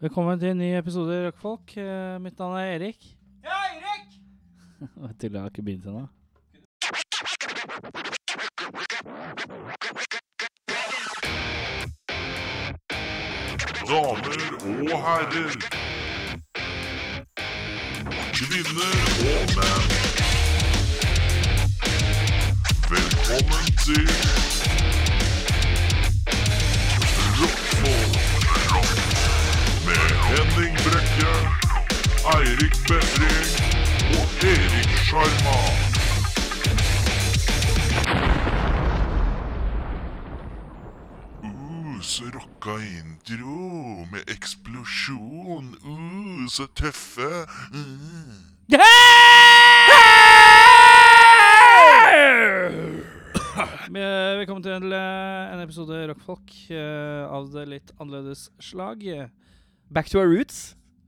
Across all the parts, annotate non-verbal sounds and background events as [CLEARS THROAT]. Velkommen til en ny episode Rockfolk. Eh, Mitt navn er Erik. Ja, Erik! Jeg tuller, jeg har ikke begynt ennå. Damer og herrer. Kvinner og menn. Velkommen til Rockfolk med Henning Brekke, Eirik Befring og Erik Sjarma. Uh, så rocka intro med eksplosjon. Uh, så tøffe. Mm. Eh, Velkommen til eh, en episode Rockfolk eh, av det litt annerledes slag. Back to our roots.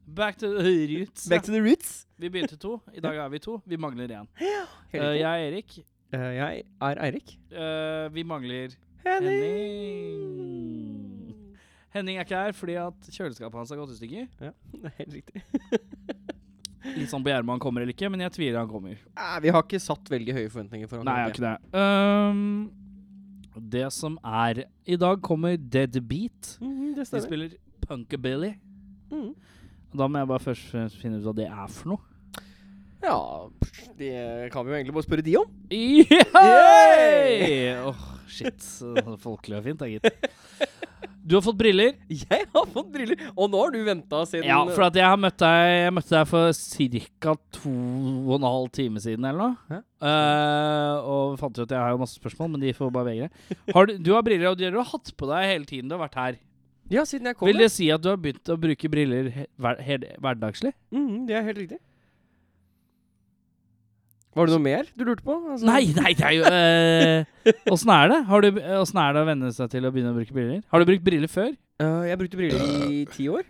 Back to the roots. Back to the roots. Vi begynte to, i dag er vi to. Vi mangler én. Eh, Helt riktig. jeg er Erik. Eh, jeg er Eirik. Eh, vi mangler Henning. Henning er ikke her fordi at kjøleskapet hans har gått i stykker. Ja, det er [LAUGHS] helt riktig. Litt sånn begjær om han kommer eller ikke, men jeg tviler han kommer. Eh, vi har ikke satt veldig høye forventninger for han. Nei, jeg har ikke det. Ehm, det som er I dag kommer Deadbeat. Mhm, det De stemmer. spiller Punkabilly. Mm. Mhm. Og Da må jeg bare først og fremst finne ut hva det er for noe. Ja, pff, det kan vi jo egentlig bare spørre de om. [LAUGHS] [LAUGHS] Yay! Åh, shit. Så Folkelig og fint, da, gitt. Du har fått briller. Jeg har fått briller! Og nå har du venta siden Ja, for at jeg har møtt deg Jeg møtte deg for ca. to og en halv time siden eller noe. Eh, og fant ut at jeg har jo masse spørsmål, men de får bare vegre. Har du, du har briller, og de har du hatt på deg hele tiden du har vært her. Ja, siden jeg kom. Vil ja. det si at du har begynt å bruke briller he hver hel hverdagslig? Mhm, det er helt riktig. Var det noe mer du lurte på? Altså- Nei, nei, det er jo [LAUGHS] Åssen er det? Har du, eh, hvordan er det å venne seg til å begynne å bruke briller? Har du brukt briller før? Eh, jeg brukte briller i ti år.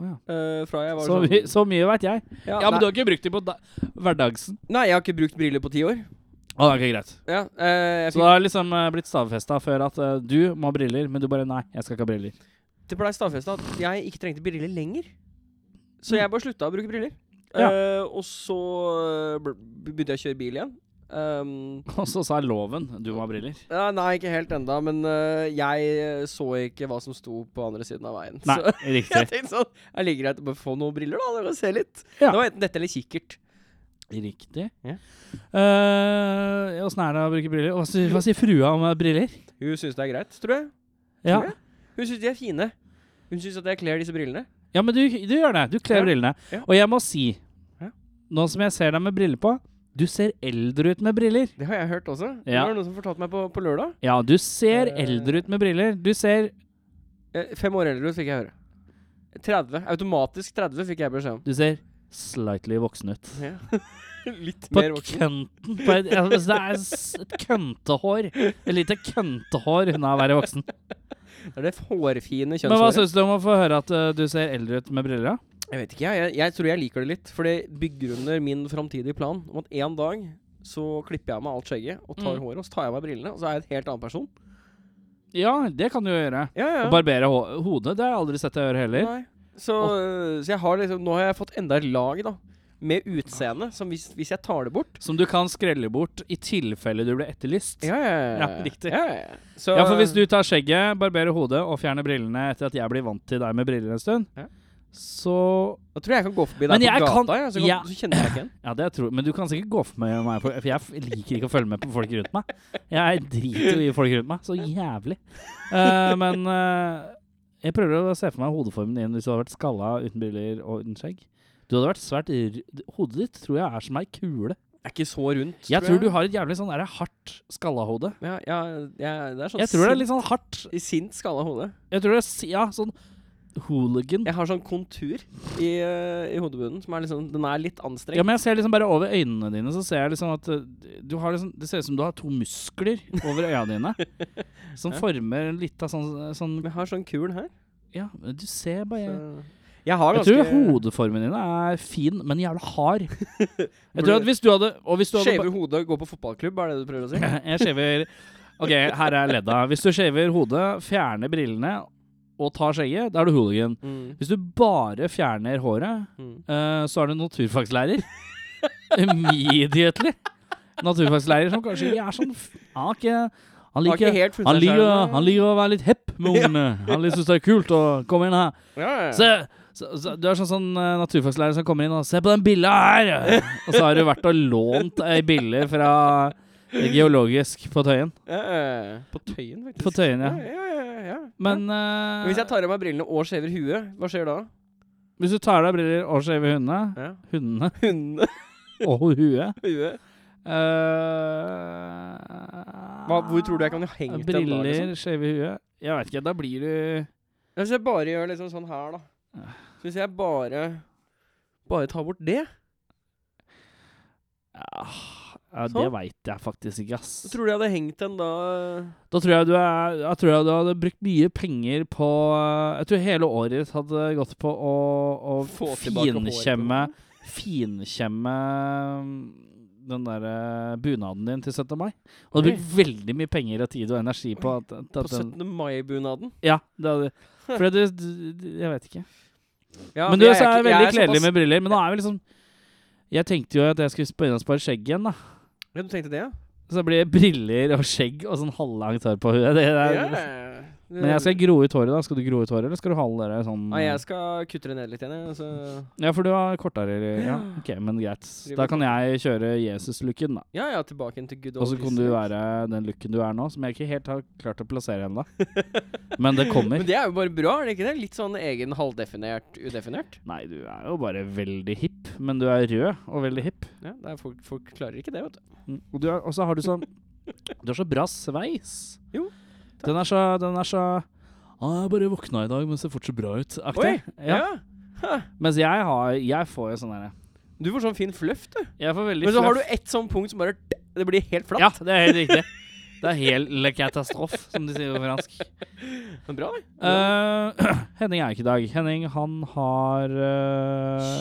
Å ja. Eh, fra jeg var Så, my sånn så mye veit jeg. ja, Ja, men du nei, har ikke brukt dem på da hverdagsen? nei, jeg har ikke brukt briller på ti år. Å, det er ikke greit. Ja, eh, jeg Så fikk det har liksom eh, blitt stavfesta før at eh, du må ha briller, men du bare Nei, jeg skal ikke ha briller. [LAUGHS] Det blei stadfesta at jeg ikke trengte briller lenger. Så jeg bare slutta å bruke briller. Ja. Eh, og så eh, bl- begynte jeg å kjøre bil igjen. Um, Og så sa loven du må ha briller. ja, nei, ikke helt enda, men eh, jeg så ikke hva som sto på andre siden av veien. Nei, [LAUGHS] Så jeg riktig. tenkte sånn Jeg ligger greit å bare få noen briller, da. Dere kan se litt. Ja. Det var enten dette eller kikkert. Riktig. [LAUGHS] Eh, Ja. Åssen er det å bruke briller? Hva sier, hva sier frua om eh, briller? Hun syns det er greit, tror jeg. Ja. Tror jeg. Hun syns de er fine. Hun syns at jeg kler disse brillene. Ja, men du, du gjør det. Du kler Ja. brillene. Ja. Og jeg må si, Ja. nå som jeg ser deg med briller på Du ser eldre ut med briller. Det har jeg hørt også. Det Ja. var noen som fortalte meg på, på lørdag. Ja, du ser Eh. eldre ut med briller. Du ser Eh, Fem år eldre fikk jeg høre. 30. Automatisk 30 fikk jeg beskjed om. Du ser slightly voksen ut. Ja. [LAUGHS] Litt På mer voksen. kønten på et, ja, altså, Det er s- et køntehår. Et lite køntehår unna å være voksen. Det er det hårfine Men hva kjønnshåret. syns du om å få høre at eh, du ser eldre ut med briller? da? Jeg vet ikke, jeg. jeg. Jeg tror jeg liker det litt. For det begrunner min framtidige plan om at en dag så klipper jeg av meg alt skjegget og tar Mm. håret, og så tar jeg av meg brillene, og så er jeg en helt annen person. Ja, det kan du jo gjøre. Ja, ja. Å barbere hå hodet, det har jeg aldri sett deg gjøre heller. Nei. Så, øh, så jeg har liksom Nå har jeg fått enda et lag, da. Med utseende, som hvis, hvis jeg tar det bort Som du kan skrelle bort i tilfelle du blir etterlyst. Ja, ja, ja. Ja, riktig. Ja, ja, ja. Så, Ja, for hvis du tar skjegget, barberer hodet og fjerner brillene etter at jeg blir vant til deg med briller en stund, Ja. så Da tror jeg jeg kan gå forbi Men deg på jeg gata, kan- jeg, så, kan, Ja. så kjenner jeg deg ikke igjen. Ja, det tror Men du kan sikkert gå for meg, meg på- for jeg f- liker ikke å følge med på folk rundt meg. Jeg driter jo i folk rundt meg. Så jævlig. Eh, men eh, jeg prøver å se for meg hodeformen din hvis du hadde vært skalla uten briller og uten skjegg. Du hadde vært svært r Hodet ditt tror jeg er som ei kule. Det er ikke så rundt. Jeg tror du har et jævlig sånn der hardt skalla hode. Ja, ja, ja det er sånn Jeg tror det er sint, litt sånn hardt i sint skala hode. Jeg tror det er si- Ja, sånn hooligan. Jeg har sånn kontur i, eh, i hodebunnen som er liksom Den er litt anstrengt. Ja, men jeg ser liksom bare over øynene dine, så ser jeg liksom at eh, du har liksom, Det ser ut som du har to muskler over øya dine. [LAUGHS] Som former en lita sånn, sånn men jeg har sånn kul her. Ja, men du ser bare så- Jeg har Jeg ganske tror hodeformen din er fin, men jævla [LAUGHS] hard. Jeg tror at hvis du hadde Og hvis du hadde Skjever hodet og går på fotballklubb, er det det du prøver å si? [LAUGHS] Jeg skjever Ok, her er ledda. Hvis du skjever hodet, fjerner brillene og tar skjegget, da er du hooligan. Mm. Hvis du bare fjerner håret, Mm. eh, så er du naturfagslærer. Immediately. Naturfagslærer som kanskje ikke er sånn f- han er ikke- Han Har ikke liker, helt funnet han seg selv, liker, da. han liker å være litt hepp med ungene. Han litt syns det er kult å komme inn her. ja, ja, ja. Se, så, så, du er sånn, sånn eh, naturfagslærer som kommer inn og 'Se på den billa her!' Og så har du vært og lånt ei bille fra Geologisk på Tøyen. Ja, ja, ja. På Tøyen, faktisk. På Tøyen, ja. ja. Ja, ja, ja, ja. Men Men eh, Hvis jeg tar av meg brillene og skjever huet, hva skjer da? hvis du tar av deg briller og skjever hundene Ja. Hundene Hundene og huet huet. Eh, Hva, hvor tror du jeg kan ha hengt den da? Liksom? Briller, skjeve huet Jeg veit ikke, da blir du Hvis jeg bare gjør liksom sånn her, da. Så hvis jeg bare Bare tar bort det, ja, ja, Det Sånn. veit jeg faktisk ikke, så ass. tror du jeg hadde hengt den da Da tror jeg du er Jeg tror jeg du hadde brukt mye penger på eh, Jeg tror hele året ditt hadde gått på å, å Få tilbake håret på finkjemme Finkjemme mm, den der eh, bunaden din til 17. mai. Og du Oi. hadde brukt veldig mye penger og tid og energi på at, at, På at den 17. mai-bunaden. Ja, det hadde For det, du- du- jeg vet ikke. Ja, men for du jeg også ikke- er jeg veldig kledelig såpass- med briller. Men nå er vi liksom Jeg tenkte jo at jeg skulle begynne å spare skjegg igjen, da. Ja, du tenkte det, ja? Så det blir briller og skjegg og sånn halvlangt hår på huet. Det ja, er, ja, ja. Men jeg skal gro ut håret, da. Skal du gro ut håret, eller skal du ha det der sånn Nei, jeg skal kutte det ned litt igjen, jeg. Så Ja, for du har kortere Ja, ok, men greit. Da kan jeg kjøre Jesus-looken, da. ja, ja, tilbake igjen til good Og old så kan du days. være den looken du er nå, som jeg ikke helt har klart å plassere ennå. Men det kommer. [LAUGHS] Men det er jo bare bra, er det ikke det? Litt sånn egen halvdefinert, udefinert. Nei, du er jo bare veldig hipp, men du er rød og veldig hipp. Ja, det er folk, folk klarer ikke det, vet du. Mm. Og du er- og så har du sånn Du har så bra sveis. Jo, Den er så Den er så ah, 'Jeg bare våkna i dag, men ser fort så bra ut.' Aktig. Ja. Ja. Mens jeg har Jeg får jo sånn derre Du får sånn fin fluff, du. Jeg får veldig Men så har du fluff. ett sånn punkt som bare Det blir helt flatt. Ja, det er helt riktig. Det er helt le catastrophe, som de sier på fransk. Men bra, det. Eh, [CLEARS THROAT] Henning er ikke i dag. Henning, han har eh,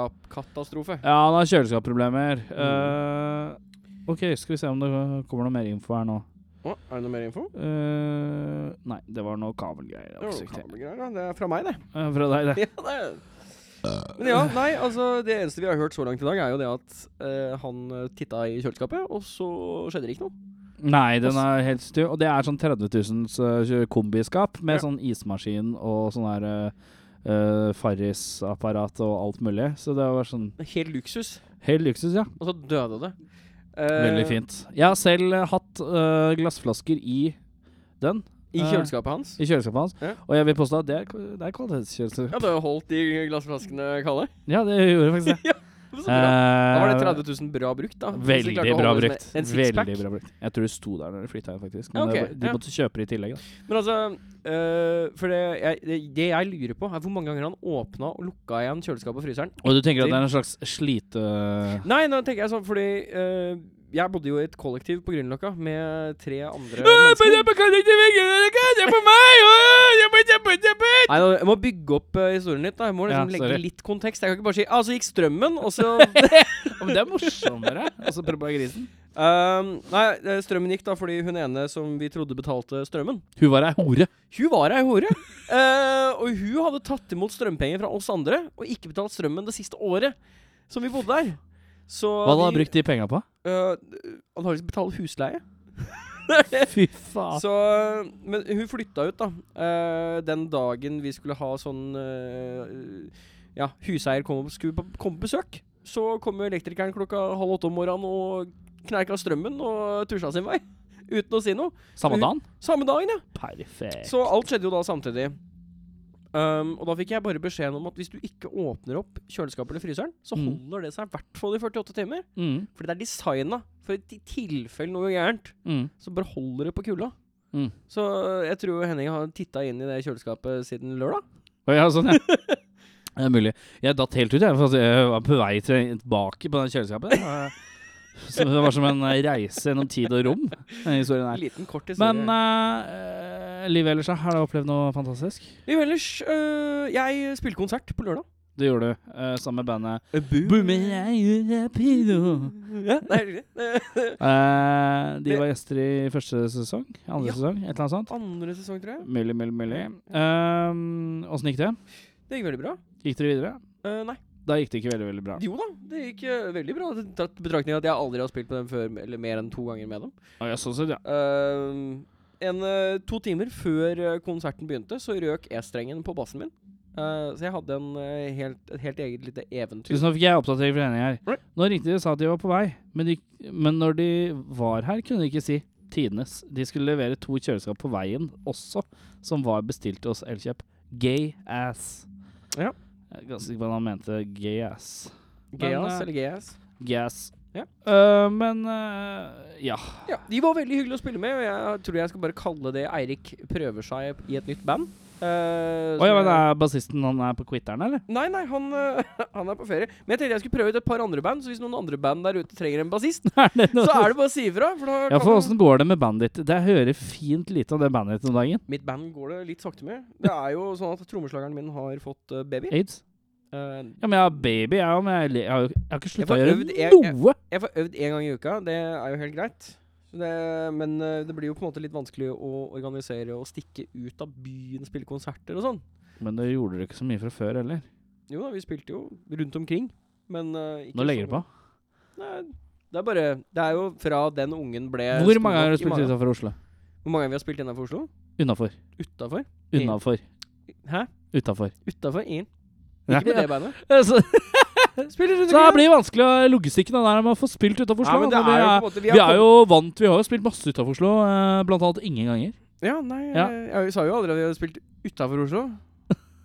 Kjøleskapkatastrofe. Ja, han har kjøleskapsproblemer. Eh, OK, skal vi se om det kommer noe mer info her nå. Å, er det noe mer info? Eh, nei, det var noe kabelgreier. Det Det, var ikke så var noe viktig. kabelgreier, da. det er fra [LAUGHS] meg, det. Eh, Fra deg, det. Ja, det er. Men ja, nei, altså Det eneste vi har hørt så langt i dag, er jo det at eh, han titta i kjøleskapet, og så skjedde det ikke noe. Nei, den er helt styr. Og det er sånn 30 000s eh, kombiskap med sånn ismaskin og sånn her eh, eh, Farris-apparat og alt mulig. Så det var sånn Det er Helt luksus. Helt luksus, ja. Og så døde det. Eh, Veldig fint. Jeg har selv eh, hatt eh, glassflasker i den, I kjøleskapet hans. i kjøleskapet hans. Ja. Og jeg vil påstå at det er, k- det er kvalitetskjøleskap. Ja, du har holdt de glassflaskene kalde. Ja, det gjorde faktisk det. [LAUGHS] Så bra. Da var det 30 Eh, 000 bra brukt, da. Hvis du klarer Veldig å bra holde det med brukt. En sixpack. Veldig bra brukt. Jeg tror det sto der når de flytta inn, faktisk. Ja, Men det ok, var- de ja. måtte kjøpe det i tillegg. Da. Men altså øh, For det jeg, det- det jeg lurer på, er hvor mange ganger han åpna og lukka igjen kjøleskapet og fryseren. Og du tenker at det er en slags slite... Nei, nå tenker jeg sånn fordi øh, jeg bodde jo i et kollektiv på Grünerløkka med tre andre mennesker. Nei, nå- jeg må bygge opp øh, historien litt. da Jeg må liksom Ja, sorry. legge litt kontekst. Jeg kan ikke bare si ah, 'så gikk strømmen', og så Ja, men det er morsommere. Og så prøver jeg grisen. Øhm, Nei, øh, strømmen gikk da fordi hun ene som vi trodde betalte strømmen, Hun var ei hore. Hun var ei hore. Eh, og hun hadde tatt imot strømpenger fra oss andre og ikke betalt strømmen det siste året som vi bodde der. Så Hva hadde hun vi, brukt de penga [LAUGHS] på? eh, Antakeligvis betalt husleie. Fy faen. Så, men hun flytta ut, da. Eh, den dagen vi skulle ha sånn eh, Ja, huseier kom, skulle på, kom på besøk. Så kom jo elektrikeren klokka halv åtte om morgenen og knerka strømmen og tusja sin vei. Uten å si noe. Samme dagen? Samme dagen, ja. Perfekt. Så alt skjedde jo da samtidig. Um, og da fikk jeg bare beskjeden om at hvis du ikke åpner opp kjøleskapet eller fryseren, så Mm. holder det seg i hvert fall i 48 timer. Mm, Fordi det er designa for i tilfelle noe gærent, mm. så bare holder det på kulda. Mm. Så eh, jeg tror Henning har titta inn i det kjøleskapet siden lørdag. Å, Ja, sånn, ja. Det er mulig. Jeg datt helt ut, jeg. For at jeg var på vei til- tilbake på den kjøleskapet. Eh, Så det var som en eh, reise gjennom tid og rom. Den historien her. Liten kort historie. Men eh, eh, livet ellers, da? Har du opplevd noe fantastisk? Jo, ellers øh, Jeg spilte eh, konsert på lørdag. Det gjorde du. eh, sammen med bandet Ja, det er riktig. Eh, de var gjester i første sesong? Andre Ja. sesong? Et eller annet sånt? [LAUGHS] Andre sesong, tror jeg. Mulig, mulig, mulig. Mm. Ehm, Åssen gikk det? Det gikk veldig bra. Gikk dere videre? Eh, nei. Da gikk det ikke veldig, veldig bra. Jo da, det gikk eh, veldig bra. Tatt i betraktning at jeg aldri har spilt med dem før, eller mer enn to ganger med dem. Å, ja, sånn sett, ja. Eh, en, eh, to timer før eh, konserten begynte, så røk E-strengen på bassen min. Eh, så jeg hadde en, eh, helt, et helt eget lite eventyr. Tusen takk, jeg er oppdatering for henne her. Right. Nå ringte de og sa at de var på vei, men, de, men når de var her, kunne de ikke si tidenes. De skulle levere to kjøleskap på veien også, som var bestilt hos Elkjøp. Gay ass. Ja. Jeg er ganske sikker på at han mente gay ass. GS eh, eller GS. Gas. Ja. Eh, men eh, ja. Ja, De var veldig hyggelige å spille med, og jeg tror jeg skal bare kalle det Eirik prøver seg i et nytt band. Å Eh, som ja, jeg- men er bassisten han er på quitteren, eller? [LAUGHS] Nei, nei, han, eh, [LAUGHS] han er på ferie. Men jeg tenkte jeg skulle prøve ut et par andre band, så hvis noen andre band der ute trenger en bassist, [LAUGHS] er det noe? så er det bare å si ifra. For da ja, kan for man- åssen går det med bandet ditt? Det jeg hører fint lite av det bandet ditt om dagen. Mitt band går det litt sakte med. Det er jo sånn at trommeslageren min har fått eh, baby. Aids? Eh, Ja, men jeg har baby, jeg òg, men jeg, le- jeg, har jo- jeg har ikke Jeg slutta får å gjøre øvd- jeg- jeg- noe. jeg får øvd én gang i uka, det er jo helt greit. Så Det, men eh, det blir jo på en måte litt vanskelig å organisere og stikke ut av byen, spille konserter og sånn. Men det gjorde dere ikke så mye fra før heller. Jo da, vi spilte jo rundt omkring, men eh, ikke Nå legger sånn- du på. Nei, det er bare Det er jo fra den ungen ble Hvor stor mange har nok dere i spilt magen. utafor Oslo? Hvor mange vi har spilt innenfor Oslo? Unnafor. Utafor? Unnafor. Hæ? Utafor. Utafor? Ingen. Ja. Ikke med det [LAUGHS] bandet. Så, Spiller rundt så her omkring. blir det vanskelig å logistikken av det her med å få spilt utafor Oslo. Ja, men det da, men er jo på det en måte er- vi er jo vant, vi har jo spilt masse utafor Oslo, eh, blant annet ingen ganger. Ja, nei, Ja. Jeg, jeg sa jo aldri at vi hadde spilt utafor Oslo.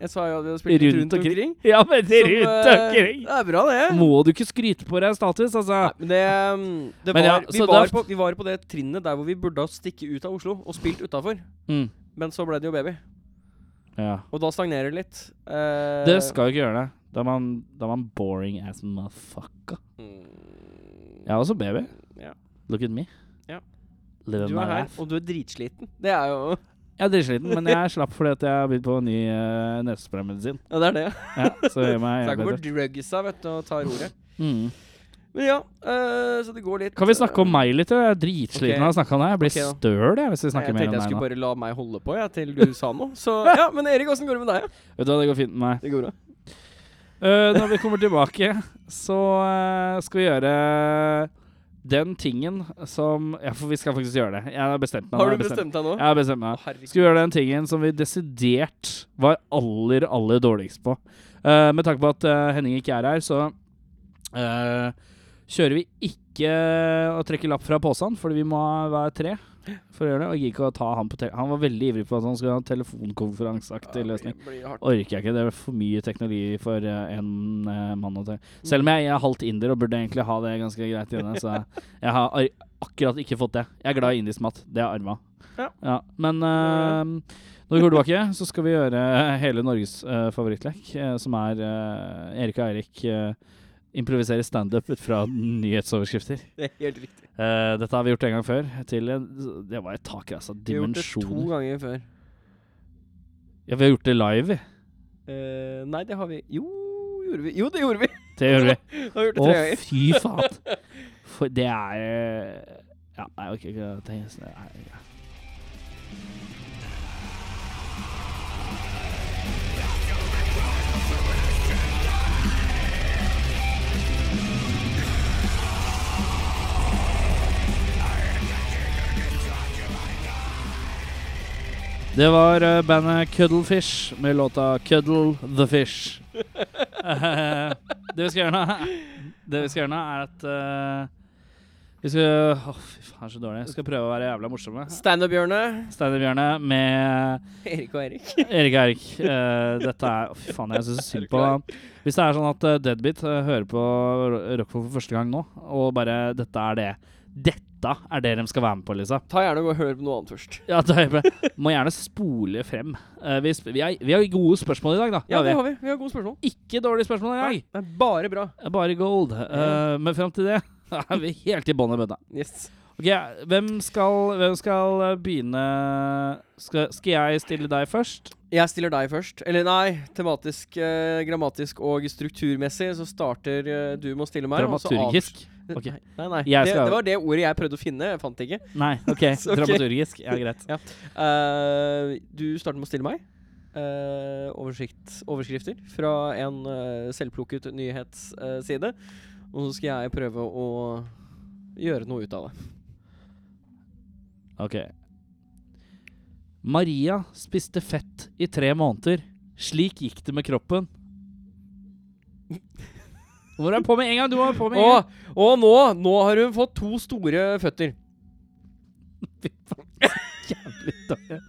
Jeg sa jo at vi hadde spilt rundt, Rundt omkring. omkring. Ja, men Som, rundt eh, omkring! Det er bra, det. Må du ikke skryte på deg status, altså? Nei, men det, um, det var, Men ja, vi, så var da- på, vi var på det trinnet der hvor vi burde ha stikke ut av Oslo og spilt utafor. Mm. Men så ble det jo baby, Ja. og da stagnerer det litt. Eh, Det skal jo ikke gjøre det. Da er man, da er man boring as motherfucker. mm, Jeg er også baby. Ja. Look at me. Ja. Living Du my er her, life. og du er dritsliten. Det er jo Jeg er dritsliten, men jeg slapp fordi at jeg har begynt på ny uh, nesespraymedisin. Ja, det er det. Ja, så gjør meg [LAUGHS] Så jeg går bedre. drugsa, vet du, og tar ordet. Mm. Men ja, eh, så det går litt eh, Kan vi snakke om meg litt? eller? Jeg er dritsliten Ok. av å snakke om deg. Jeg blir Ok, da. støl jeg, hvis vi Nei, snakker jeg mer om tenkte jeg deg skulle nå. bare la meg holde på ja, til du sa noe. Så ja, Men Erik, åssen går det med deg? ja? Vet du hva, det går fint med meg. Det går bra. Eh, når vi kommer tilbake, så eh, skal vi gjøre eh, den tingen som Ja, for vi skal faktisk gjøre det. Jeg har bestemt meg. nå, Har jeg du bestemt deg nå? Jeg har bestemt meg. Å, herregud. Skal vi gjøre den tingen som vi desidert var aller, aller dårligst på. Eh, med tanke på at eh, Henning ikke er her, så eh, kjører vi ikke å trekke lapp fra posen, fordi vi må være tre for å gjøre det. Og jeg gidder ikke å ta han på te Han var veldig ivrig på at han skulle ha en telefonkonferanseaktig Ja, løsning. det blir hardt. Orker jeg ikke. Det er for mye teknologi for eh, en eh, mann å ta. Mm. Selv om jeg er halvt inder og burde egentlig ha det ganske greit inne, så [LAUGHS] jeg har ar akkurat ikke fått det. Jeg er glad i indisk mat. Det er arma. Ja. men eh, når vi går tilbake, så skal vi gjøre hele Norges eh, favorittlek, eh, som er eh, Erik og Eirik eh, improviserer standup ut fra nyhetsoverskrifter. Det er helt riktig. Eh, dette har vi gjort en gang før. Til en, det var et tak, altså. Vi har gjort det to Dimensjoner. ganger før. Ja, vi har gjort det live, vi. Eh, nei, det har vi Jo, gjorde vi. Jo, det gjorde vi! [LAUGHS] Det gjør vi. Jeg har gjort det Å, tre ganger. fy faen. For det er eh, Ja, nei, ok. ok, jeg tenker sånn, det er- ja. Det var eh, bandet Cuddlefish med låta 'Cuddle the Fish'. Eh, det vi skal gjøre nå [LAUGHS] Det vi skal gjøre nå er at eh, Vi skal Å, fy faen, jeg er så dårlig. Vi skal prøve å være jævla morsomme. Standup-hjørnet. Steinar Bjørne med Erik og Erik. Erik Eirik. Eh, dette er Å, fy faen, jeg syns synd på Hvis det er sånn at eh, Deadbeat eh, hører på Ro- Rockfolk for første gang nå, og bare Dette er det. Dette er det de skal være med på, liksom. Ta gjerne og gå og hør på noe annet først. Ja, det er bra. Må gjerne spole frem. Eh, vi, sp vi, er, vi har gode spørsmål i dag, da. Ja, Det det har vi. har vi. Vi har gode spørsmål. Ikke dårlige spørsmål i dag. Nei, det er bare bra. Eh, [LAUGHS] Bare gold. Eh, men fram til det er vi helt i bånn i bøtta. Yes. Ok, hvem skal, hvem skal eh, begynne skal, skal jeg stille deg først? Jeg stiller deg først. Eller nei, tematisk, eh, grammatisk og strukturmessig så starter eh, du med å stille meg. og så Dramaturgisk? avs- Ok. Nei, nei. Jeg Det, skal- det var det ordet jeg prøvde å finne. Jeg fant det ikke. Nei, ok. ok. Dramaturgisk. Ja, greit. Eh, du starter med å stille meg. Eh, oversikt, overskrifter fra en eh, selvplukket nyhetsside. og så skal jeg prøve å gjøre noe ut av det. Ok. Maria spiste fett i tre måneder. Slik gikk det med kroppen. Nå må du være på med en gang! Du må være på med en gang. Og, og nå, nå har hun fått to store føtter. [LAUGHS] Jævlig dårlig.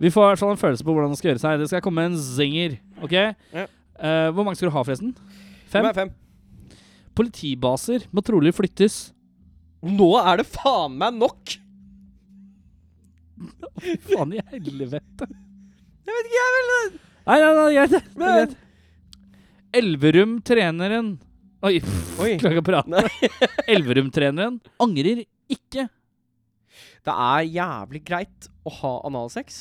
Vi får i hvert fall en følelse på hvordan det skal gjøre seg. Det skal komme en zinger. Ok? Ja. Eh, hvor mange skal du ha, forresten? Fem? Nå er, fem. Politibaser må trolig flyttes. nå er det faen meg nok! Faen i helvete. Jeg vet ikke, jeg vel Nei, nei, nei, greit. det. Det er Men- greit. Elverum-treneren Oi, [LAUGHS] Oi. klarer ikke å prate. Elverum-treneren angrer ikke. Det er jævlig greit å ha analsex.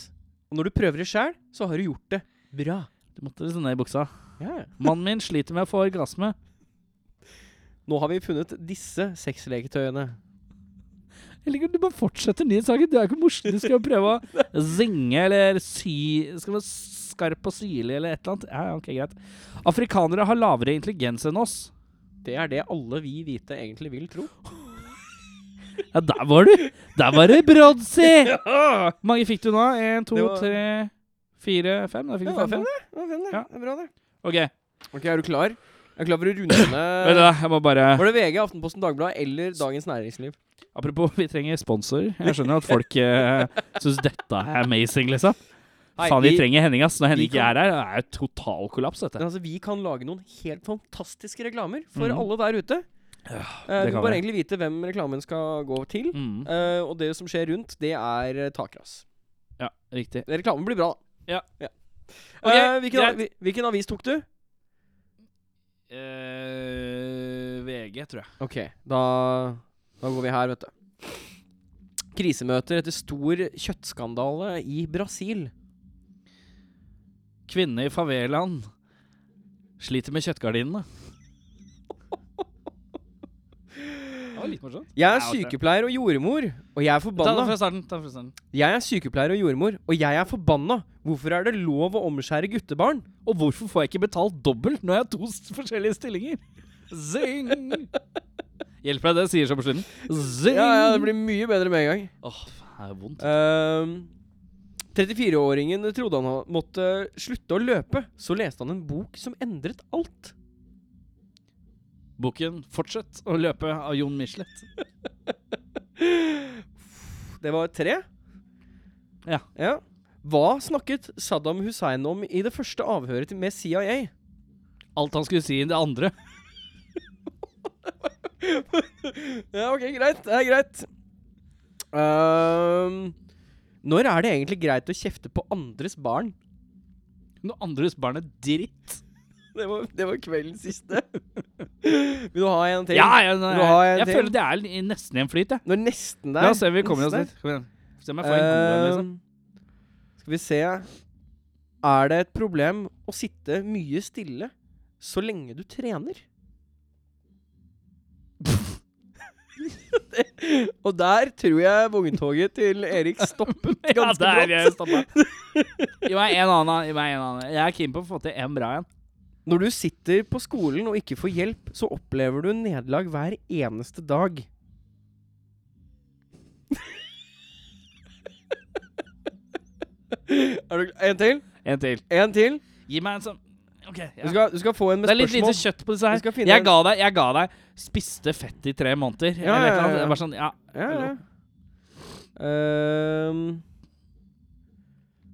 Og når du prøver det sjæl, så har du gjort det bra. Du måtte liksom ned i buksa. Ja. Mannen min sliter med å få orgasme. Nå har vi funnet disse sexleketøyene. Jeg liker at du bare fortsetter nyhetssaken. Du er ikke morsom. Du skal jo [LAUGHS] prøve å zinge eller sy Skal være skarp og syrlig eller et eller annet. Ja, ok, greit. Afrikanere har lavere intelligens enn oss. Det er det alle vi hvite egentlig vil tro. Ja, der var du! Der var det [LAUGHS] Brodsi! Hvor mange fikk du nå? Én, to, Det var- tre, fire, fem? Da fikk Det du var fem. fem, da. det. Det var fem, det. Ja. Det er bra, det. Ok, Ok, Er du klar? Jeg er klar for å [COUGHS] runde Vent ned da, jeg må bare Var det VG, Aftenposten, Dagbladet eller Dagens Næringsliv? Apropos, vi trenger sponsorer. Jeg skjønner at folk uh, syns dette er amazing, liksom. Nei, Faen, vi vi- trenger Henning, ass. Når vi Henning ikke kan- er her, det er jo total kollaps, dette. Men altså, vi kan lage noen helt fantastiske reklamer for Mhm. alle der ute. Eh, det du kan må bare vi. egentlig vite hvem reklamen skal gå til. Mm. Eh, og det som skjer rundt, det er eh, takras. Ja, riktig. Reklamen blir bra, Ja. da. Eh, Ok, hvilken, greit. hvi- hvilken avis tok du? Eh, VG, tror jeg. Ok, da, da går vi her, vet du. Krisemøter etter stor kjøttskandale i Brasil. Kvinne i favelaen sliter med kjøttgardinene. Det var litt morsomt. Jeg er Ja, ok. sykepleier og jordmor, og jeg er Ta det forbanna. fra starten. Ta det fra starten. Jeg er sykepleier og jordmor, og jeg er forbanna. Hvorfor er det lov å omskjære guttebarn? Og hvorfor får jeg ikke betalt dobbelt når jeg har to s- forskjellige stillinger? Zing! Hjelper deg det sier seg på slutten. Zing! Ja, ja, det blir mye bedre med en gang. Åh, faen, det er vondt. Ehm, 34-åringen trodde han ha- måtte slutte å løpe, så leste han en bok som endret alt. [GASPS] Boken 'Fortsett å løpe' av Jon Michelet. Det var tre. Ja. ja. Hva snakket Saddam Hussein om i det første avhøret til- med CIA? Alt han skulle si i det andre. [LAUGHS] Ja, ok, greit. Det er greit. Ehm, når er det egentlig greit å kjefte på andres barn? [LAUGHS] Når andres barn er dritt. Det var, det var kveldens siste. [LAUGHS] Vil du ha en til? Ja, ja, nei, Vil du ha en jeg til? føler det er li- nesten i en flyt, jeg. Nå er nesten der. La oss se om vi kommer oss Nesten litt. Kom igjen. Se om jeg får en god en, liksom. Ehm, Skal vi se Er det et problem å sitte mye stille så lenge du trener? [LAUGHS] Det- Og der tror jeg vogntoget til Erik stoppet [LAUGHS] Ja, ganske der er jeg brått. stoppa. liksom. [LAUGHS] Gi meg en annen. Gi meg en annen. Jeg er keen på å få til en bra en. Når du sitter på skolen og ikke får hjelp, så opplever du nederlag hver eneste dag. [LAUGHS] er du En til? En til. En til? Gi meg en sånn. OK. Ja. Du skal, du skal få en med Det er litt spørsmål. lite kjøtt på disse Vi skal her. finne Jeg en- ga deg, jeg ga deg spiste fett i tre måneder. Ja, eller et eller ja, annet. ja. Det var sånn, ja. Ja, ja. Ehm,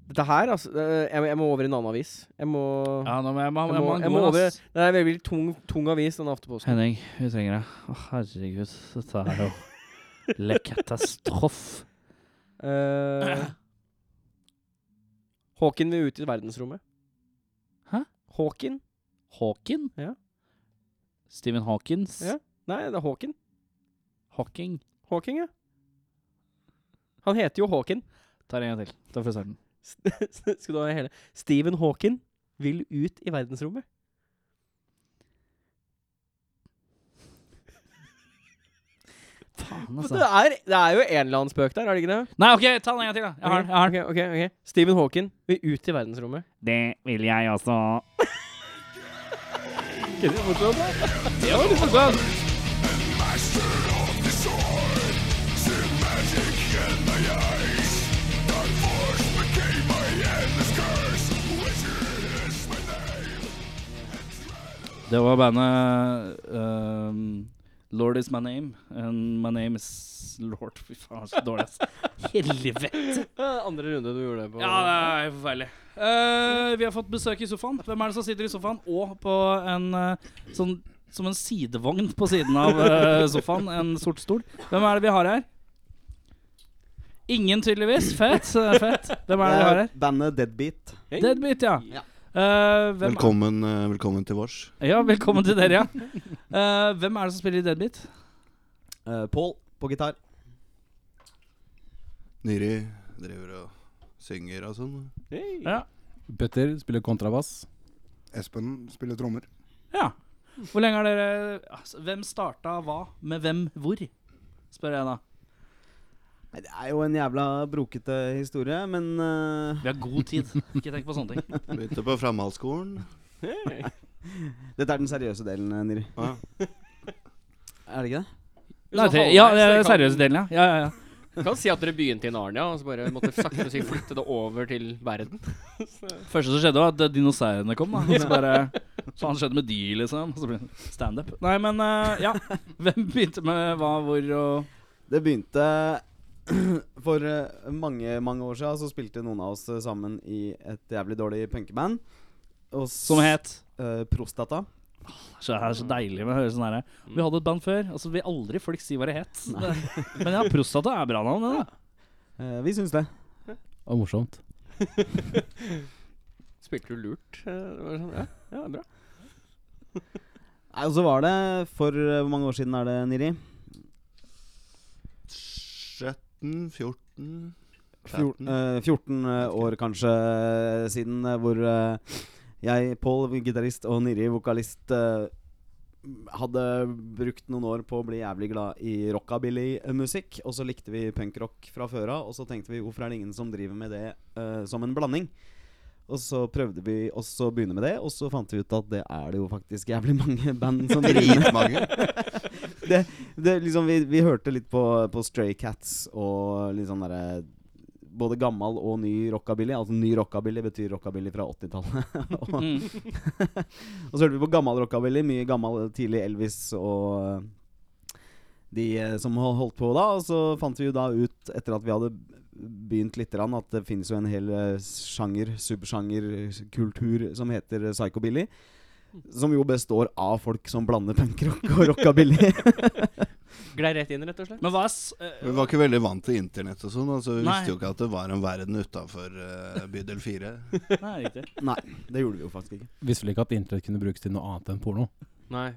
dette her, altså eh, jeg, må- jeg må over i en annen avis. Jeg må ja, nå må jeg, må, Jeg jeg må, må, jeg jeg må over Det er en veldig tung, tung avis, den Aftenposten. Henning, vi trenger deg. Å, herregud. Dette er jo Le katastrofe. Eh, [CLEARS THROAT] Hawking vil ut i verdensrommet. Hæ? Hawking? Hawking? Ja. Stephen Hawkins? Ja. Nei, det er Hawking. Hawking? Hawking, ja. Han heter jo Hawken. Tar en gang til. Ta fra starten. [LAUGHS] Skal du ha hele Stephen Hawken vil ut i verdensrommet. Faen, Det altså. er, det er jo en eller annen spøk der, er det ikke det? Nei, OK, ta den en gang til, da. Jeg har den. Jeg har den. Ok, ok, ok. Stephen Hawken vil ut i verdensrommet. Det vil jeg også. Det er morsomt, da. Det var litt morsomt. Det var bandet ehm, Lord Is My Name and My Name Is Lord. Fy faen, så dårlig, ass. Helvete! Eh, Andre runde du gjorde det på. Ja, det er forferdelig. Eh, vi har fått besøk i sofaen. Hvem er det som sitter i sofaen og på en eh, sånn som en sidevogn på siden av eh, sofaen? En sort stol. Hvem er det vi har her? Ingen, tydeligvis. Fett. eh, fett. Hvem er det vi har her? Bandet Deadbeat. Hei. Deadbeat, ja. Ja. Eh, hvem er- Velkommen, eh, velkommen til vårs. Ja, velkommen til dere, ja. Eh, hvem er det som spiller i Deadbeat? Uh, Pål på gitar. Niri driver og synger og sånn. Hei. Ja. Petter spiller kontrabass. Espen spiller trommer. Ja. Hvor lenge har dere altså, Hvem starta hva med hvem hvor? Spør jeg da. Nei, Det er jo en jævla brokete historie, men eh, Vi har god tid. Ikke tenk på sånne ting. Begynte på framhaldsskolen. Dette er den seriøse delen, eh, Niri. Ah. [LAUGHS] Er det ikke det? Nei, det, ja, det er den seriøse delen, ja. ja, ja, ja. Kan, kan si at dere begynte i Narnia, og så bare måtte sakte men sikkert flytte det over til verden. første som skjedde, var at eh, dinosaurene kom. da Og så bare Faen, skjedde med de, liksom? Og så ble det standup. Nei, men eh, ja. Hvem begynte med hva, hvor og Det begynte [CLEARS THROAT] for eh, mange, mange år siden. Så spilte noen av oss eh, sammen i et jævlig dårlig punkeband. Og s- Som het eh, Prostata. så Det er så deilig med å høre sånn her. Vi hadde et band før, og så vil aldri folk si hva det het. Men ja, prostata er bra navn, det, da. Eh, vi syns det. Og morsomt. Spilte du lurt? Eh, det var sånn, Ja, ja bra. Nei, Og så var det For eh, hvor mange år siden er det, Niri? 13, 14 Fjorten- 15. eh, 14 år kanskje siden, eh, hvor eh, jeg, Pål, gitarist, og Niri, vokalist, eh, hadde brukt noen år på å bli jævlig glad i rockabilly-musikk. Og så likte vi punkrock fra før av, og så tenkte vi hvorfor er det ingen som driver med det eh, som en blanding? Og så prøvde vi også å begynne med det, og så fant vi ut at det er det jo faktisk jævlig mange band [LAUGHS] eh, som driver med Dritmange. det, det, liksom, vi, vi hørte litt på, på Stray Cats og litt sånn derre Både gammel og ny rockabilly. Altså ny rockabilly betyr rockabilly fra [LAUGHS] 80-tallet. og, Mm. og så hørte vi på gammel rockabilly. Mye gammel tidlig Elvis og de eh, som hol- holdt på da. Og så fant vi jo da ut, etter at vi hadde begynt litt, grann, at det finnes jo en hel eh, sjanger, subsjanger, kultur som heter eh, psychobilly. Som jo består av folk som blander punkrock og rockabilly. Glei rett inn, rett og slett. Men hva er s- eh, Vi var ikke veldig vant til internett og sånn. Altså, vi Nei. visste jo ikke at det var en verden utafor bydel 4. Nei, riktig. Nei, det gjorde vi jo faktisk ikke. Visste vel ikke at internett kunne brukes til noe annet enn porno. Nei.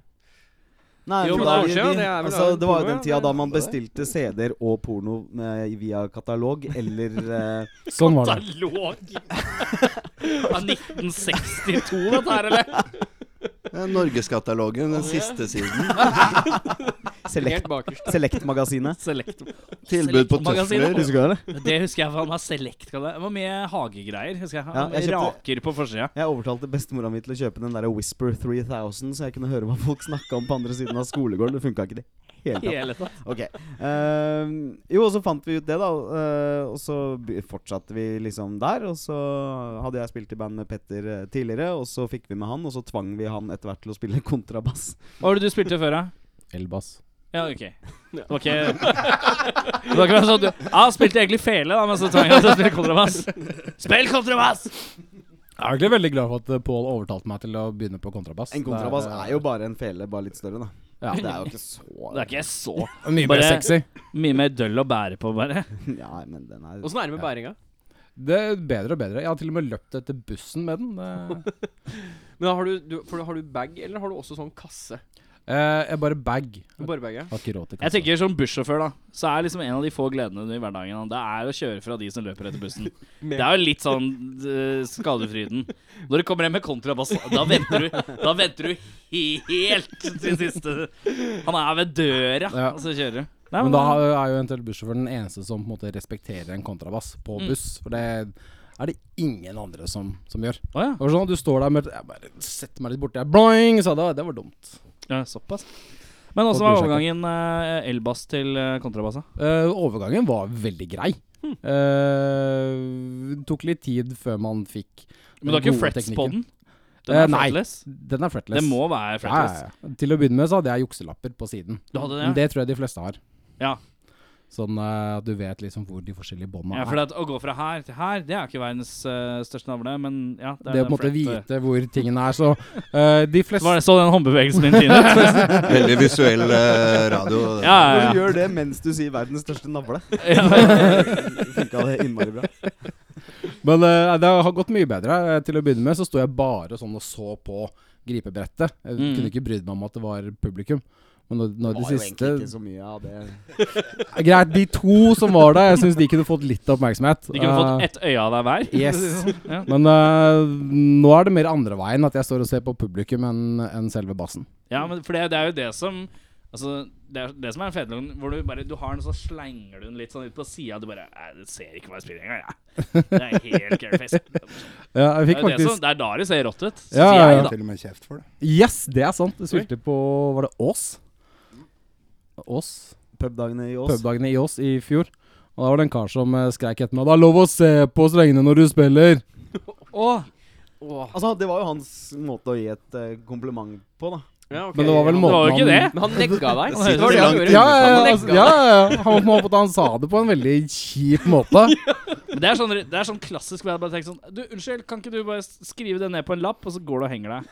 Nei, Jo, for men da- det er vi- skjønt, vi- det er vel altså, da det var jo porno, den tida ja, da det- man bestilte CD-er og porno med, via katalog, [LAUGHS] eller eh, Sånn [LAUGHS] var det. Katalog! Av 1962, dette her, eller? Eh, Norgeskatalogen, den siste [LAUGHS] siden. select, Helt bakerst. Select-magasinet. Select. Tilbud på Select-magasinet. tøfler. Husker du det? Det husker jeg faen meg select. kaller Det Det var mye hagegreier. husker jeg. Ja, jeg kjøpte- Raker på forsida. Jeg overtalte bestemora mi til å kjøpe den der Whisper 3000, så jeg kunne høre hva folk snakka om på andre siden av skolegården. Det funka ikke, det. [LAUGHS] Hele tatt. Hele tatt. Ok. Ehm, jo, og så fant vi ut det, da. eh, og så by- fortsatte vi liksom der. Og så hadde jeg spilt i band med Petter eh, tidligere, og så fikk vi med han, og så tvang vi han etter hvert til å spille kontrabass. Hva var det du spilte før, da? Elbass. Ja, OK. Det var ikke Det var ikke sånn du Ja, spilte egentlig fele, da, men så tvang jeg deg til å spille kontrabass. Spill kontrabass! Jeg er egentlig veldig glad for at eh, Pål overtalte meg til å begynne på kontrabass. En kontrabass Det eh, er jo bare en fele, bare litt større, da. Ja. Det er jo ikke så Det er ikke så eh, mye [LAUGHS] bare- mer sexy. mye mer døll å bære på, bare. [LAUGHS] Ja, men den er Åssen er det med bæringa? Det er bedre og bedre. Jeg har til og med løpt etter bussen med den. Det- Men da har du, du, for da har du bag, eller har du også sånn kasse? Eh, jeg bare bag. Borberget. Har ikke råd til Jeg tenker Som bussjåfør da Så er liksom en av de få gledene i hverdagen da, Det er å kjøre fra de som løper etter bussen. Det er jo litt sånn eh, skadefryden. Når det kommer en med kontrabass, da venter du Da venter du helt til siste Han er ved døra, Ja. og så kjører du. Nei, Men da er jo eventuelt bussjåføren den eneste som på en måte respekterer en kontrabass på Mm. buss. For det er det ingen andre som, som gjør. Å ja. Det var sånn at Du står der med Jeg bare setter meg litt borti her. Boing! Sa det. Det var dumt. ja, såpass. Men åssen var overgangen eh, elbass til eh, kontrabass? da? Eh, overgangen var veldig grei. Hmm. Eh, det tok litt tid før man fikk Men du har ikke gode frets på den? teknikken. Eh, Den er nei. fretless? Den er fretless. Det må være ja, fretless. ja, ja. Til å begynne med så hadde jeg jukselapper på siden. Du hadde det, ja. Men det tror jeg de fleste har. Ja. Sånn eh, at du vet liksom hvor de forskjellige båndene Ja, er. for at, å gå fra her til her, det er ikke verdens eh, største navle, men ja Det, å på en måte fret- vite hvor tingene er. Så eh, de fleste Var det så den håndbevegelsen din [LAUGHS] fin ut? Veldig visuell eh, radio. Ja, ja, Når du ja. gjør det mens du sier 'verdens største [LAUGHS] navle', [LAUGHS] funka det innmari bra. Men eh, det har gått mye bedre. Eh, Til å begynne med så sto jeg bare sånn og så på gripebrettet. Jeg Mm. kunne ikke brydd meg om at det var publikum. Men når, når Det de var jo siste egentlig ikke så mye av det. Greit, de to som var der, jeg syns de kunne fått litt oppmerksomhet. De kunne fått Eh, ett øye av deg hver. Yes. [LAUGHS] Ja. Men eh, nå er det mer andre veien, at jeg står og ser på publikum enn enn selve bassen. Ja, men for det, det er jo det som Altså, det er det som er fedeloggen, hvor du bare Du har den, så slenger du den litt sånn ut på sida. Du bare Nei, det ser ikke hva jeg spiller engang, jeg. Det er [LAUGHS] helt careface. Det, Ja, er jeg fikk jo det, som- faktisk det er da det ser rått ut. Ja, sier ja, jeg, ja. da. Til og med kjeft for det. Yes, det er sant. Du spilte på Var det Ås? Ås? Pubdagene i Ås. Pubdagene i Ås i fjor. Og da var det en kar som eh, skreik etter meg 'Det er lov å se på strengene når du spiller'. Å, Altså, det var jo hans måte å gi et eh, kompliment på, da. Ja, ok. Men det var vel Han- Det var jo måten ikke det. han Men han negga deg. sitter [LAUGHS] Det var det langt han gjorde. inne. ja, ja, Han altså, negga deg. ja, ja, ja. Han, på en måte, han sa det på en veldig kjip måte. Men det er sånn, det er sånn klassisk hvor jeg bare tenker sånn Du, unnskyld, kan ikke du bare skrive det ned på en lapp, og så går du og henger deg?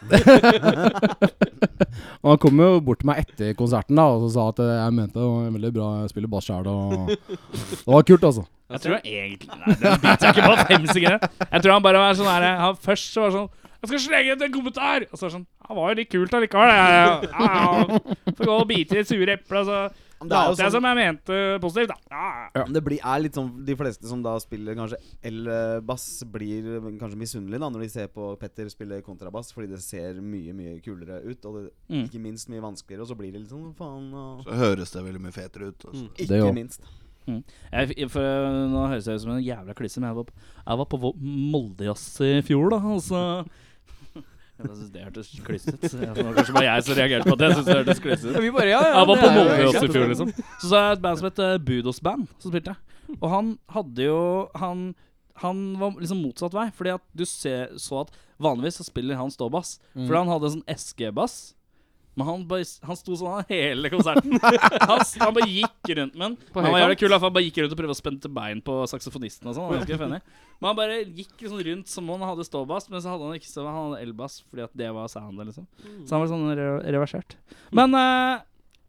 Og han kom jo bort til meg etter konserten da og så sa at eh, jeg mente det var veldig bra, jeg spiller bass sjæl [LAUGHS] og Det var kult, altså. Jeg tror jeg egentlig Nei, den biter jeg ikke på fem sekunder. Jeg tror han bare var sånn her Han først så var sånn Jeg skal slenge ut en kommentar! Og så var det sånn Han var jo litt kult allikevel. jeg- Ja, ja. Får gå og bite i det sure eplet, altså." og så Men det er jo sånn- later jeg som jeg mente positivt, da. Ja, ja. Men Det blir, er litt sånn De fleste som da spiller kanskje el-bass, blir kanskje misunnelige da når de ser på Petter spille kontrabass, fordi det ser mye mye kulere ut, og det, Mm. ikke minst mye vanskeligere, og så blir det litt sånn faen og Så høres det veldig mye fetere ut. Mm. Altså. Det Ikke jo. minst. Jeg, for, øh, nå høres jeg ut som en jævla klyse, men jeg var, på- jeg var på Vo- Moldejazz i fjor, da. [LAUGHS] Altså. Jeg synes det hørtes klyse ut. så jeg- Det var kanskje bare jeg som reagerte på at jeg synes det hørtes klyse ut. Ja, Vi bare, ja, ja, Jeg var det på er jo Molde også i kjempe- fjor, liksom. Så så jeg et band som het eh, Budos Band, som spilte. Og han hadde jo Han, han var liksom motsatt vei, fordi at du ser, så at vanligvis så spiller han ståbass. Fordi han hadde en sånn SG-bass. Men han, bare, han sto sånn [LAUGHS] hele konserten. Han, s- han bare gikk rundt med den. På Han var jævlig høykant? kul, da, for han bare gikk rundt og prøvde å spenne til bein på saksofonisten. og sånn, han var ganske funny. Men han bare gikk liksom rundt som om han hadde ståbass, men så hadde han ikke så han hadde elbass fordi at det var soundet. liksom. Så han var sånn re reversert. Men eh,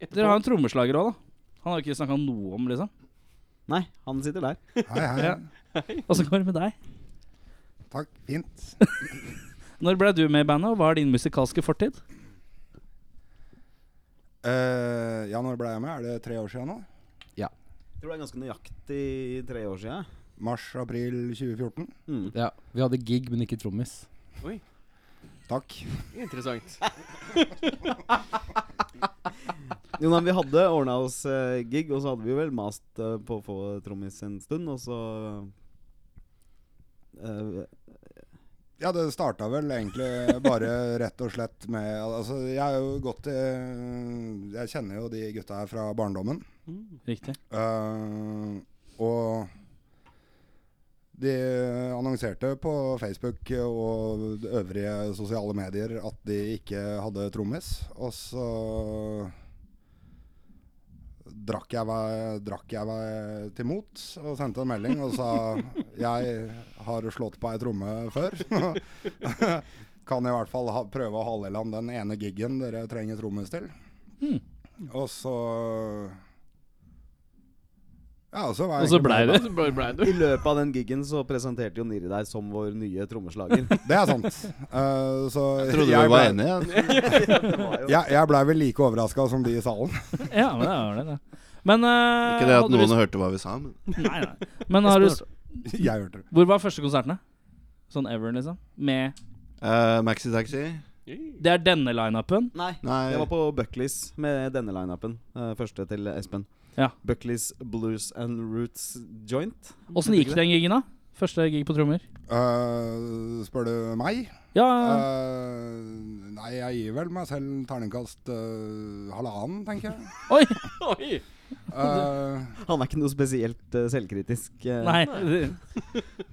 dere har en trommeslager òg, da. Han har jo ikke snakka noe om, liksom. Nei, han sitter der. Hei, hei. Ja. Åssen går det med deg? Takk. Fint. Når ble du med i bandet, og hva er din musikalske fortid? Eh, ja, når ble jeg med? Er det tre år siden nå? Jeg tror det er ganske nøyaktig tre år sia. Mars-april 2014. Mm. Ja, Vi hadde gig, men ikke trommis. Takk. liksom. Interessant. Jo, nei, vi hadde ordna oss eh, gig, og så hadde vi vel mast eh, på å få trommis en stund, og så eh, Ja, det starta vel egentlig bare rett og slett med Altså, jeg er jo godt i Jeg kjenner jo de gutta her fra barndommen. Riktig. Eh, og de annonserte på Facebook og øvrige sosiale medier at de ikke hadde trommis. Og så drakk jeg, meg, drakk jeg meg til mot og sendte en melding og sa jeg har slått på ei tromme før. [LAUGHS] kan i hvert fall ha, prøve å hale i land den ene giggen dere Hmm. trenger trommis til. Og så Ja, så Og var jeg så egentlig blei det. Så ble- ble det. I løpet av den giggen så presenterte jo Niri deg som vår nye trommeslager. Det er sant. Eh, så Jeg trodde jeg du var ble- enig. Ja. Jeg, jeg blei vel like overraska som de i salen. [LAUGHS] Ja, men det var det. da. Men eh, Ikke det hadde at du noen lyst- hørte hva vi sa, men Nei, nei. Men har du s- Jeg hørte det. Hvor var første konsertene? Sånn ever, liksom? Med Eh, Maxi Taxi? Det er denne lineupen. Nei. eh, Nei. Jeg var på Buckleys med denne lineupen. Uh, første til Espen. Ja. Buckleys Blues and Roots Joint. Åssen gikk den gigen, da? Første gig på trommer. Eh, spør du meg? Ja, Ah. Eh, nei, jeg gir vel meg selv terningkast eh, halvannen, tenker jeg. oi! [LAUGHS] Oi! Eh, Han er ikke noe spesielt eh, selvkritisk. eh. [LAUGHS] Nei.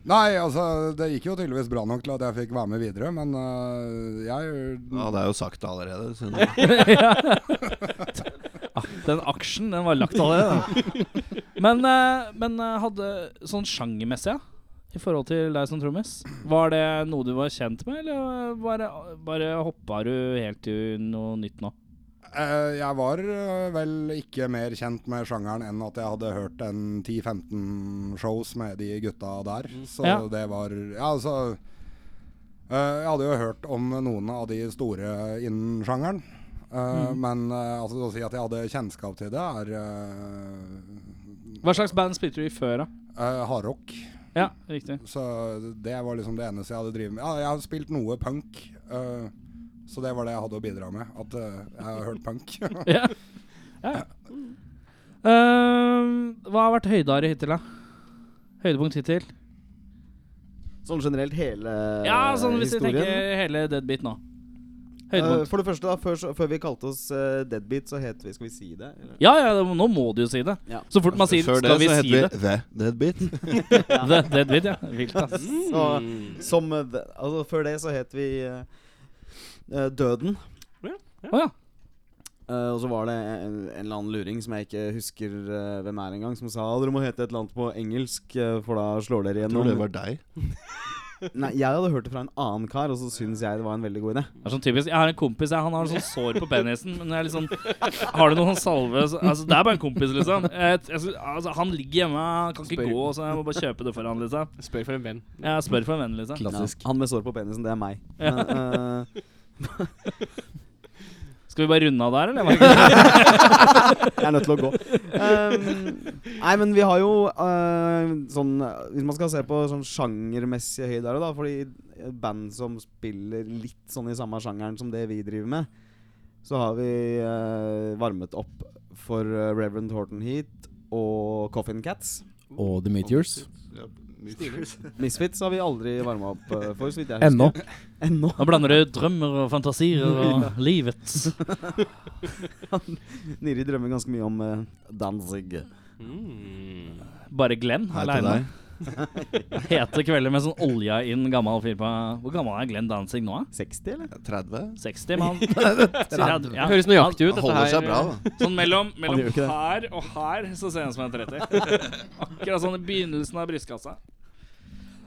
nei, altså, det gikk jo tydeligvis bra nok til at jeg fikk være med videre, men eh, Ja, jeg det er jo sagt allerede. Så [LAUGHS] det Ja. Ah, Den aksjen, den var lagt allerede. den. Men, eh, men eh, hadde sånn sjangermessig, ja, i forhold til deg som trommis, var det noe du var kjent med, eller bare, bare hoppa du helt til noe nytt nå? Eh, jeg var eh, vel ikke mer kjent med sjangeren enn at jeg hadde hørt en 10-15 shows med de gutta der. Så Mm. Ja. det var Ja, altså eh, Jeg hadde jo hørt om noen av de store innen sjangeren. Eh, Mm. Men eh, altså, å si at jeg hadde kjennskap til det, er uh, Hva slags band spilte du i før, da? eh, hardrock. Ja, riktig. [LAUGHS] Så det var liksom det eneste jeg hadde drevet med. Ja, jeg har spilt noe punk. eh, så det var det jeg hadde å bidra med. At eh, jeg har hørt punk. [LAUGHS] Ja. ja. Ehm, hva har vært høydeåret hittil, da? Høydepunkt hittil? Sånn generelt hele eh, Ja, sånn hvis vi historien. tenker hele Deadbeat nå. Eh, Høydepunkt. for det første, da før, så- før vi kalte oss eh, Deadbeat, så het vi Skal vi si det? Eller? Ja, ja, det- nå må du jo si det. Ja. Så fort man sier Før 'skal vi så si det'? het vi The Deadbeat. det Deadbeat, ja. Vilt, ass. Så, som eh, the- Altså, før det så het vi eh, eh, Døden. Å ja. Eh, og så var det en, en eller annen luring som jeg ikke husker eh, hvem er engang, som sa dere må hete et eller annet på engelsk, eh, for da slår dere Jeg tror igjennom. det var deg. Nei, jeg hadde hørt det fra en annen kar, og så syns jeg det var en veldig god idé. Det er sånn typisk Jeg har en kompis, jeg, han har sånn sår på penisen. Men jeg er litt sånn Har du noen salve så, Altså, det er bare en kompis, liksom. Jeg, jeg, altså, han ligger hjemme, han kan ikke Spør. gå, så jeg må bare kjøpe det for han, liksom. Spør for en venn. Jeg spør for en venn, liksom. Klassisk. Ja, han med sår på penisen, det er meg. Men, eh, Skal vi bare runde av der, eller? Jeg er nødt til å gå. Um, nei, men vi har jo eh, sånn eh, Hvis man skal se på sånn sjangermessige høyder, da Fordi band som spiller litt sånn i samme sjangeren som det vi driver med, så har vi eh, varmet opp for eh, Reverend Horton Heat og Coffin Cats. Og The Meteors. Ja, Meteors. Misfits har vi aldri varma opp eh, for, så vidt jeg Ennå. Ennå. Nå blander du drømmer og fantasier og livet. Niri drømmer ganske mye om eh, Danzig. Mm. Bare Glenn Hei til aleine. deg. Hete kvelder med sånn olja inn gammel fyr på Hvor gammel er Glenn Danzig nå, da? 60, eller? 30? 60, mann? Ja. Høres nøyaktig ut, Han dette holder her. seg bra, da. Sånn mellom, mellom gjør ikke det. her og her så ser han ut som en 30. Akkurat sånn i begynnelsen av brystkassa.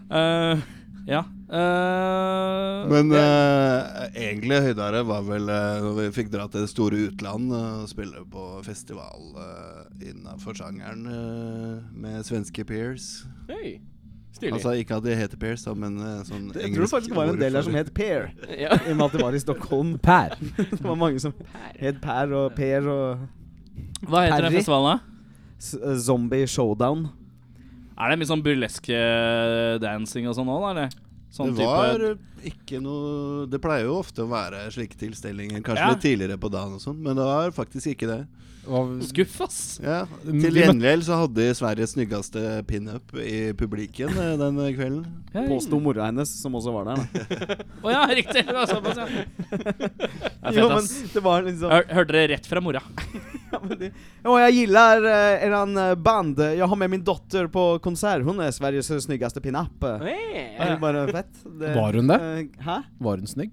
Eh, ja. Eh, Men eh, egentlig høydere var vel eh, når vi fikk dra til det store utland eh, og spille på festival eh, innenfor sjangeren eh, med svenske peers. Hei. Stilig. Altså ikke at de heter peers, da, men eh, sånn Jeg tror faktisk det var en del der som het Per. ja. I og med at det var i [LAUGHS] Stockholm. Per. Det var mange som het Per og Per og hva heter den Perry? festivalen, da? S- eh, Zombie Showdown. Er det mye sånn burlesk eh, dancing og sånn òg, da? eller? Sånn det var eh, type ikke noe Det pleier jo ofte å være slike tilstelninger, kanskje Ja. litt tidligere på dagen og sånn, men det var faktisk ikke det. Hva- Skuff, ass! Ja. Vi Til møtte- gjengjeld så hadde de Sveriges snyggeste pinup i publikken eh, den kvelden. Hei. Påsto mora hennes, som også var der. [LAUGHS] Da. Å ja, riktig! Det var såpass, ja. Det er Jo, fett, men ass. det var liksom Hør, hørte dere rett fra mora? ja, men det- Ja, jeg gillar eh, eran eh, band. Jeg har med min datter på konsert. Hun er Sveriges snyggaste pinup. Det Hey. er bare fett. Det, Var hun det? eh, hæ? Var hun snygg?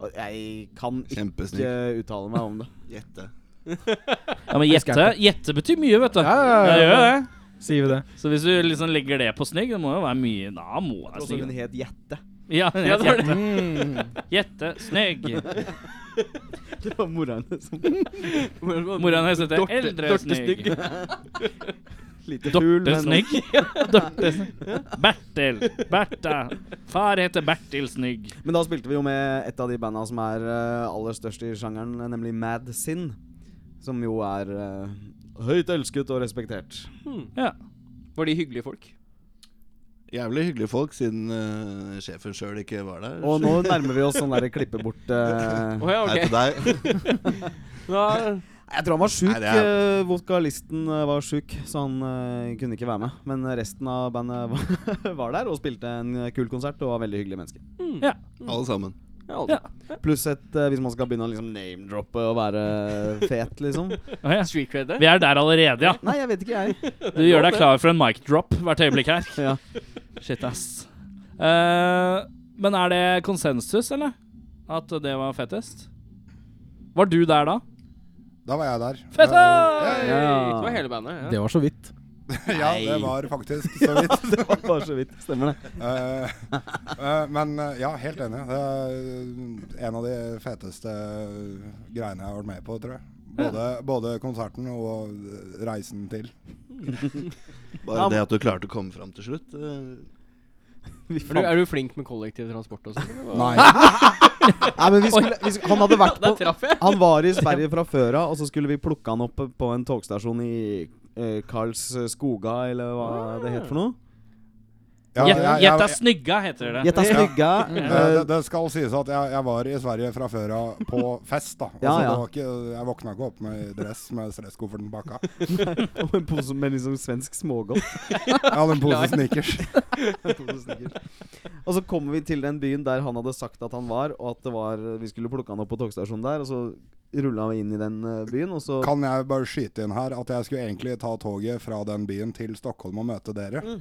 Og Jeg kan ikke Kjempesnygg. uttale meg om det. Gjette. Ja, men gjette, gjette betyr mye, vet du. ja, ja. Det gjør det. Sier vi det. Så hvis du liksom legger det på snygg, det må jo være mye Da må det Jeg være tror også hun snygg. het Jette. Ja, Ja, det var gjette. det. Gjette. Snygg. [LAUGHS] [LAUGHS] Det var mora hennes som Mora hennes heter Dorte- Eldre Dorte Snygg. [LAUGHS] Lite fugl, Dorte men Snygg. [LAUGHS] Dorte Snygg. Bertil. Bertha. Far heter Bertil Snygg. Men da spilte vi jo med et av de banda som er eh, aller størst i sjangeren, nemlig Mad Sin. Som jo er eh, høyt elsket og respektert. Ja. Hmm. Var de hyggelige folk? Jævlig hyggelige folk, siden eh, sjefen sjøl ikke var der. Og nå nærmer vi oss sånn derre klippe bort eh, Å ja, Hei ok. til deg. Da, Jeg tror han var sjuk. Nei, det er- eh, vokalisten eh, var sjuk, så han eh, kunne ikke være med. Men resten av bandet var- [LAUGHS] var der og spilte en eh, kul konsert og var veldig hyggelige mennesker. Alle sammen. ja, altså. Pluss et eh, Hvis man skal begynne å liksom name-droppe og være fet, liksom. Å, ja. Street cred der. Vi er der allerede, ja. Nei, jeg vet ikke, jeg. Du gjør deg klar for en mic drop hvert øyeblikk her. Ja. Shit, ass. Eh, men er det konsensus, eller? At det var fettest? Var du der da? Da var jeg der. Fett! Eh, Ja. Det var hele bandet. Det Ja. var så vidt. ja, det var faktisk så vidt. [LAUGHS] [LAUGHS] Det var bare så vidt. Stemmer det. Eh, eh, men eh, ja, helt enig. Det er en av de feteste greiene jeg har vært med på, tror jeg. Både, både konserten og eh, reisen til. Bare Ja, det at du klarte å komme fram til slutt. eh, Er, Vi du, fant. er du flink med kollektivtransport og sånn? eller hva? Nei. Nei, men vi skulle, vi skulle Han hadde [LAUGHS] vært Der på traff jeg! Han var i Sverige fra før av, og så skulle vi plukke han opp på en togstasjon i eh, Karlskoga, eller hva det het for noe. [LAUGHS] Ja, jeg- jeg- Gjetta snygga, heter det. Gjetta stygga. Eh, det, det skal sies at jeg, jeg var i Sverige fra før av på fest, da. Ja, Altså, ja. Det var ikke, jeg våkna ikke opp med dress med stresskofferten baka. Og en pose [LAUGHS] med liksom svensk smågodt. [LAUGHS] Jeg hadde en pose sneakers. En pose snickers. og så kommer vi til den byen der han hadde sagt at han var, og at det var eh, vi skulle plukke han opp på togstasjonen der, og så rulla vi inn i den eh, byen, og så Kan jeg bare skyte inn her at jeg skulle egentlig ta toget fra den byen til Stockholm og møte dere. Mm.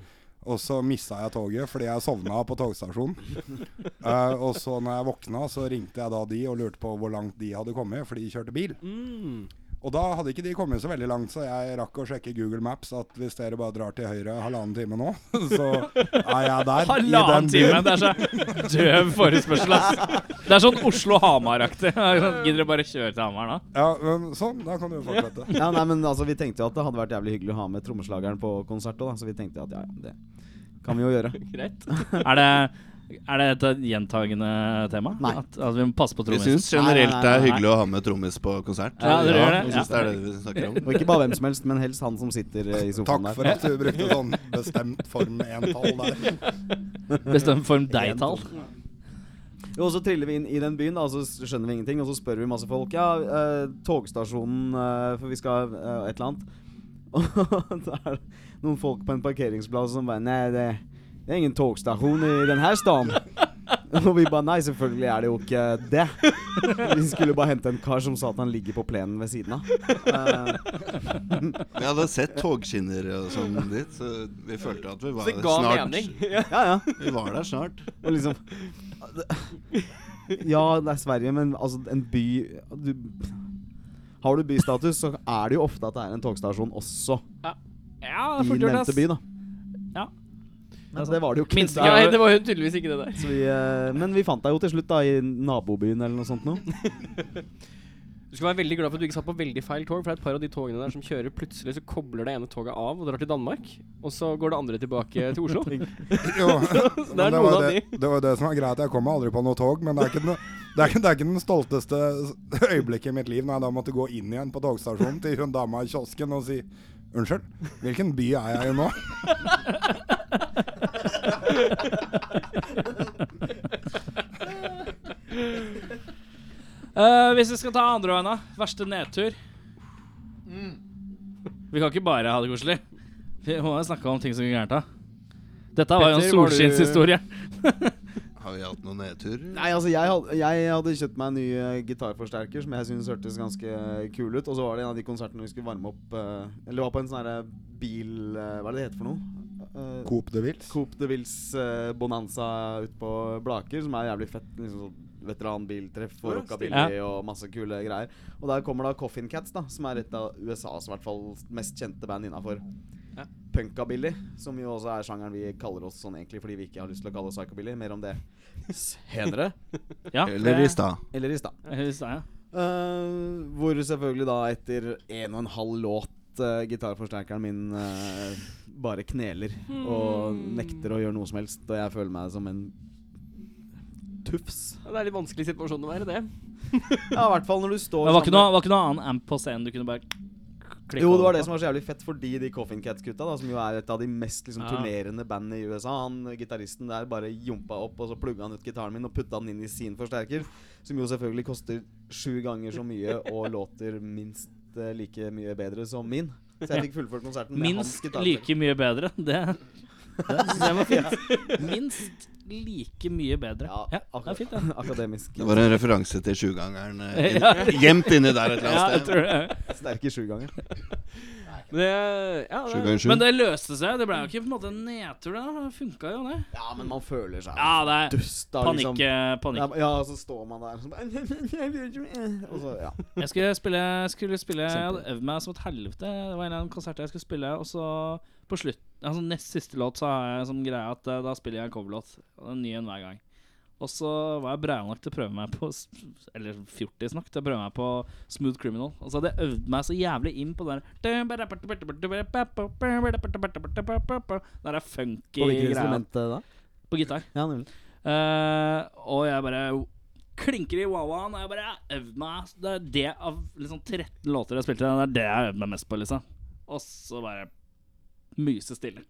Og så missa jeg toget fordi jeg sovna på [LAUGHS] togstasjonen. Eh, og så når jeg våkna, så ringte jeg da de og lurte på hvor langt de hadde kommet, for de kjørte bil. Mm. Og da hadde ikke de kommet så veldig langt, så jeg rakk å sjekke Google Maps at hvis dere bare drar til høyre halvannen time nå, [LAUGHS] så er jeg der. i den [LAUGHS] Halvannen time. byen. Det er så døv forespørsel, ass. Det er sånn Oslo-Hamar-aktig. [LAUGHS] Gidder dere bare kjøre til Hamar da? Ja, men sånn, da kan du fortsette. [LAUGHS] ja, nei, men altså, Vi tenkte jo at det hadde vært jævlig hyggelig å ha med trommeslageren på konsert òg, da. Så vi tenkte at ja, ja, det kan vi jo gjøre. Greit. Er det, er det et gjentagende tema? Nei. At, at vi må passe på Vi trommisen? syns generelt det er nei. hyggelig å ha med trommis på konsert. Ja, dere gjør det, vi ja. synes det er det vi snakker om. Og ikke bare hvem som helst, men helst han som sitter eh, i sofaen Takk der. for at du brukte sånn bestemt form 1-tall [LAUGHS] der. Bestemt form deg-tall. Jo, og så triller vi inn i den byen, da, og så s- skjønner vi ingenting. Og så spør vi masse folk. Ja, eh, togstasjonen, eh, for vi skal eh, et eller annet. [LAUGHS] Og da er det noen folk på en parkeringsplass som bare Nei, det, det er ingen togstasjon i denne staden. [LAUGHS] Og vi bare Nei, selvfølgelig er det jo ikke det. Vi skulle bare hente en kar som sa at han ligger på plenen ved siden av. Eh, Vi hadde sett togskinner og sånn dit, så vi følte at vi var Det ga snart mening. [LAUGHS] ja, ja. Vi var der snart. Og liksom Ja, det er Sverige, men altså en by du, Har du bystatus, så er det jo ofte at det er en togstasjon også Ja, i fort gjort, nevnte by, ass. da. Ja. Men det var det jo ikke. Minste Nei, grad. det var jo tydeligvis ikke det der. Så vi, eh, men vi fant deg jo til slutt, da, i nabobyen eller noe sånt noe. Du skal være veldig glad for at du ikke satt på veldig feil tog, for det er et par av de togene der som kjører plutselig, så kobler det ene toget av og drar til Danmark, og så går det andre tilbake [LAUGHS] til Oslo. Jo, Så det men er det, var noen av det, de. det var det som var greit. Jeg kom meg aldri på noe tog, men det er ikke den, det er ikke, det er ikke den stolteste [LAUGHS] øyeblikket i mitt liv når jeg da måtte gå inn igjen på togstasjonen til hun dama i kiosken og si Unnskyld, hvilken by er jeg i nå? Eh, hvis vi skal ta andre veien, da. Verste nedtur. Mm. Vi kan ikke bare ha det koselig. Vi må jo snakke om ting som går gærent. da. Dette var jo en Petter, var du- solskinnshistorie. Har vi hatt noen nedturer? Nei, altså, jeg hadde, jeg hadde kjøpt meg en ny eh, gitarforsterker som jeg syntes hørtes ganske kul ut. Og så var det en av de konsertene vi skulle varme opp eh, Eller var på en sånn herre bil... eh, hva er det det heter for noe? Eh, Coop de Vils. Coop de Vils eh, Bonanza ute på Blaker, som er jævlig fett. Liksom sånn Veteranbiltreff og rockabilly og masse kule greier. Og der kommer da Coffin Cats, da som er et av USAs i hvert fall mest kjente band innafor Ja. punkabilly. Som jo også er sjangeren vi kaller oss sånn egentlig fordi vi ikke har lyst til å kalle oss psychobilly. Mer om det senere. Ja, Eller i det- stad. Eller i stad. Eller i stad, ja. Eh, hvor selvfølgelig da etter en og en halv låt at eh, gitarforsterkeren min eh, bare kneler og nekter å gjøre noe som helst. Og jeg føler meg som en tufs. Ja, det er litt vanskelig situasjon å være i det. Ja, i hvert fall når du står Det var ikke sammen- noe, var ikke noe annen amp på scenen du kunne bare klikke Jo, det over var det på? som var så jævlig fett, fordi de Coffin Cats-gutta, da, som jo er et av de mest liksom, Ja. turnerende bandene i USA Han gitaristen der bare jumpa opp, og så plugga han ut gitaren min og putta den inn i sin forsterker. Som jo selvfølgelig koster sju ganger så mye [LAUGHS] og låter minst eh, like mye bedre som min. Så jeg fikk fullført konserten med Minst hans gitar. like mye bedre. Det, [LAUGHS] det var fint. Minst like mye bedre. Ja, Ja, det akkurat. er fint, det. Akademisk. [LAUGHS] Det var en referanse til sjugangeren eh, Ja. inn- gjemt inni der et eller Ja, jeg annet sted. tror det. Sterke sjuganger. Men det, ja, Sju det ganger sju. Men det løste seg. Det ble jo ikke på en måte en nedtur, det. da. Det funka jo, det. Ja, men man føler seg Ja, det er dust da, panikk. liksom. eh, panikk. Ja, og så står man der og [LAUGHS] så bare Og så, ja. Jeg skulle spille, skulle spille Jeg hadde øvd meg som et helvete. Det var en av de konsertene jeg skulle spille, og så på slutt Altså nest siste låt så har jeg som greie at eh, da spiller jeg en coverlåt. Og det er En ny en hver gang. Og så var jeg breial nok til å prøve meg på s- Eller fjortis nok til å prøve meg på Smooth Criminal. Og så hadde jeg øvd meg så jævlig inn på den der Der er funky På greia hvilket instrument eh, da? på gitar. Ja, nemlig. Eh, og jeg bare klinker i wawaen. Og jeg bare jeg har øvd meg Det er det av liksom 13 låter jeg spilte, det er det jeg har øvd meg mest på. liksom Og så bare myse [LAUGHS] stille.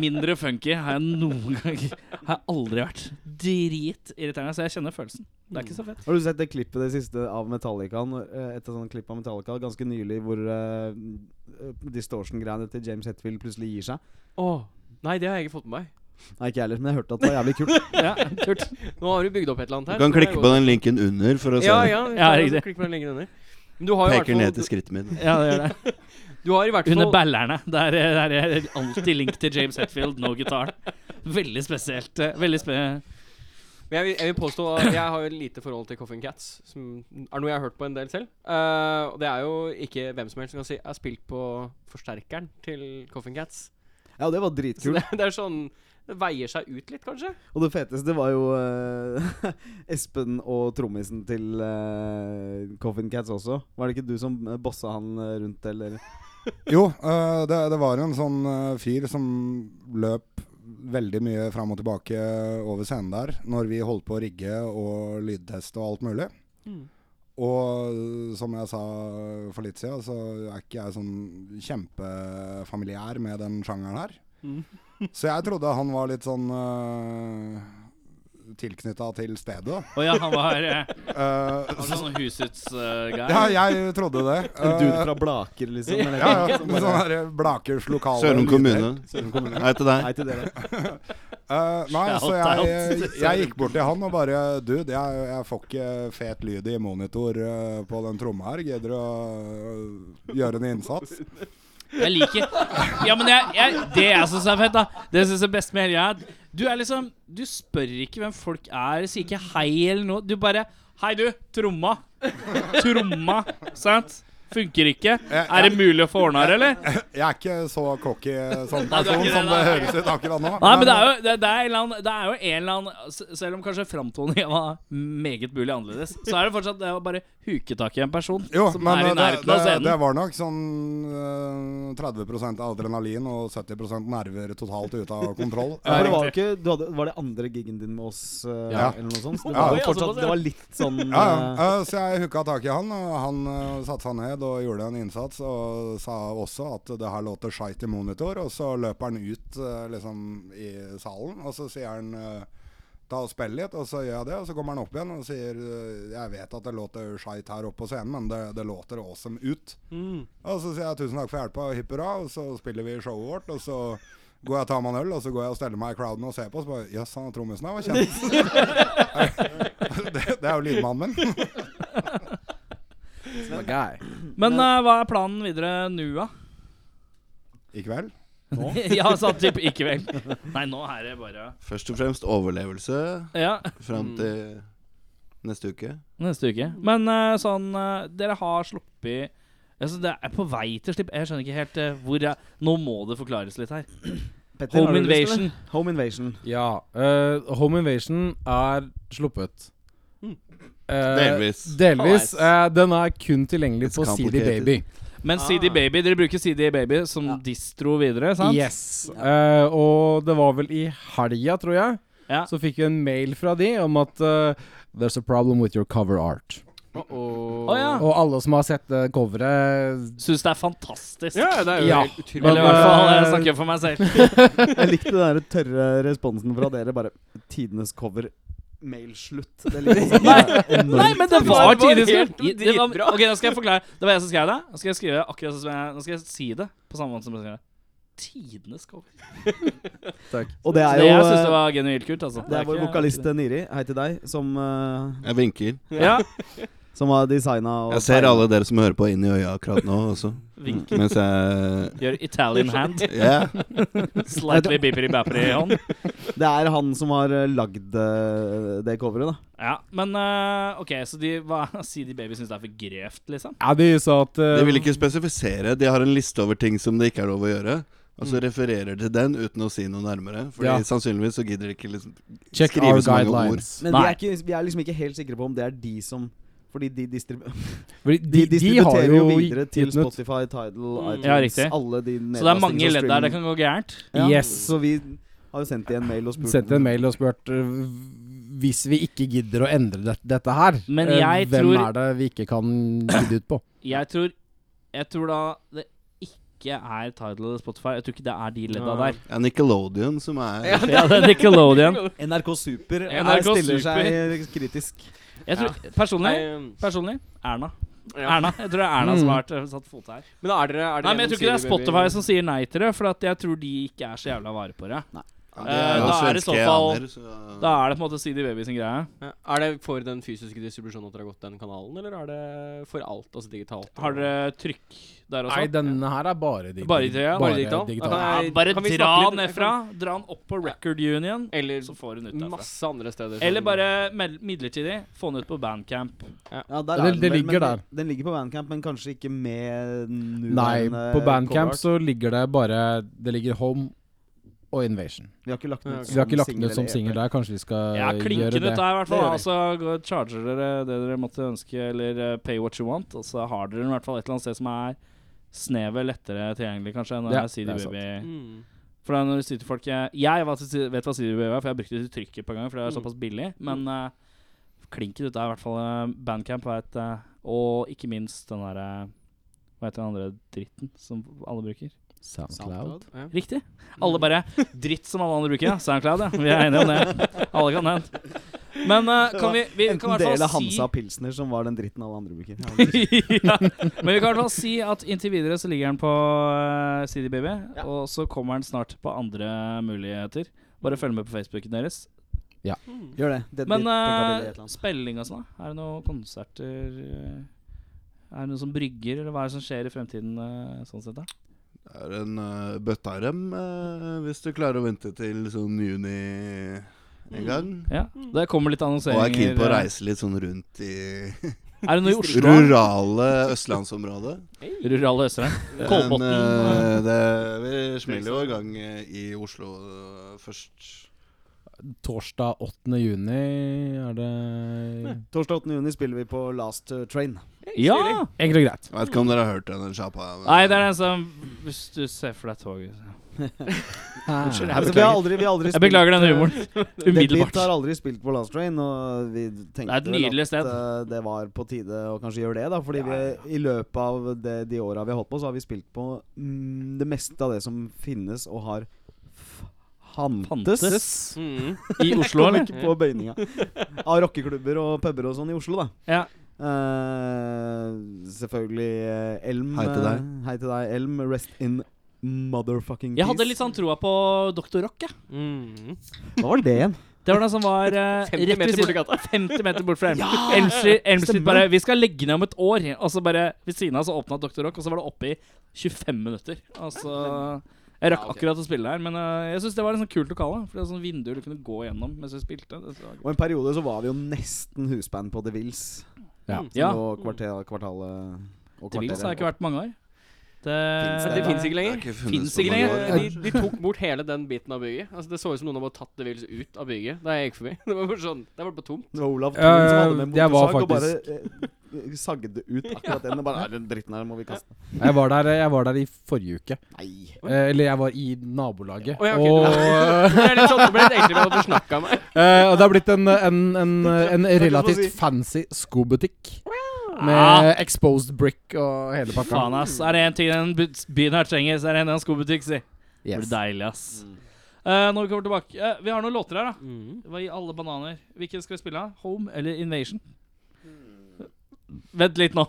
Mindre funky har jeg noen gang Har jeg aldri vært. Dritirriterende. Så jeg kjenner følelsen. Det er ikke så fett. Har du sett det klippet det siste av Metallica? når- eh, Et sånt klipp av Metallica ganske nylig hvor eh, distortion-greiene til James Hetfield plutselig gir seg? Åh, Nei, det har jeg ikke fått med meg. Nei, ikke jeg heller, men jeg hørte at det var jævlig [LAUGHS] kult. Ja, kult. Nå har du bygd opp et eller annet Du her. kan så det er klikke jo- på den linken under for å se. Ja, ja. vi Ja, tar- riktig. Klikk på den lenger under. Men du har jo i hvert Peker fall- ned til skrittet mitt. Ja, det gjør det. Du har i hvert fall [LAUGHS] Under ballerne. Der, der er det alltid link til James Hetfield, no guitar. Veldig spesielt. eh, Veldig spe... Men jeg vil, jeg vil påstå at jeg har jo lite forhold til Coffin Cats, som er noe jeg har hørt på en del selv. Eh, og det er jo ikke hvem som helst som kan si 'jeg har spilt på forsterkeren til Coffin Cats'. Ja, og det var Så dritkult. det, det er sånn Det veier seg ut litt, kanskje. Og det feteste var jo eh, [LAUGHS] Espen og trommisen til eh, Coffin Cats også. Var det ikke du som eh, bossa han eh, rundt, eller? Jo, eh, det, det var en sånn eh, fyr som løp veldig mye fram og tilbake over scenen der når vi holdt på å rigge og lydteste og alt mulig. Og eh, som jeg sa for litt siden, så er ikke jeg sånn kjempefamiliær med den sjangeren her. [LAUGHS] så jeg trodde han var litt sånn uh, tilknytta til stedet. Å ja, han var eh, Eh, han var sånn husets-guy. [LAUGHS] ja, jeg trodde det. En dude Eh, fra Blaker, liksom? Eller, ja, sånn ja, som med bare, sånne der Blakers lokale Sørum lyder. kommune. Sørum kommune. Hei til deg. Nei til dere. Eh, nei, så Shout-out. jeg, jeg gikk bort til han og bare Dude, jeg, jeg får ikke fet lyd i monitor eh, på den tromma her. Gidder du å eh, gjøre en innsats? [LAUGHS] Jeg liker Ja, men jeg, jeg, det jeg syns er fett, da Det jeg synes er best med hele greia, er at du er liksom Du spør ikke hvem folk er, sier ikke hei eller noe. Du bare Hei, du. Tromma. Tromma. Sant? Funker ikke. Er det mulig å få ordna her, eller? Jeg er ikke så cocky som Nei, du er person ikke det, som det nei. høres ut akkurat nå. Nei, men det er jo, det, det er en eller annen, det er jo en eller annen s- Selv om kanskje framtoningen var meget mulig annerledes, så er det fortsatt det å bare huke tak i en person jo, som men eh, er i det, nærheten det, av scenen. det var nok sånn eh, 30 adrenalin og 70 nerver totalt ute av kontroll. Ja, for det Eh, var, jo ikke, du hadde, var det andre gigen din med oss, eh, Ja. eller noe sånt? Så det Ja. var, Oi, altså, jo fortsatt, det var litt sånn Ja, eh, ja. Eh, Så jeg hooka tak i han, og han eh, satte seg ned og gjorde en innsats. Og sa også at det her låter skeit i monitor, og så løper han ut eh, liksom i salen. Og så sier han eh, ta og spill litt, og så gjør jeg det. Og så kommer han opp igjen og sier eh, jeg vet at det låter skeit her oppe på scenen, men det, det låter awesome ut. Og så sier jeg tusen takk for hjelpa, hipp hurra, og så spiller vi showet vårt. og så... Går jeg og tar meg en øl, og så går jeg og steller meg i crowden og ser på. Og så bare Jøss, han trommisen her var kjent. det, det er jo lydmannen min. Men eh, hva er planen videre nå, da? I kveld? [LAUGHS] ja, sånn typ ikke vel. Nei, nå er det bare Først og fremst overlevelse Ja, fram til neste uke. neste uke. Men eh, sånn eh, Dere har sluppet altså, Det er på vei til slipp. Jeg skjønner ikke helt eh, hvor jeg Nå må det forklares litt her. Petter, har Home du lyst til det? Invasion. [LAUGHS] Home Invasion. Ja. eh, Home Invasion er sluppet. Eh, Delvis. delvis. Nice. Eh, den er kun tilgjengelig It's på CD complicated. Baby. Men CD Baby, dere bruker CD Baby som distro videre, sant? Yes. Eh, og det var vel i helga, tror jeg, Ja. så fikk vi en mail fra de om at eh, There's a problem with your cover art. Å ja. Og alle som har sett eh, coveret Syns det er fantastisk. Ja, det er jo Ja. helt utrolig. Eller i hvert Men, fall, jeg eh, snakker for meg selv. Jeg likte den der tørre responsen fra dere. Bare tidenes cover. Mailslutt. Det er liksom [LAUGHS] Nei, men det var var tidlig helt skrevet. Det var- dritbra. Ok, nå skal jeg forklare. Det var jeg som skrev det. Nå skal jeg skrive akkurat sånn som jeg Nå skal jeg si det på samme måte som jeg skrev det. Tidenes cover. Og det Så er det, jo jeg syns det eh, var genuint kult, altså. det er er vår ikke- vokalist eh, Niri, hei til deg, som, eh, Jeg vinker. Ja. som har designa og Jeg ser alle dere som hører på, inn i øya akkurat nå også. Vink. Mens jeg Gjør Italian hand. Ja. [LAUGHS] Slightly bipperi-bapperi i hånd. Det er han som har eh, lagd eh, det coveret, da. Ja, men eh, OK, så de hva, [LAUGHS] CD Baby syns det er for grevt, liksom? Ja, de sa at eh, De vil ikke spesifisere. De har en liste over ting som det ikke er lov å gjøre. Og så refererer til den uten å si noe nærmere. Fordi Ja. sannsynligvis så gidder de ikke liksom Check skrive our så mange ord. guidelines. Men vi Nei. er, ikke, vi er liksom ikke helt sikre på om det er de som fordi de, distribu Fordi de de, de, har distributerer jo jo videre til gitt den ut. Spotify, Tidal, Mm. iTunes Ja, riktig. Alle de Så det er mange ledd der det kan gå gærent. ja. Yes. Så vi har jo sendt de en mail og spurt Sendt en mail og spurt eh, hvis vi ikke gidder å endre det, dette her, Men eh, jeg hvem tror- er det vi ikke kan gidde ut på? Jeg tror Jeg tror da det ikke er Tidal eller Spotify. Jeg tror ikke det er de ledda der. Ja, Nickelodeon som er Ja, Ja, det er Nickelodeon. NRK Super er- NRK stiller Super. seg kritisk. Jeg tror, personlig, um, personlig Erna. Ja. Erna. Jeg tror det er Erna som har vært, eh, satt fot her. Men er dere, er dere Nei, men jeg tror ikke det er Spotify som sier nei til det, for at jeg tror de ikke er så jævla vare på det. Ja, de er jo Eh, da er det i så svenske fall- aner, så- Da er det på en måte CD Baby sin greie. Er det for den fysiske distribusjonen at dere har gått den kanalen, eller er det for alt, altså digitalt? Har dere trykk der også? Nei, denne her er bare digital. Bare digital? Bare Bare digital? digital. Da kan Ja, jeg- bare kan vi dra snakke litt- den nedfra. Dra den opp på Record Union, Eller så får hun ut derfra. masse andre steder. som- Eller bare mel- midlertidig få den ut på Bandcamp. Ja, der Det- den det vel, men ligger der. Den, den ligger på Bandcamp, men kanskje ikke med Nei, nåværende på Bandcamp coverart. så ligger det bare Det ligger Home og Invasion. Vi har ikke lagt den Ja, ut ok. Så vi har ikke lagt den single ut som eller E singel EP. der. Kanskje vi skal Ja, gjøre klinken ut det. der, i hvert Det fall. gjør vi. Altså, gå- charger dere det dere måtte ønske, eller eh, pay what you want. Og så har dere den i hvert fall et eller annet sted som er snevet lettere tilgjengelig, kanskje, enn Ja, ja, CD det er Baby. Mm. For da når du sier til folk Jeg, jeg vet, vet hva CD Baby er, for jeg brukte det til trykket på en gang, for det er Mm. såpass billig. Men eh, klinken ut er i hvert fall eh, Bandcamp, vet, eh, og ikke minst den derre Hva heter den andre dritten som alle bruker? Soundcloud. Riktig. Mm. Mm. Alle bare Dritt som alle andre bruker. ja. SoundCloud, ja. Vi er enige om det. Alle kan den. Men eh, kan vi, vi kan Enten i det hvert eller fall si Hansa Pilsner, som var den dritten alle andre [LAUGHS] bruker. ja. Men vi kan i hvert fall si at inntil videre så ligger den på eh, CD Baby. Og så kommer den snart på andre muligheter. Bare følg med på Facebooken deres. Mm. Gjør det. Mm. det Men det- det kan bli et eh, eller annet. spilling og sånn, da? Er det noen konserter eh, Er det noe som brygger, eller hva er det som skjer i fremtiden eh, sånn sett, da? Det er en uh, bøttarem eh, hvis du klarer å vente til sånn juni en gang. Ja. Mm. Det kommer litt Og annonseringer. er keen på å eh, reise litt sånn rundt i Er det noe i Oslo? rurale østlandsområdet. Rurale Østre. Men, Kolbotn. eh, det, vi smeller jo i gang eh, i Oslo eh, først. Torsdag 8. juni er det Torsdag 8. juni spiller vi på Last eh, Train. Ja! Enkelt og greit. Jeg vet ikke om dere har hørt den sjappa. men- Nei, det er den som Hvis du ser for deg toget Unnskyld. Altså, vi har aldri, vi har aldri Jeg beklager den humoren. [LAUGHS] Umiddelbart. Umiddelbart. har aldri spilt på Last Train, og vi tenkte Det er et vel nydelig sted. eh, det var på tide å kanskje gjøre det, da. Fordi vi i løpet av det, de åra vi har holdt på, så har vi spilt på mm, det meste av det som finnes og har f- fantes. Fantes. Mm. I Oslo, [LAUGHS] eller? Ikke [LAUGHS] på bøyninga. Av rockeklubber og puber og sånn i Oslo, da. Ja. Eh, selvfølgelig eh, Elm. Hei til deg. eh, hei til deg, Elm. Rest in motherfucking peace. Jeg hadde litt sånn troa på Dr. Rock, jeg. Mm. Hva var det igjen? Det var den som var [LAUGHS] eh, 50 rett ved meter siden- borti [LAUGHS] gata. 50 meter bort fra Elm. Elm Street, Elm Street bare Vi skal legge ned om et år. Og så bare ved siden av så åpna Dr. Rock, og så var det oppe i 25 minutter. Og så Jeg rakk akkurat å spille der, men eh, jeg syns det var liksom kult lokale. For det var sånn vinduer du kunne gå gjennom mens du spilte. Det var gøy. Og en periode så var vi jo nesten husband på The Wills. Ja. Som Ja. lå kvartal, kvartalet og Til Vils har jeg ikke vært på mange år. Det, det fins ikke lenger. ikke Finnes så ikke mange lenger. år. De, de tok bort hele den biten av bygget. Altså Det så ut som noen hadde bare tatt det villet ut av bygget da jeg gikk forbi. [LAUGHS] Det var bare sånn, det var bare tomt. Det var Olav Ja, Thon som hadde med jeg var motorsag og bare eh, sagde ut akkurat den. og Bare, "Nei, den dritten her må vi kaste. Jeg var der, jeg var der i forrige uke. Nei. Eh, eller jeg var i nabolaget. Å ja, ok, og, Det ble litt sånn, det ble litt egentlig at du snakka [LAUGHS] meg. [LAUGHS] eh, og det har blitt en, en, en, en si. relativt fancy skobutikk. Ah. Med exposed brick og hele pakka. Faen, ass. Er det én ting den bu- byen her trenger, så er det en eller annen skobutikk, si. Det blir Yes. deilig, ass. Eh, når vi kommer tilbake eh, Vi har noen låter her, da. Hva i alle bananer? Hvilken skal vi spille? av? Home eller Invasion? Vent litt nå.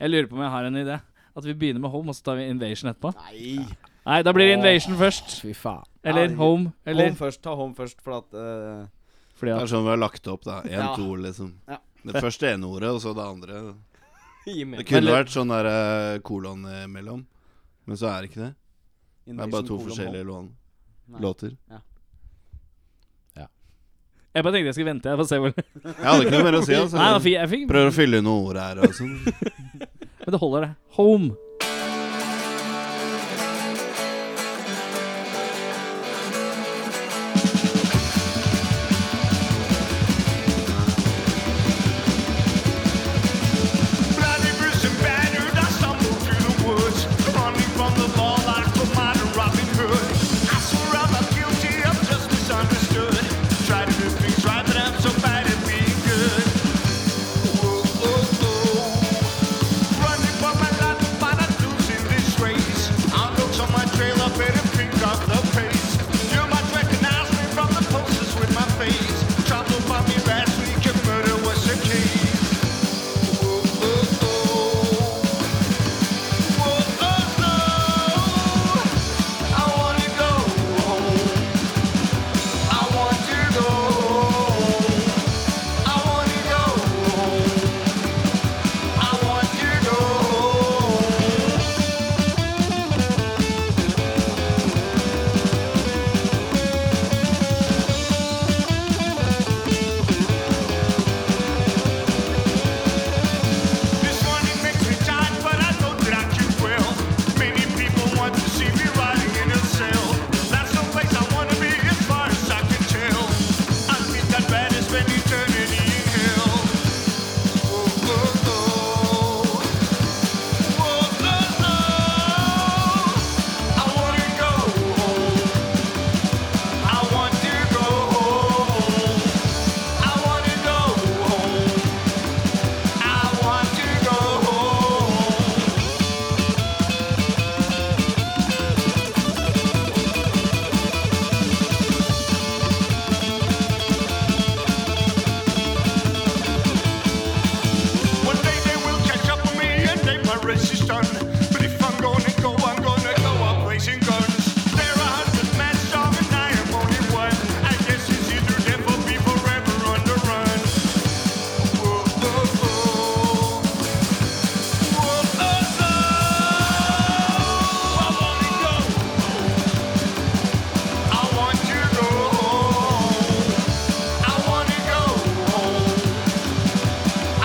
Jeg lurer på om jeg har en idé. At vi begynner med Home, og så tar vi Invasion etterpå. Nei. Nei, da blir det Invasion først. Fy faen. Eller Ja, Home. Eller Home først. Ta home først, for at eh, fordi Det at er sånn vi har lagt det opp, da. Én, Ja. to, liksom. Ja. Det første ene ordet, og så det andre. Gi Det meg. kunne Eller- vært sånn der eh, kolon imellom, men så er det ikke det. Det er sånn bare Invasion to colon forskjellige lån. Nei. låter. Jeg bare tenkte jeg skulle vente. Jeg får se hvor Nei, Jeg hadde ikke noe mer å si, altså. [LAUGHS] da fikk jeg fikk Prøver å fylle inn noen ord her og sånn. Men det holder, det. Home. Bloody, bruised, and battered, I stumbled through the woods, running from the law like the mighty Robin Hood. I swear I'm not guilty, I'm just misunderstood. Try to do things right, but I'm so bad at being good. Whoa, oh, oh. Running for my life, but I'm losing this race. Outlook's on my trail, I better pick up the pace. You might recognize me from the posters with my face. Trouble found me last week, and murder was the case. This morning makes me tired, but I know that I can well. Many people want to see me riding in a cell. That's the place I wanna be, as far as I can tell. I think that bad is spend eternity in hell. Whoa, oh, oh. Whoa, oh, oh. I wanna go home. I want to go home. I wanna go home. I want to go home. One day they will catch up with me and they my race is done. But if I'm gonna go, I'm gonna go up raising guns. There are a hundred men strong and I am only one. I guess it's either death or be forever on the run. Whoa, oh, oh. Whoa, oh, oh. I wanna go. I want to go home. I wanna go home.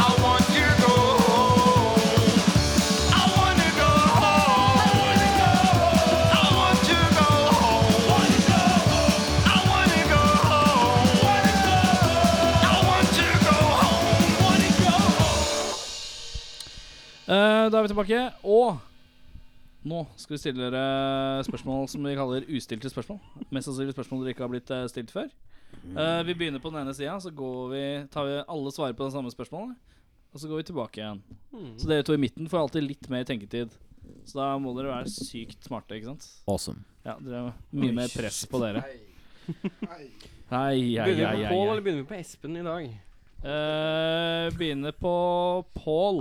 I want you to go home. I wanna go home. I want you to go home. I wanna go home. I want you to go home. Wanna go home. Eh, da er vi tilbake, og nå skal vi stille dere spørsmål som vi kaller ustilte spørsmål. Mest sannsynlig spørsmål dere ikke har blitt eh, stilt før. Eh, vi begynner på den ene sida, så går vi, tar vi alle svarer på det samme spørsmålet. Og så går vi tilbake igjen. Mm. Så dere to i midten får alltid litt mer tenketid. Så da må dere være sykt smarte, ikke sant? Awesome. Ja, dere har mye mer press på dere. Hei, hei, Begynner hei, vi på hei, Pål, hei. eller begynner vi på Espen i dag? Eh, begynner på [LAUGHS] Pål.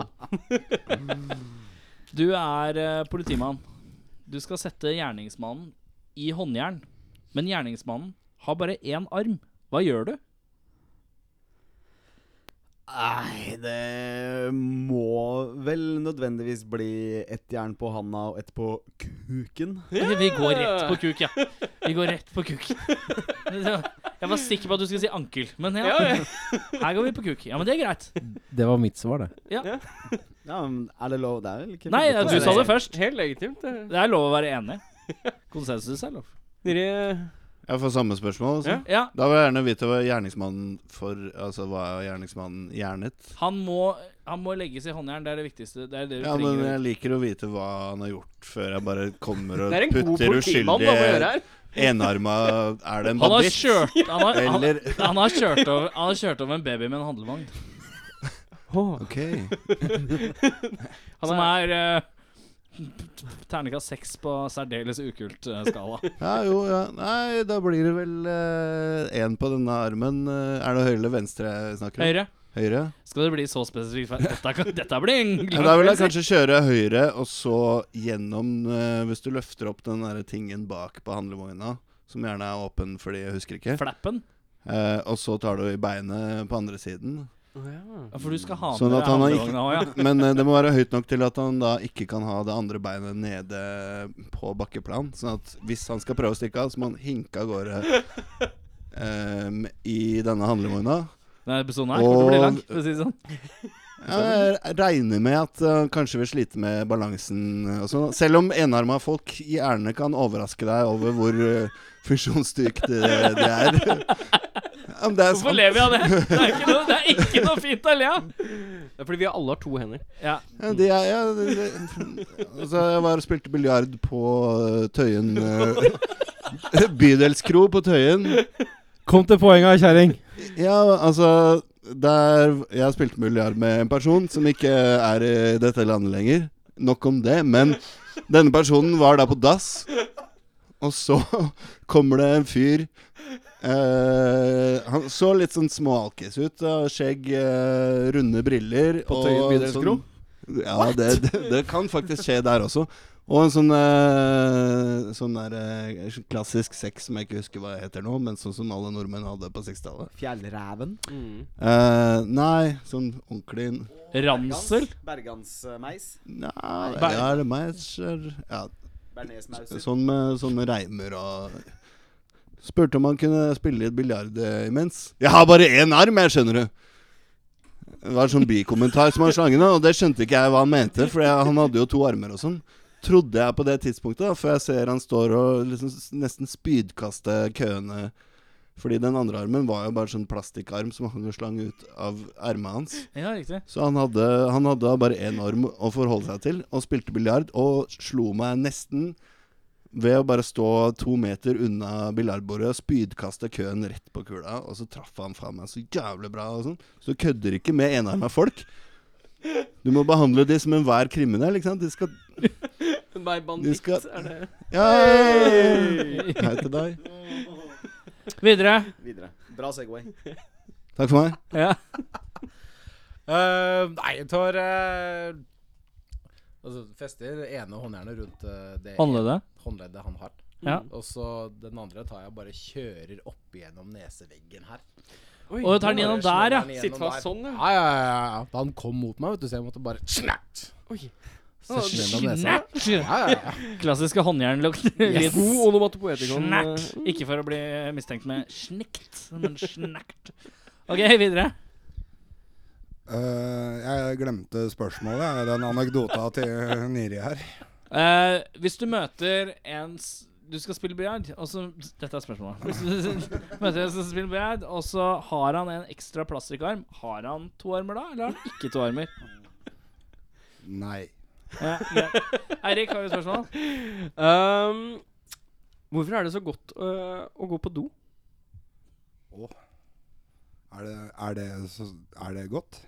Du er eh, politimann. Du skal sette gjerningsmannen i håndjern. Men gjerningsmannen har bare én arm. Hva gjør du? Nei, det må vel nødvendigvis bli ett jern på handa og ett på kuken. Ok, Vi går rett på kuk, ja. Vi går rett på kuk. [LAUGHS] Jeg var sikker på at du skulle si ankel, men ja. Her går vi på kuk. Ja, men det er greit. Det var mitt svar, det. Ja, men er det lov? Det er vel ikke Nei, forbudt å du si sa det først. Helt legitimt. det. Det er lov å være enig. Konsensus er lov. Dere Jeg får samme spørsmål. Altså. Ja. Ja, Da vil jeg gjerne vite hva gjerningsmannen for Altså, hva er gjerningsmannen gjernet? han må, han må legges i håndjern. Det er det viktigste. Det er det du Ja, men eh, trenger. jeg liker å vite hva han har gjort, før jeg bare kommer og Det er en god putter politimann, da, må jeg høre uskyldige her. enarma Er det Han en har banditt? kjørt Han har, han, Eller han har kjørt over, han har kjørt over en baby med en handlevogn. Ok. Som er eh, terningkast seks på særdeles eh, ukult-skala. Ja, jo, ja. Nei, da blir det vel én på denne armen. Eh, Er det høyre eller venstre jeg snakker om? [LAUGHS] Høyre. Høyre? Skal det bli så spesifikt? for Dette, kan- dette blir en Ja, da vil jeg kanskje kjøre høyre, og så gjennom eh, Hvis du løfter opp den der tingen bak på handlevogna, som gjerne er åpen fordi jeg husker ikke, Flappen. eh, og så tar du i beinet på andre siden. Ja, For du skal ha med Sånn at deg han har handlevogna òg, ja. Men eh, det må være høyt nok til at han da ikke kan ha det andre beinet nede på bakkeplan. Sånn at hvis han skal prøve å stikke av, så må han hinke av gårde em, i denne handlevogna. Denne episoden her kommer til å bli Og- lang. For å si det sånn. Jeg regner med at eh, han kanskje vil slite med balansen og sånn. Selv om enarma folk gjerne kan overraske deg over hvor eh, funksjonsdykt det, det er. Ja, men det er Hvorfor sant. lever jeg av det? [LAUGHS] Det er ikke noe, det er ikke noe fint å le av! Det er fordi vi alle har to hender. Ja. Ja, de er, ja, det, det. Altså, jeg var og spilte biljard på eh, Tøyen eh, Bydelskro på Tøyen. Kom til poenga, kjerring. Ja, altså der, Jeg spilte biljard med en person som ikke er i dette landet lenger. Nok om det. Men denne personen var da på dass, og så kommer det en fyr eh, Han så litt sånn småalkis ut. Da, skjegg, eh, runde briller. sånn. På Tøyen bydelsgro? Ja, det, det, det kan faktisk skje der også. Og en sånn, eh, sånn der, eh, klassisk sex som jeg ikke husker hva heter nå, men sånn som alle nordmenn hadde på 60-tallet. Fjellreven? Eh, nei, sånn ordentlig n- Ransel. Bergansmeis? Nei, ja, det er meg skjer- ja, Bernesmauser? Sånn med sånne reimer og Spurte om han kunne spille litt biljard eh, imens. 'Jeg har bare én arm, jeg, skjønner du'. Det var en sånn bikommentar som han slang inn, og det skjønte ikke jeg hva han mente, for jeg, han hadde jo to armer og sånn. Trodde jeg på det tidspunktet, da, før jeg ser han står og liksom s- nesten spydkaster køene. Fordi den andre armen var jo bare sånn plastikkarm som hang og slang ut av ermet hans. Ja, riktig. Så han hadde, han hadde da bare én arm å forholde seg til, og spilte biljard, og slo meg nesten ved å bare stå to meter unna biljardbordet og spydkaste køen rett på kula, og så traff han faen meg så jævlig bra og sånn. Så du kødder ikke med enarma folk. Du må behandle de som enhver kriminell, ikke sant? De skal Nei, banditt skal- er det. Hei! Hei til deg. Videre. Videre. Bra Segway. Takk for meg. Ja. Eh, nei, jeg tar eh, Altså fester ene håndjernet rundt eh, det Håndleddet. håndleddet han har. Ja. Og så den andre tar jeg og bare kjører opp igjennom neseveggen her. Oi, Og du tar den Bare gjennom slår der, ja. den igjennom Sitt fast der. sånn, ja. Ja, ja, ja, ja. Da han kom mot meg, vet du, så jeg måtte bare snert. Oi. Sesje gjennom nesa. Snatch! Ja, ja, ja. Klassiske håndjernlukt. Yes. God onomatopoetikon. eh, Snert. Ikke for å bli mistenkt med snikt, men snert. OK, videre. Eh, jeg glemte spørsmålet, jeg, den anekdota til Niri her. Eh, hvis du møter en s- Du skal spille biljard, og så Dette er spørsmålet. Hvis du [LAUGHS] møter en som spiller biljard, og så har han en ekstra plastikkarm. Har han to armer da, eller har han [LAUGHS] ikke to armer? Nei. Ja, greit. Eirik, har du et spørsmål? Um, hvorfor er det så godt øh, å gå på do? Er det, er det, så, er det godt?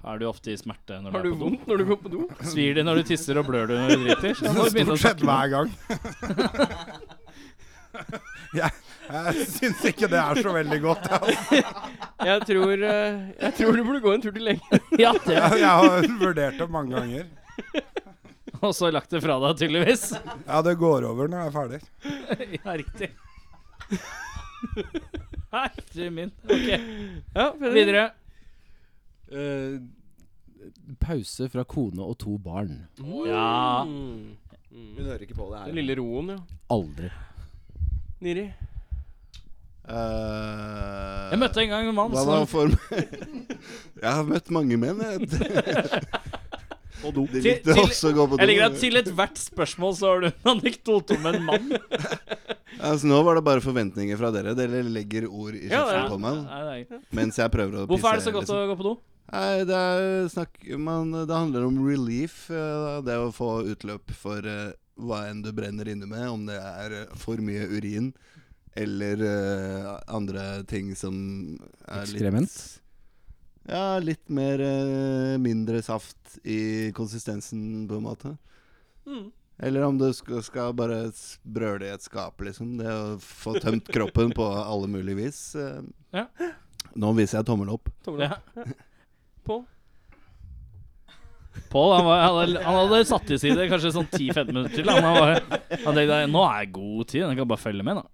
Har du ofte i smerte når Har du du er på do? vondt når du går på do? Svir det når du tisser og blør du når du driter? Da må du begynne å Stort sett snakke med- hver gang. [LAUGHS] jeg jeg syns ikke det er så veldig [LAUGHS] godt. Jeg, Jeg tror, øh, jeg tror du burde gå en tur til lenge. Ja, det. jeg har vurdert det mange ganger. [LAUGHS] Og så lagt det fra deg, tydeligvis. Ja, det går over når jeg er ferdig. [LAUGHS] Ja, riktig. Nei, du min. Ok, Ja, Fredrik. videre. Eh, pause fra kone og to barn. Ja. Mm. Hun hører ikke på det Den her. lille roen, ja. Aldri. Niri. Eh, Jeg møtte en gang en mann Hva som var form? [LAUGHS] Jeg har møtt mange menn, [LAUGHS] jeg. Og do. Det Til- likte til- også å gå på Jeg liker do. at til ethvert spørsmål så har du en anekdote om en mann. Altså, nå var det bare forventninger fra dere. Dere legger ord i Ja, kjeften ja. på meg Nei, det er ikke- mens jeg prøver å pisse. Hvorfor er det så godt liksom. å gå på do? Nei, det er snakk man, Det handler om relief. eh, Det å få utløp for eh, hva enn du brenner inne med. Om det er eh, for mye urin eller eh, andre ting som er Ekskrement? litt Ja, litt mer eh, mindre saft i konsistensen, på en måte. Mm. Eller om du skal, skal bare s- brøle i et skap, liksom. Det å få tømt kroppen på alle mulige vis. eh. Ja. Nå viser jeg tommelen opp. Tommel opp. Ja. På. Pål han, var- han, hadde- han hadde satt til side kanskje sånn 10-15 minutter til. Han, var, han tenkte nå er det god tid, jeg kan bare følge med. da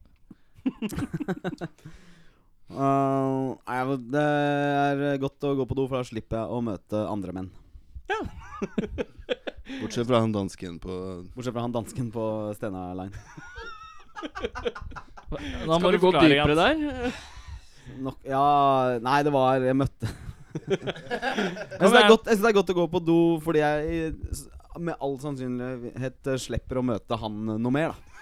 Uh, nei, men det er godt å gå på do, for da slipper jeg å møte andre menn. Bortsett fra han dansken på Bortsett fra han dansken på Stena Line. Da må Skal du gå forklare dypere at- der? Nok, ja Nei, det var Jeg møtte [LAUGHS] Jeg Kom syns det, er igjen. godt- jeg synes det er godt å gå på do fordi jeg s- med all sannsynlighet eh, slipper å møte han eh, noe mer, da.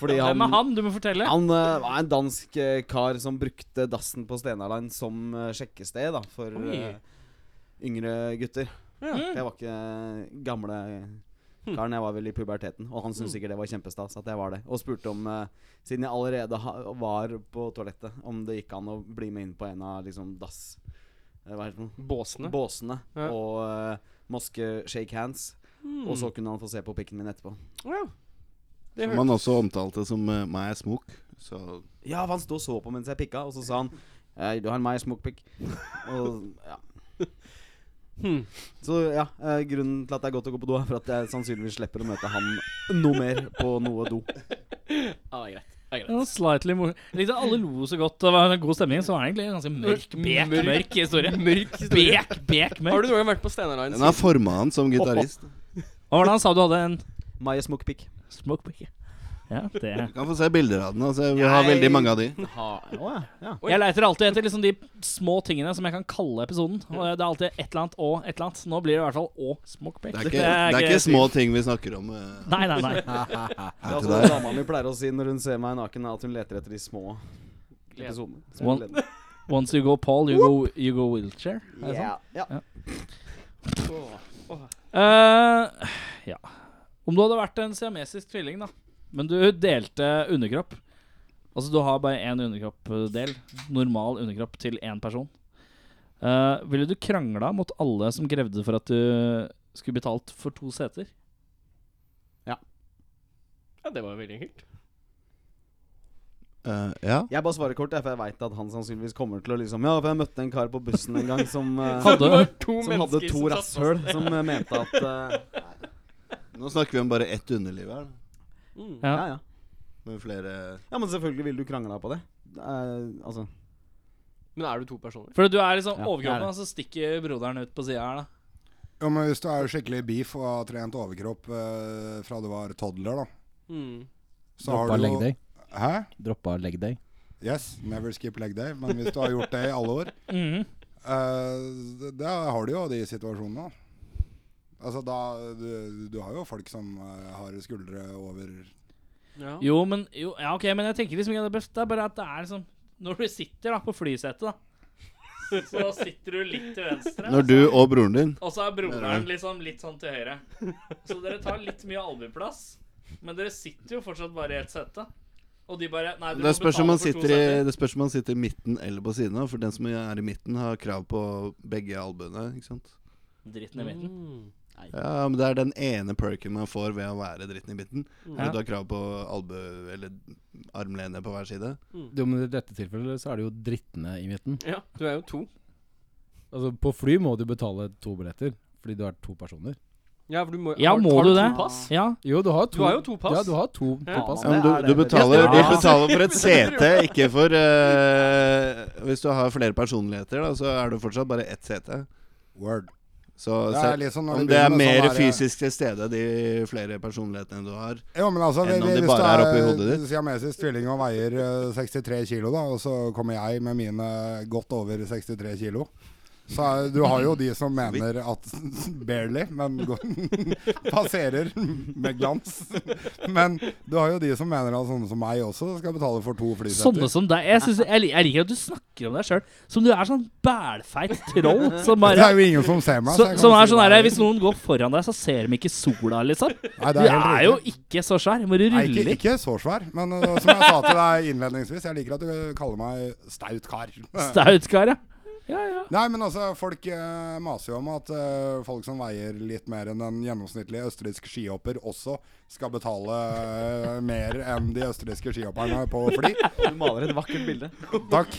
Fordi Hvem er han? Du må fortelle. Han eh, var en dansk eh, kar som brukte dassen på Stena Line som eh, sjekkested da, for Oi. eh, yngre gutter. Jeg var ikke gamle Hm. karen, jeg var vel i puberteten. Og han syntes sikkert det var kjempestas at jeg var det. Og spurte om, eh, siden jeg allerede ha, var på toalettet, om det gikk an å bli med inn på en av liksom dass... eh, Hva heter det? for noe? Båsene. Båsene. Ja. Hm. Og eh, moske shake hands. Og så kunne han få se på pikken min etterpå. Å ja. Det Som hørte han også omtalte som uh, my smoke. Så Ja, for han sto og så på mens jeg pikka, og så sa han «Eh, Du har en meg smokepikk. Og ja. Hmm. Så ja, eh, grunnen til at det er godt å gå på do, er for at jeg sannsynligvis slipper å møte han noe mer på noe do. Ja, det er Ah, greit. Det er greit. Ja, slightly mor Likte at alle lo så godt og det var en god stemning, så var det egentlig en ganske mørk, bek, Mørk. mørk, historie. Mørk historie. Bek, bek, Har du mørk. noen gang vært på Steinar Line? Den har forma han [LAUGHS] som gitarist. Hva var det han sa du hadde en Maja smokepikk. smoke break? Ja, det Du kan få se bilder av den. Altså, vi har veldig mange av de. Jeg leiter alltid etter liksom de små tingene som jeg kan kalle episoden. Og det er alltid et eller annet og et eller annet. Nå blir det i hvert fall å smoke break. [LAUGHS] Det er ikke, det er ikke små ting vi snakker om. eh, Nei, nei, nei. Det er til altså det deg. dama mi pleier å si når hun ser meg naken, at hun leter etter de små episodene. Så One- gleden. Once you go Paul, you go, you go wheelchair. Er det Ja, ja. sånn? Eh, ja. Om du hadde vært en siamesisk tvilling, da, men du delte underkropp Altså du har bare én underkroppdel, normal underkropp, til én person. Eh, ville du krangla mot alle som krevde for at du skulle betalt for to seter? Ja, det var jo veldig enkelt. eh, ja. Jeg bare svarer kort, jeg, for jeg veit at han sannsynligvis kommer til å liksom Ja, for jeg møtte en kar på bussen en gang som, eh, Hadde- Det var to som hadde mennesker to satt rasshøl, som eh, mente at eh, Nå snakker vi om bare ett underliv her. fast. Mm. Ja. Ja, ja. Med flere Ja, men selvfølgelig ville du krangla på det. Eh, altså Men er du to personer? For du er liksom Ja, det er overkroppen, det. og så stikker broderen ut på sida her, da. Jo, men hvis du er skikkelig beef og har trent overkropp eh, fra du var toddler, da Mm. så Droppa har du leg jo day. Hæ? Droppa leg day. Yes, never skip leg day. Men hvis du har gjort det i alle år, Mhm. eh, det- da har du jo de situasjonene. Altså da Du, du har jo folk som eh, har skuldre over Ja. Jo, men jo, Ja, OK, men jeg tenker liksom ikke at det er best. Det er bare at det er liksom Når du sitter da på flysetet, da, [LAUGHS] så sitter du litt til venstre. Når du og broren din Og så er broderen liksom litt sånn til høyre. Så dere tar litt mye albueplass, men dere sitter jo fortsatt bare i ett sete. Og de bare Nei, dere det må spørs, betale om man for to sitter i, seter. det spørs om man sitter i midten eller på siden av. For den som er i midten, har krav på begge albuene. Ikke sant? Dritten i midten. Mm. Ja, men Det er den ene perken man får ved å være dritten i midten. Er Ja. at Du har krav på albue eller armlene på hver side. Jo, men I dette tilfellet så er det jo drittene i midten. ja, du er jo to. Altså På fly må du betale to billetter fordi du er to personer. Ja, for du må, Ja, har, må har du to det? Pass? Ja. Jo, du har to Du har jo to pass. Ja, du har to, to Ja. pass. Ja, men det er du, du, det. betaler, Ja. du betaler for et sete, ikke for eh, Hvis du har flere personligheter, da, så er det fortsatt bare ett sete. word. Så, Det så er liksom når om det det er begynner med mer sånn der- fysisk til stede, de flere personlighetene du har Jo, men altså, Enn om hvis de du bare er oppi hodet ditt. Siamesisk tvilling og veier eh, 63 kilo, da, og så kommer jeg med mine godt over 63 kilo. Så er- du har jo de som mener at [LAUGHS] barely, men går- [LAUGHS] passerer med glans. Men du har jo de som mener at sånne som meg også skal betale for to Sånne flysetter. som deg. Jeg, synes, jeg, lik- jeg liker at du snakker om deg sjøl som du er sånn bælfeit troll. [LAUGHS] Som Det bare er jo ingen som ser meg. så, jeg kan som jo er si sånn det. her, Hvis noen går foran deg, så ser de ikke sola, liksom. Nei, Du det er helt er riktig. jo ikke så svær. Må du Nei, ikke, rulle i? ikke så svær, men uh, som jeg sa til deg innledningsvis, jeg liker at du kaller meg staut kar. Staut kar, ja. Ja, ja. Nei, men altså, folk eh, maser jo om at eh, folk som veier litt mer enn en gjennomsnittlig østerriksk skihopper, også skal betale eh, mer enn de østerrikske skihopperne på fly. Du maler et vakkert bilde. Takk.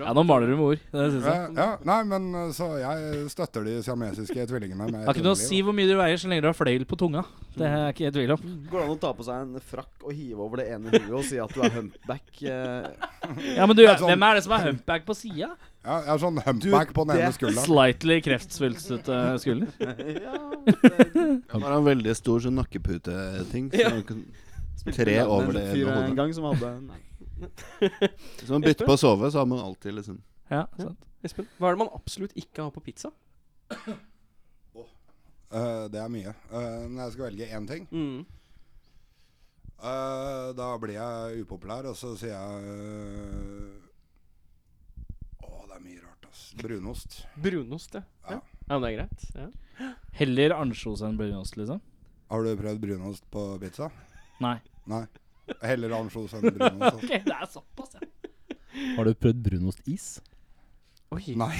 ja nå maler du med ord. Det synes jeg. Eh, ja, nei, men eh, så jeg støtter de siamesiske tvillingene. Med Det har ikke noe å tvillingene. si hvor mye du veier, så lenge du har fløyel på tunga. Det er jeg ikke i tvil [LAUGHS] om. Går det an å ta på seg en frakk og hive over det ene huet og si at du er humpback? [LAUGHS] eh? Ja, men du, Hvem er sånn- det som er humpback på sida? Ja, jeg er sånn humpback på den det- ene skulderen. Slightly kreftsvulstete skulder. ja, det- Han har en veldig stor sånn nakkeputeting. Så Ja. han kan Tre jeg kjenner over det en ene fyr en hodet. gang som hadde nei. Hvis man bytter på å sove, så har man alltid liksom Ja, sant. Espen, hva er det man absolutt ikke har på pizza? Eh, det er mye. Eh, når jeg skal velge én ting, Mm. Eh, da blir jeg upopulær, og så sier jeg eh, Å, det er mye rart, ass. Brunost. Brunost, ja. Ja. ja. Ja, men det er greit. Ja. Heller ansjos enn brunost, liksom? Har du prøvd brunost på pizza? Nei. Nei. Heller ansjos enn brunost. ass. [LAUGHS] Ok, det er såpass, ja. Har du prøvd brunostis? Oi. Nei.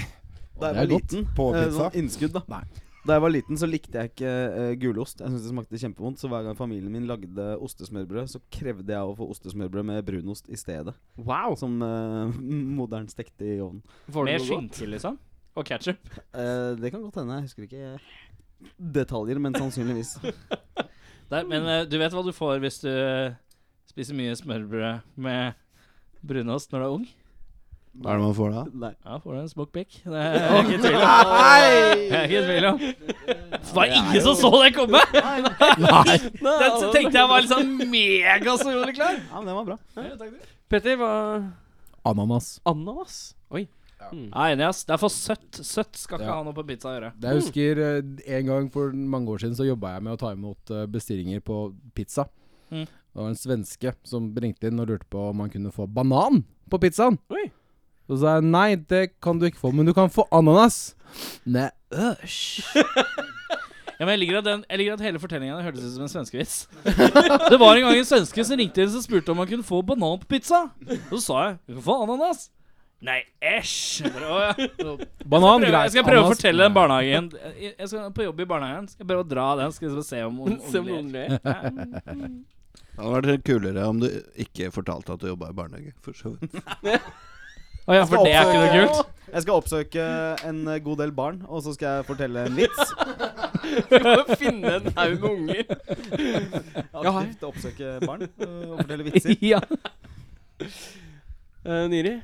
Da jeg Det er var godt. liten, På eh, pizza? sånn innskudd da Da jeg var liten, så likte jeg ikke eh, gulost. Jeg syntes det smakte kjempevondt, så hver gang familien min lagde ostesmørbrød, så krevde jeg å få ostesmørbrød med brunost i stedet. Wow. Som eh, [LAUGHS] moderen stekte i ovnen. Var det Med noe godt? skinke, liksom? Og ketsjup. Eh, det kan godt hende. Jeg husker ikke detaljer, men sannsynligvis. Men eh, du vet hva du får hvis du eh, spiser mye smørbrød med brunost når du er ung? Hva er det man får da? Nei. Ja, får du en smoked pick. Det er jeg ikke i tvil om. Det er jeg ikke i tvil om. Det var ingen som så det komme! [LAUGHS] Nei. Den tenkte jeg var sånn, liksom megasoleklar. Ja, men den var bra. Petter, hva Ananas. Ananas? Oi. Nei, enig, ass. Det er for søtt. Søtt skal ikke Ja. ha noe på pizza å gjøre. Det Mm. Jeg husker eh, en gang for mange år siden så jobba jeg med å ta imot eh, bestillinger på pizza. Mm. Det var en svenske som ringte inn og lurte på om han kunne få banan på pizzaen. Oi. Så sa jeg nei, det kan du ikke få, men du kan få ananas. Nei, æsj. Ja, men jeg liker at, den, jeg liker at hele fortellingen hørtes ut som en svenskevits. [LAUGHS] Det var en gang en svenske som ringte inn og spurte om han kunne få banan på pizza. Så sa jeg du kan få ananas. Nei, æsj. Jeg bare, «Å, ja.» Banan, Prøv- greit. Jeg skal prøve å ananas, fortelle den nei. barnehagen Jeg jeg skal på jobb i barnehagen. Skal jeg prøve å dra den, skal vi se [LAUGHS] om om- Se om om noen det- ler. Det hadde vært kulere om du ikke fortalte at du jobba i barnehage. For så vidt. Å ja, for det er ikke noe kult. [LAUGHS] Jeg skal oppsøke en eh, god del barn, og så skal jeg fortelle en [LAUGHS] vits. Å finne en haug [LAUGHS] med unger. Aktivt oppsøke barn eh, og fortelle vitser. [LAUGHS] Ja. Eh, Niri,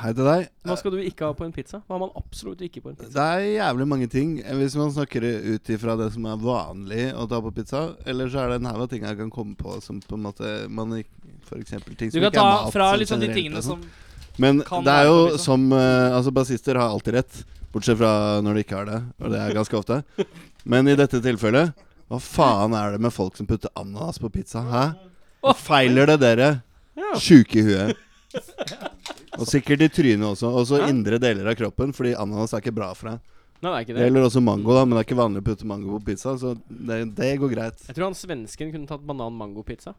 Hei til deg. hva skal du ikke ha på en pizza? Hva har man absolutt ikke på en pizza? Det er jævlig mange ting. Hvis man snakker ut ifra det som er vanlig å ta på pizza, eller så er det en haug av ting jeg kan komme på som på en måte man ikke For eksempel ting Du som kan ikke er ta mat. fra sånn liksom de generelt tingene og sånn. som Men kan det være er på jo pizza. som eh, Altså, bassister har alltid rett, bortsett fra når de ikke har det, og det er ganske ofte. Men i dette tilfellet Hva faen er det med folk som putter ananas på pizza? Hæ? Hva feiler det dere? Ja. Sjuke i [LAUGHS] huet. Og sikkert i trynet også. Og så indre deler av kroppen, fordi ananas er ikke bra for deg. Nei, det er ikke Det det. gjelder også mango, da, men det er ikke vanlig å putte mango på pizza, så det, det går greit. Jeg tror han svensken kunne tatt banan-mango-pizza.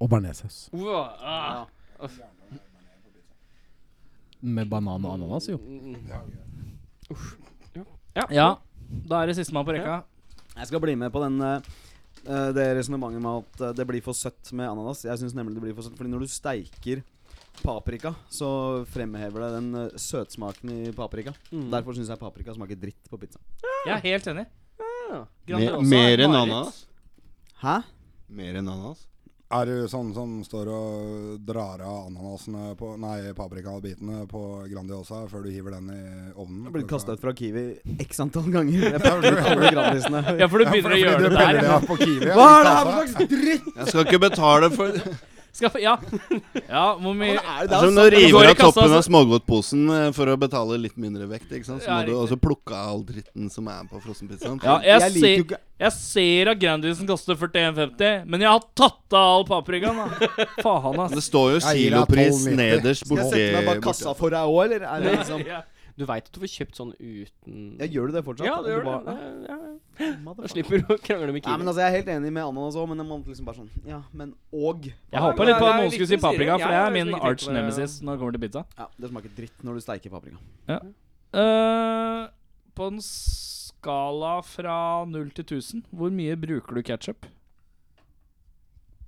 Og bearnéssaus. Wow. Ah. Med banan og ananas, jo. Mm, Ja. Da er det sistemann på rekka. [LAUGHS] Jeg skal bli med på den eh, eh, det resonnementet med at eh, det blir for søtt med ananas. Jeg syns nemlig det blir for søtt, fordi når du steiker paprika, så fremhever det den eh, søtsmaken i paprika. Mm. Derfor syns jeg paprika smaker dritt på pizza. Jeg er helt enig. Mer, Grandiosa er mer enn mareritt. ananas. Hæ? Mer enn ananas. Er du sånn som står og drar av ananasene på Nei, paprikabitene på Grandiosa før du hiver den i ovnen? Jeg blir kasta ut fra Kiwi x antall [LAUGHS] ganger. Jeg [LAUGHS] Ja, prøvde for- alle gradisene. Ja, for du Ja, begynner å for- fordi gjøre du det der. peller det ja. av på Kiwi, Hva er det ikke her sant? for slags dritt?! Jeg skal ikke betale for Skal, ja. ja, hvor mye Det er som når du river av toppen av smågodtposen eh, for å betale litt mindre vekt. ikke sant? Så Ja, må du riktig. også plukke av all dritten som er på frossenpizzaen. Ja, jeg, Jeg liker jo ser, ikke- jeg ser at Grandisen koster 41,50, men jeg har tatt av all paprikaen, da. [LAUGHS] Faen, Men ass. Det står jo Jeg gir deg kilopris 12,90. nederst Skal jeg borti sette meg bak borti- kassa for deg òg, eller? Er det liksom Ja. Du veit at du får kjøpt sånn uten ja, Gjør du det fortsatt? Ja, det gjør Eller det. bare- Ja, ja. Da Motherfucker. slipper du å krangle med Nei, men Kiwi. altså, Jeg er helt enig med ananas òg, men jeg må liksom bare sånn Ja, men og Jeg Ja, håpa men litt på det at er noen skulle si viktig å si paprika, det. for det Ja, er jeg min tenkte på arch det. nemesis når det kommer til pizza. Ja, Det smaker dritt når du steiker paprika. Eh, på en skala fra 0 til 1000, hvor mye bruker du ketsjup?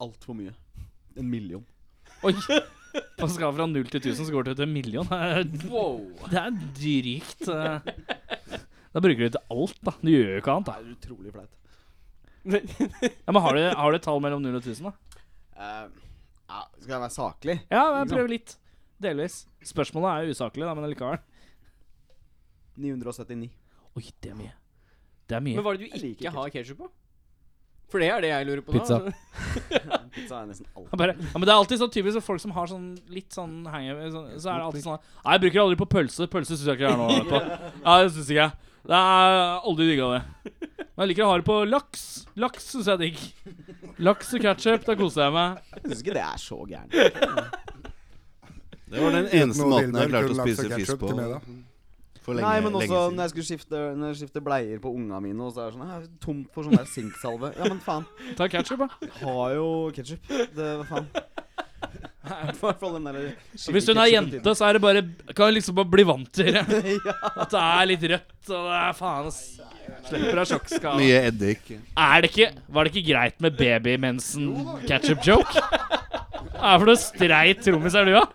Altfor mye. En million. Oi! [LAUGHS] På en skala fra 0 til 1000 så går det til en million. Det er drygt. eh. Da bruker du det til alt, da. Du gjør jo ikke annet. Det er utrolig flaut. da. Ja, men har du, har du et tall mellom 0 og 1000, da? Eh, ja, skal jeg være saklig? Ja, jeg prøver litt. Delvis. Spørsmålet er jo usaklig, da, men likevel. 979. Oi, det er mye. Det er Men mye. hva er det du Jeg liker ikke har ketsjup på? For det er det jeg lurer på Pizza. nå. Pizza er nesten alt. Han bare, ja, men Det er alltid sånn typisk at folk som har sånn litt sånn hangover sånn, Så er det alltid sånn Nei, jeg bruker aldri på pølse. Pølse syns jeg ikke jeg er [LAUGHS] noe på. Ja, det syns ikke jeg. Det er aldri digga det. Men jeg liker å ha det på laks. Laks syns jeg er digg. Laks og ketsjup, da koser jeg meg. Jeg syns ikke det er så [LAUGHS] gærent. Det var den eneste Noe måten jeg dildoer, klarte kun å laks og spise fisk ketchup på til middag. for lenge, Nei, men også lenge siden. når jeg skulle skifte, når jeg skifter bleier på unga mine, og så er det sånn «Jeg er tomt for sånn der sinksalve. Ja, men faen. Ta ketsjup, da. Jeg har jo ketsjup. Det hva [LAUGHS] faen. I hvert fall den der Og Hvis hun er jente, så er det bare kan liksom bare bli vant til det. [LAUGHS] ja. At det er litt rødt og det er faen ass. Slipper av sjokkskala. Mye eddik. Er det ikke, var det ikke greit med baby-mensen-ketchup-joke? Hva er det for noe streit trommis er du, da?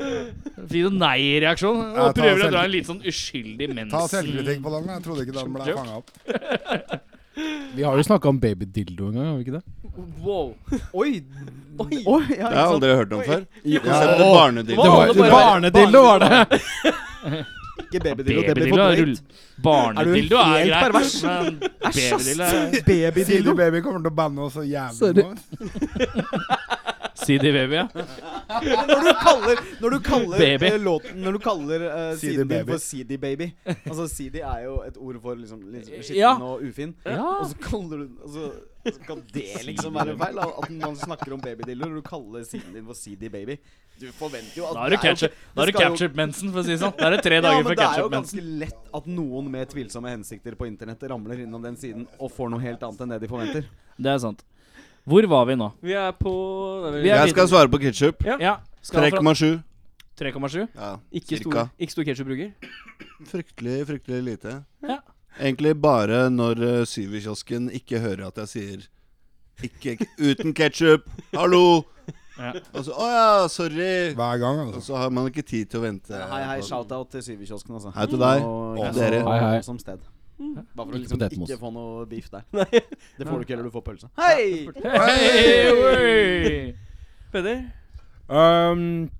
Fikk du nei-reaksjon? Ja, ta Prøver å selv- dra en litt sånn uskyldig Ta selvkritikk mensen... på den. Jeg trodde ikke den ble Kjempejobb. fanga opp. Vi har jo snakka om babydildo en gang, har vi ikke det? Wow. Oi! Oi! ja, Det har jeg ikke sant? aldri hørt om før. Ja. Konseptet barnedildo. Det var- det var- Barnedildo var det! Ikke babydildo. Det blir Babydildo for er rull... drøyt. Barnedildo er helt greit, pervers? men babydildo er [LAUGHS] Silje Babydildo. Baby kommer til å banne oss så jævlig Sorry. nå. altså. CD baby, ja. Når du kaller, når du kaller Baby. eh, låten Når du kaller uh, CD siden din baby. for CD Baby Altså CD er jo et ord for liksom, liksom skitten Ja. og ufin. Ja. Og så kaller du altså, så Kan det liksom være feil? da? At man snakker om babydildo når du kaller siden din for CD Baby. Du forventer jo at Da har du det er jo- ketchup- da har du skal jo- ketchup-mensen, for å si det sånn. Da er det tre ja, dager men for det er jo ketchup-mensen. ganske lett at noen med tvilsomme hensikter på internett ramler innom den siden og får noe helt annet enn det de forventer. Det er sant. Hvor var vi nå? Vi er på Nei, Vi er Jeg skal svare på ketsjup. Ja, skal fra 3,7. 3,7? Ja, ikke, stor, cirka. ikke stor ketsjupbruker. Fryktelig, fryktelig lite. Ja. Egentlig bare når eh, Syverkiosken ikke hører at jeg sier ikke k- uten ketsjup! Hallo! Ja. Og så Å ja, sorry! Hver gang, Og altså. så har man ikke tid til å vente. Hei, hei, på- shout-out til Syverkiosken, altså. Hei til deg. Og, Og og dere. Hei, hei. Som sted. Bare for Ikke å liksom potetmos. ikke få noe beef der. [LAUGHS] Det får du ikke heller, du får pølse. Hei! Hei, oi! Peder? Um,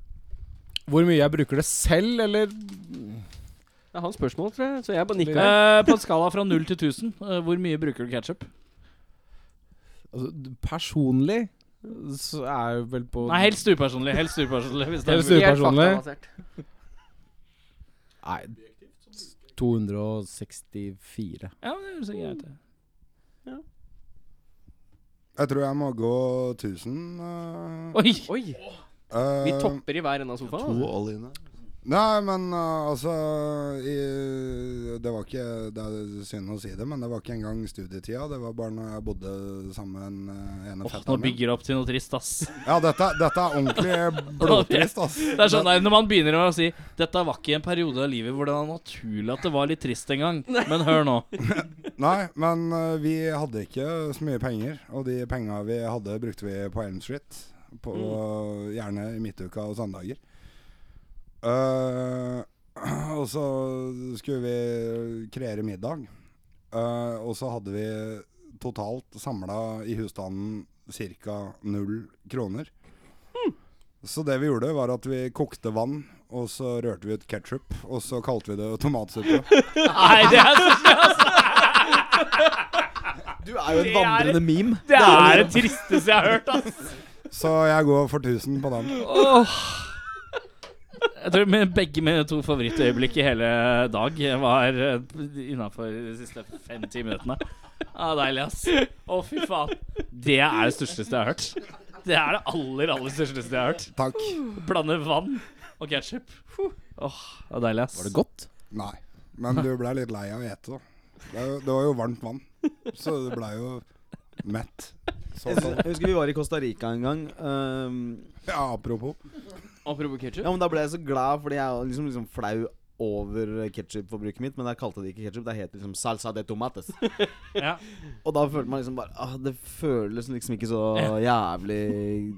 hvor mye jeg bruker det selv, eller Det er hans spørsmål, tror jeg. Så jeg bare nikker. her. Eh, på en skala fra 0 til 1000, eh, hvor mye bruker du ketsjup? altså, d- personlig så er jeg vel på Nei, helst upersonlig. Helst upersonlig hvis det er Helst mulig. Helt personlig. faktabasert. Nei 264. Ja, men det høres ikke greit ut. Jeg tror jeg må gå 1000. eh. Oi! Oi, Eh, vi topper i hver ende av sofaen. To altså. all in her. Nei, men eh, altså i, Det var ikke Det er synd å si det, men det var ikke engang studietida. Det var bare når jeg bodde sammen med en eh, Åh, ene nå fetteren min. bygger det opp til noe trist, ass. Ja, dette, dette [LAUGHS] er ordentlig blodtrist, ass. Det er sånn der, Når man begynner å si 'Dette var ikke en periode av livet hvor det var naturlig at det var litt trist en gang', men hør nå. Nei, men eh, vi hadde ikke så mye penger, og de penga vi hadde, brukte vi på Elm Street. På, Gjerne i midtuka og søndager. Eh, [CLEARS THROAT] og så skulle vi kreere middag, Eh, og så hadde vi totalt samla i husstanden ca. null kroner. Så det vi gjorde, var at vi kokte vann, og så rørte vi ut ketsjup, og så kalte vi det tomatsuppe. Nei, det er, Du er jo en Det er- vandrende meme. [LAUGHS] det er det tristeste jeg har hørt, ass. Så jeg går for 1000 på den. Jeg tror med begge mine to favorittøyeblikk i hele dag var innafor de siste fem-ti minuttene. Ja, deilig, ass. Å, fy faen. Det er det største jeg har hørt. Det er det aller, aller største jeg har hørt. Takk. Blande vann og ketsjup. Åh, det er deilig, ass. Var det godt? Nei. Men du ble litt lei av å ete, da. Det, er jo- det var jo varmt vann. Så du ble jo mett. Så, Jeg så. husker- jeg husker vi var i Costa Rica en gang. ehm, Ja, apropos. Apropos ketsjup. ja, men Da ble jeg så glad, fordi jeg er liksom, liksom flau over ketsjupforbruket mitt. Men der kalte de ikke ketsjup, det het liksom salsa de tomates. Ja. Og da følte man liksom bare ah, Det føles liksom ikke så jævlig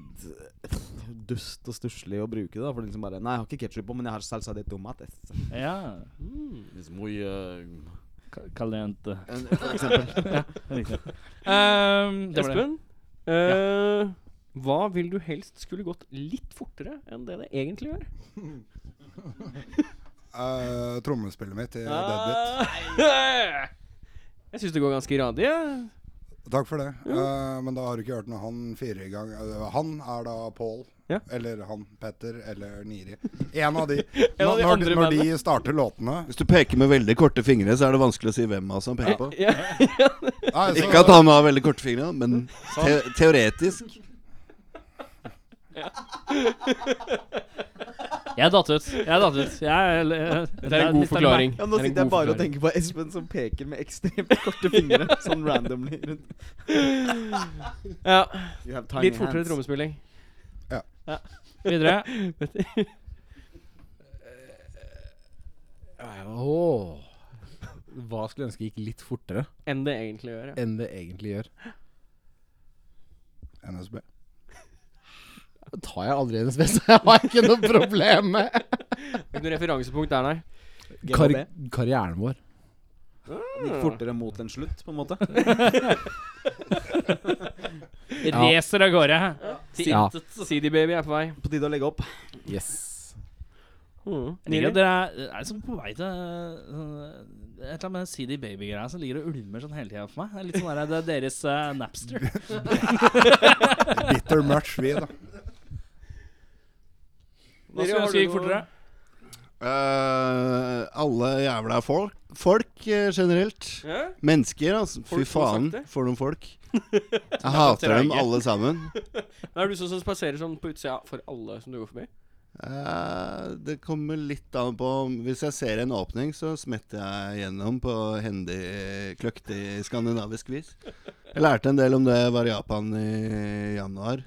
dust og stusslig å bruke det. da For det liksom bare Nei, jeg har ikke ketsjup på, men jeg har salsa de tomates. ja. Liksom, oi, eh, Ka- Caliente. en- For eksempel. [LAUGHS] Riktig. Ehm, det var det. Espen, eh, hva vil du helst skulle gått litt fortere enn det det egentlig gjør? Eh, trommespillet mitt i Deadbeat. Ah, [LAUGHS] Jeg syns det går ganske radig. jeg. Takk for det. Eh, men da har du ikke hørt noe han firer i gang. Eh, Han er da Paul. Ja. Eller han Petter. Eller Niri. En av de. En av Når, de når, andre de- når de starter låtene Hvis du peker med veldig korte fingre, så er det vanskelig å si hvem av oss han peker på. Ja. Nei, så- Ikke at han har veldig korte fingre, men te teoretisk. Jeg datt ut. Jeg datt ut. Jeg, eller- Det er en god forklaring. Ja, Det er nå en sitter jeg god bare og forklaring. tenker på Espen som peker med ekstremt korte fingre. Sånn randomly rundt. [LAUGHS] Ja, You have tiny Litt fortere hands. trommespilling. Videre. Åh. Hva skulle jeg ønske gikk litt fortere Enn det egentlig gjør. Ja. enn det egentlig gjør? NSB. Tar jeg aldri hennes beste, jeg har ikke noe problem med. Ikke noe referansepunkt der, nei. [LAUGHS] Kar GHB. karrieren vår. Det Gikk fortere mot en slutt, på en måte. Racer av gårde. Til Ja. intet. CD-baby er på vei. På tide [LAUGHS] å legge opp. Yes. Mm. Jeg liker at Nydelig. dere er, er liksom på vei til øh, et eller annet med CD Baby-greia som ligger og ulmer sånn hele tida for meg. Det er Litt sånn der, Det er deres øh, Napster. Bitter much, vi, da. Hva skulle ønske gikk fortere? Eh, alle jævla folk, folk eh, generelt. Ja? Mennesker, altså. Folk som Fy har faen, sagt det. for noen [LAUGHS] folk. Jeg hater dem treige. alle sammen. Men Er du sånn som spaserer sånn på utsida for alle som du går forbi? Eh, det kommer litt an på om- Hvis jeg ser en åpning, så smetter jeg gjennom på hendig, kløktig skandinavisk vis. Jeg lærte en del om det jeg var i Japan i januar.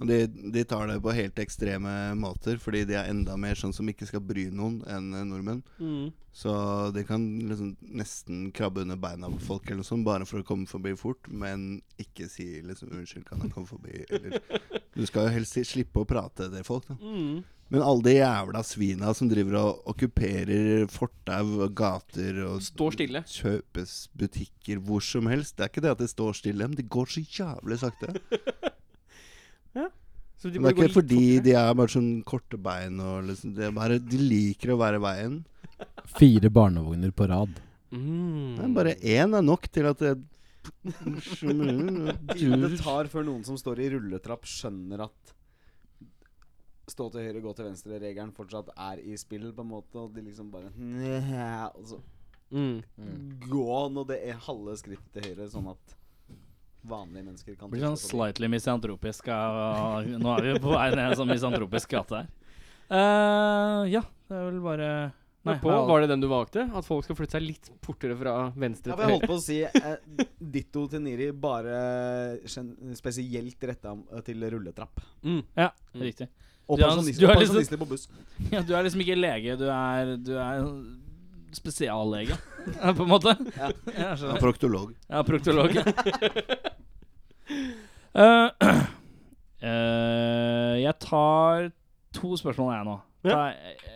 Og de, de tar det på helt ekstreme måter, fordi de er enda mer sånn som ikke skal bry noen enn eh, nordmenn. Så de kan liksom nesten krabbe under beina på folk eller noe sånt, bare for å komme forbi fort, men ikke si liksom 'unnskyld, kan jeg komme forbi', eller Du skal jo helst si, slippe å prate til folk, da. Men alle de jævla svina som driver og okkuperer fortau og gater og Står stille. Kjøpes butikker hvor som helst. Det er ikke det at de står stille, men de går så jævlig sakte. Så de Men burde det er gå ikke litt fordi fortere. de er bare sånn korte bein og liksom det er bare, De liker å være i veien. Fire barnevogner på rad. Mm. Men bare én er nok til at det Tiden det tar før noen som står i rulletrapp, skjønner at stå til høyre, gå til venstre-regelen fortsatt er i spill, på en måte, og de liksom bare "Nye", Og så Mm. gå nå det er halve skrittet til høyre, sånn at vanlige mennesker kan Blir sånn tisse forbi. slightly misantropisk av Nå er vi på vei ned en sånn misantropisk gate her. Eh, ja, det er vel bare Nei, Nei, på, var det den du valgte? At folk skal flytte seg litt fortere fra venstre til Ja, for jeg holdt høyre? på å si eh, ditto til Niri, bare gen- spesielt retta eh, til rulletrapp. Mm. ja, riktig. Og Du har- pensjonister du har liksom- pensjonister på buss. Ja, du er liksom ikke lege, du er, du er spesiallege, [LAUGHS] på en måte. Ja. Jeg skjønner. Proktolog. Ja, proktolog. [LAUGHS] [LAUGHS] Eh, eh, jeg tar to spørsmål, jeg, nå. Ja. Ta,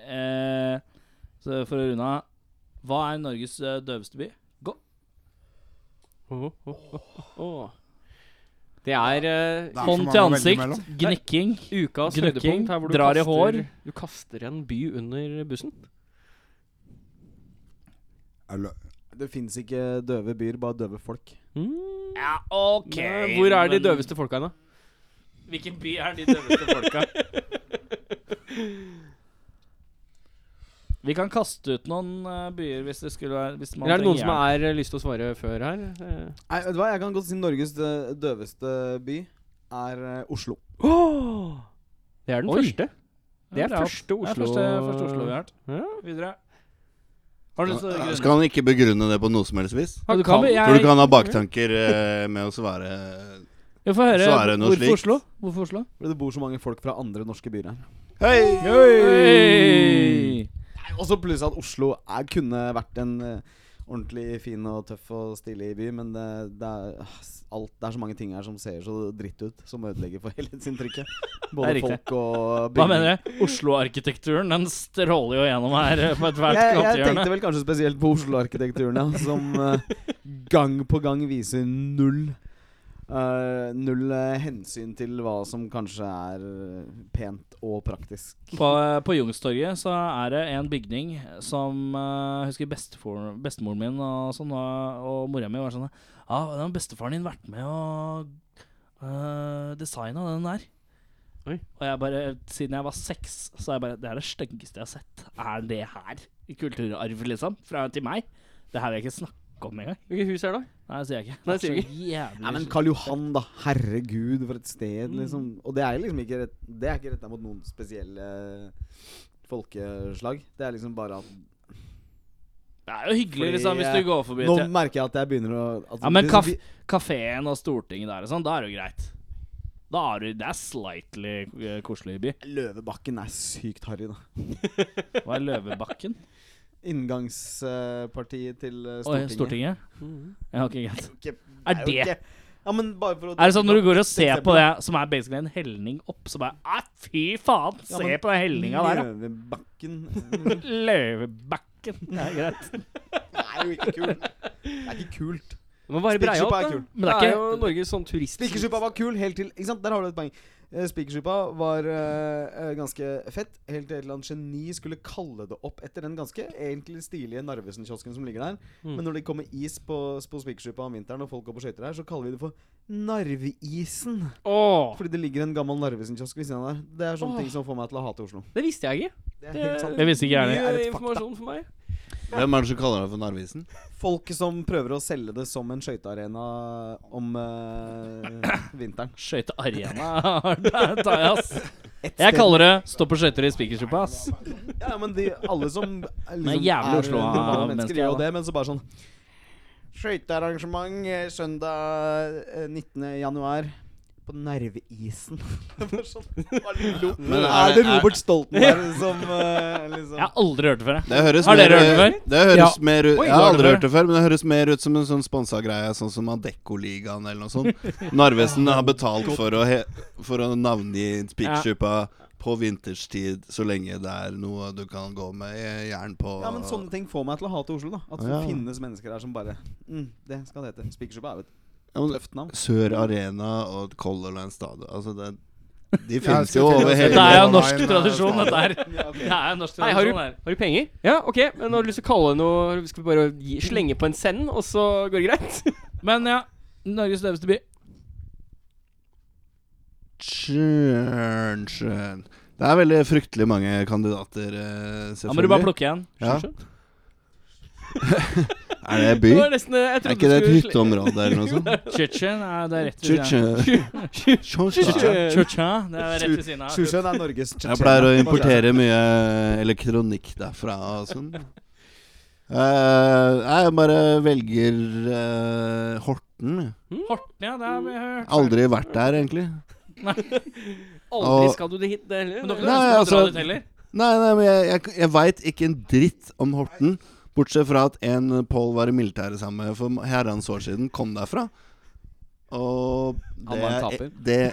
eh, så for å runde av Hva er Norges eh, døveste by? Åh, åh, åh, åh, åh. Det er eh, Det er så Hånd mange til å velge ansikt, [LAUGHS] mellom. gnikking ukas Gnukking, høydepunkt her hvor du drar i kaster, hår. du kaster en by under bussen. Eller- Det fins ikke døve byer, bare døve folk. Mm. Ja, ok Nei, Hvor er de døveste folka, da? Hvilken by er de døveste folka? Vi kan kaste ut noen eh, byer hvis det skulle være hvis man Eller er det noen trenger som hjelp. har lyst til å svare før her? Eh, Nei, vet du hva? Jeg kan godt si Norges eh, døveste by er eh, Oslo. åh! Det er den Oi. første. Det Ja, er første Det er Oslo. første, første Oslo vi har hørt. Ja. Videre. Har du lyst til å grunne? Skal han ikke begrunne det på noe som helst vis? Ja, du kan, Kan- jeg, Tror du ikke han har baktanker eh, med å svare jeg får høre svarer noe hvorfor slikt? Oslo? Hvorfor Oslo? Fordi det bor så mange folk fra andre norske byer her. Hei! Hey! Nei, Også pluss at Oslo er, kunne vært en eh, ordentlig fin og tøff og stilig by, men det, det, er, ah, s- alt, det er så mange ting her som ser så dritt ut, som ødelegger for [LAUGHS] helhetsinntrykket. Både Det er riktig. folk og Hva mener du? Oslo-arkitekturen den stråler jo gjennom her eh, på ethvert Jeg, jeg gatehjørne. tenkte vel kanskje spesielt på Oslo-arkitekturen, ja, som eh, gang på gang viser null eh, Null eh, hensyn til hva som kanskje er eh, pent og praktisk. På, eh, på Youngstorget så er det en bygning som eh, Jeg husker bestefor, bestemoren min og, sånn, og, og mora mi var sånn Ja, den har bestefaren din vært med og uh, designa den der. Oi. Og jeg bare, siden jeg var seks, så er jeg bare Det er det styggeste jeg har sett. Er det her kulturarv, liksom? Fra til meg? Det her vil jeg ikke snakke om engang. Hvilket hus er det? da? Nei, det sier jeg ikke. Nei, sier du Det er så jævlig Nei, men Karl Johan, da. Herregud, for et sted, liksom. Og det er liksom ikke rett, Det er ikke retta mot noen spesielle folkeslag. Det er liksom bare at Det er jo hyggelig Fordi, liksom, hvis eh, du går forbi Nå et- merker jeg at jeg begynner å at Ja, men hvis- kaf vi- kafeen og Stortinget der og sånn, da er det jo greit. Da er det, det er slightly eh, koselig by. Løvebakken er sykt harry, da. Hva er Løvebakken? Inngangspartiet til eh, Oi, [LAUGHS] Stortinget. Mhm. Stortinget? Ja, ok, greit. Ikke- Er jo det- ikke- Ja, men bare for å Er det sånn når du går og ser eksempel, på det som er basically en helning opp, så bare ah, Fy faen, Ja, se men- på den helninga der, da. Løvebakken [LAUGHS] Løvebakken. [LAUGHS] Det er greit. Det er jo ikke kult. Det er ikke kult. Det må være Spikersuppa Breialt, da. er kul. Men det er det ikke- er jo Norges sånn turist... Spikersuppa var kul helt til Ikke sant, der har du et poeng. Eh, Spikersuppa var eh, eh, ganske fett, helt til et eller annet geni skulle kalle det opp etter den ganske egentlig stilige Narvesen-kiosken som ligger der. Mm. Men når det kommer is på, på Spikersuppa om vinteren, og folk går på skøyter der, så kaller vi det for Narveisen. Åh, Fordi det ligger en gammel Narvesen-kiosk ved siden av der. Det er sånne Åh. ting som får meg til å hate Oslo. det visste jeg ikke. Det er Det- helt sant. Jeg visste ikke jeg er Mye et fakta. informasjon for meg. Hvem er det som kaller deg for Narvesen? Folk som prøver å selge det som en skøytearena om [COUGHS] eh, vinteren. Skøytearena [LAUGHS] der tar jeg, ass. Et Jeg sted- kaller det 'stå på skøyter i spikersuppa', ass. Ja, men de, alle [LAUGHS] som er Nei, liksom, jævlig er Oslo, normale ja, mennesker, mennesker, gjør jo ja. det, men så bare sånn Skøytearrangement eh, søndag eh, 19. januar på Nerveisen. [LAUGHS] Det var sånn, bare lo. Men er det er det- er- Robert Stoltenberg som eh, liksom Jeg har aldri hørt det før, jeg. Det høres Har mer, dere hørt det før? Det høres mer ut Oi, Jeg har har aldri dere? hørt det før, men det høres mer ut som en sånn sponsa greie, sånn som Adeccoligaen eller noe sånt. Narvesen har betalt for å, he, for å navngi Spikersuppa på vinterstid, så lenge det er noe du kan gå med eh, jern på. Ja, men sånn- sånne ting får meg til å hate Oslo, da. At det Ja. finnes mennesker her som bare mm, Det skal det hete. Spikersuppa er jo et Ja, men tøft navn. Sør Arena og Color Line Stadion Altså, det De Jeg finnes skulle jo til å over si hele Dette er jo Nei, norsk nei, tradisjon, altså. nei. dette [LAUGHS] her. Det er jo norsk Nei, har tradisjon, du, det her. har du penger? Ja, ok. Men har du lyst til å kalle det noe Skal vi bare gi, slenge på en send, og så går det [LAUGHS] greit? Men ja, Norges døveste by. Tjørnsjøen. Det er veldig fryktelig mange kandidater, eh, Da må du bare selvfølgelig. plukke en. Ja. er det by? Det var nesten, eh, jeg Er trodde ikke du det et [LAUGHS] skulle sle- hytteområde eller noe sånt? Tsjetsjen er det er rett ved siden av. Tjørnsjøen. Tjørnsjøen. Tsjetsjen, Det er rett ved siden av. Sjusjøen er Norges Jeg pleier å Tsjetsjenia. importere mye elektronikk derfra og sånn. Eh, jeg bare velger eh, Horten. Horten, ja, det har vi hørt. Aldri vært der, egentlig. Aldri Og- skal du dit, det heller. Men dere Nei, ønsker å dra altså- dit heller? Nei, nei, men jeg, jeg, jeg veit ikke en dritt om Horten. Bortsett fra at en Pål var i militæret sammen med for herrens år siden. Kom derfra. Og Han var en taper. det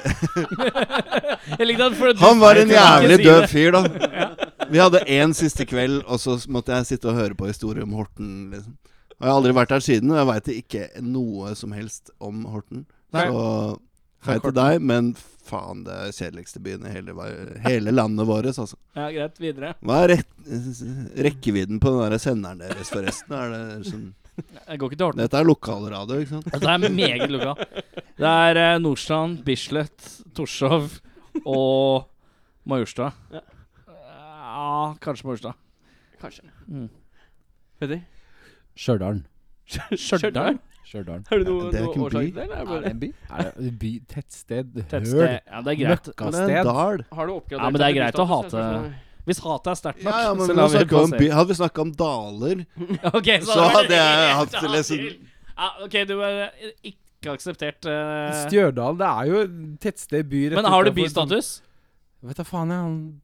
Jeg likte at for at du- Han var en Nei, jeg kan ikke jævlig si død det. fyr, da. Vi hadde én siste kveld, og så måtte jeg sitte og høre på historier om Horten. Liksom. Og jeg har aldri vært der siden, og jeg veit ikke noe som helst om Horten. Nei. Så hei til deg, men faen, det er kjedeligste byen i hele, ver- hele landet vårt, altså. Ja, greit. Videre. Hva er rett, rekkevidden på den der senderen deres, forresten? Er det sånn, Jeg går ikke til Horten. dette er lokalradio, ikke sant? Dette er meget lokal. Det er eh, Nordstrand, Bislett, Torshov og Majorstua. Ja. Ja, kanskje Majorstua. Kanskje. Mm. Peder? Stjørdal. Stjørdal? Stjørdal. Har du noe, Det er noe ikke en by. årsak til det? eller er det Er det bare- en by? Er det by, tettsted? Tettsted. Ja, det er greit. Men det er Sted. en dal. Har du oppgradert Ja, men det er deg til greit å bystatus, hate- eller? Hvis hatet er sterkt nok, Ja, ja, så men vi lar vi det snakket om by. passere. Hadde vi snakka om daler [LAUGHS] Ok, Så da var det hadde jeg greit hatt å ha liksom- til. Ja, ok, du har eh, ikke akseptert eh, Stjørdal, det er jo tettsted, by rett Men har du utenfor- sånn bystatus? Vet da faen, jeg. Han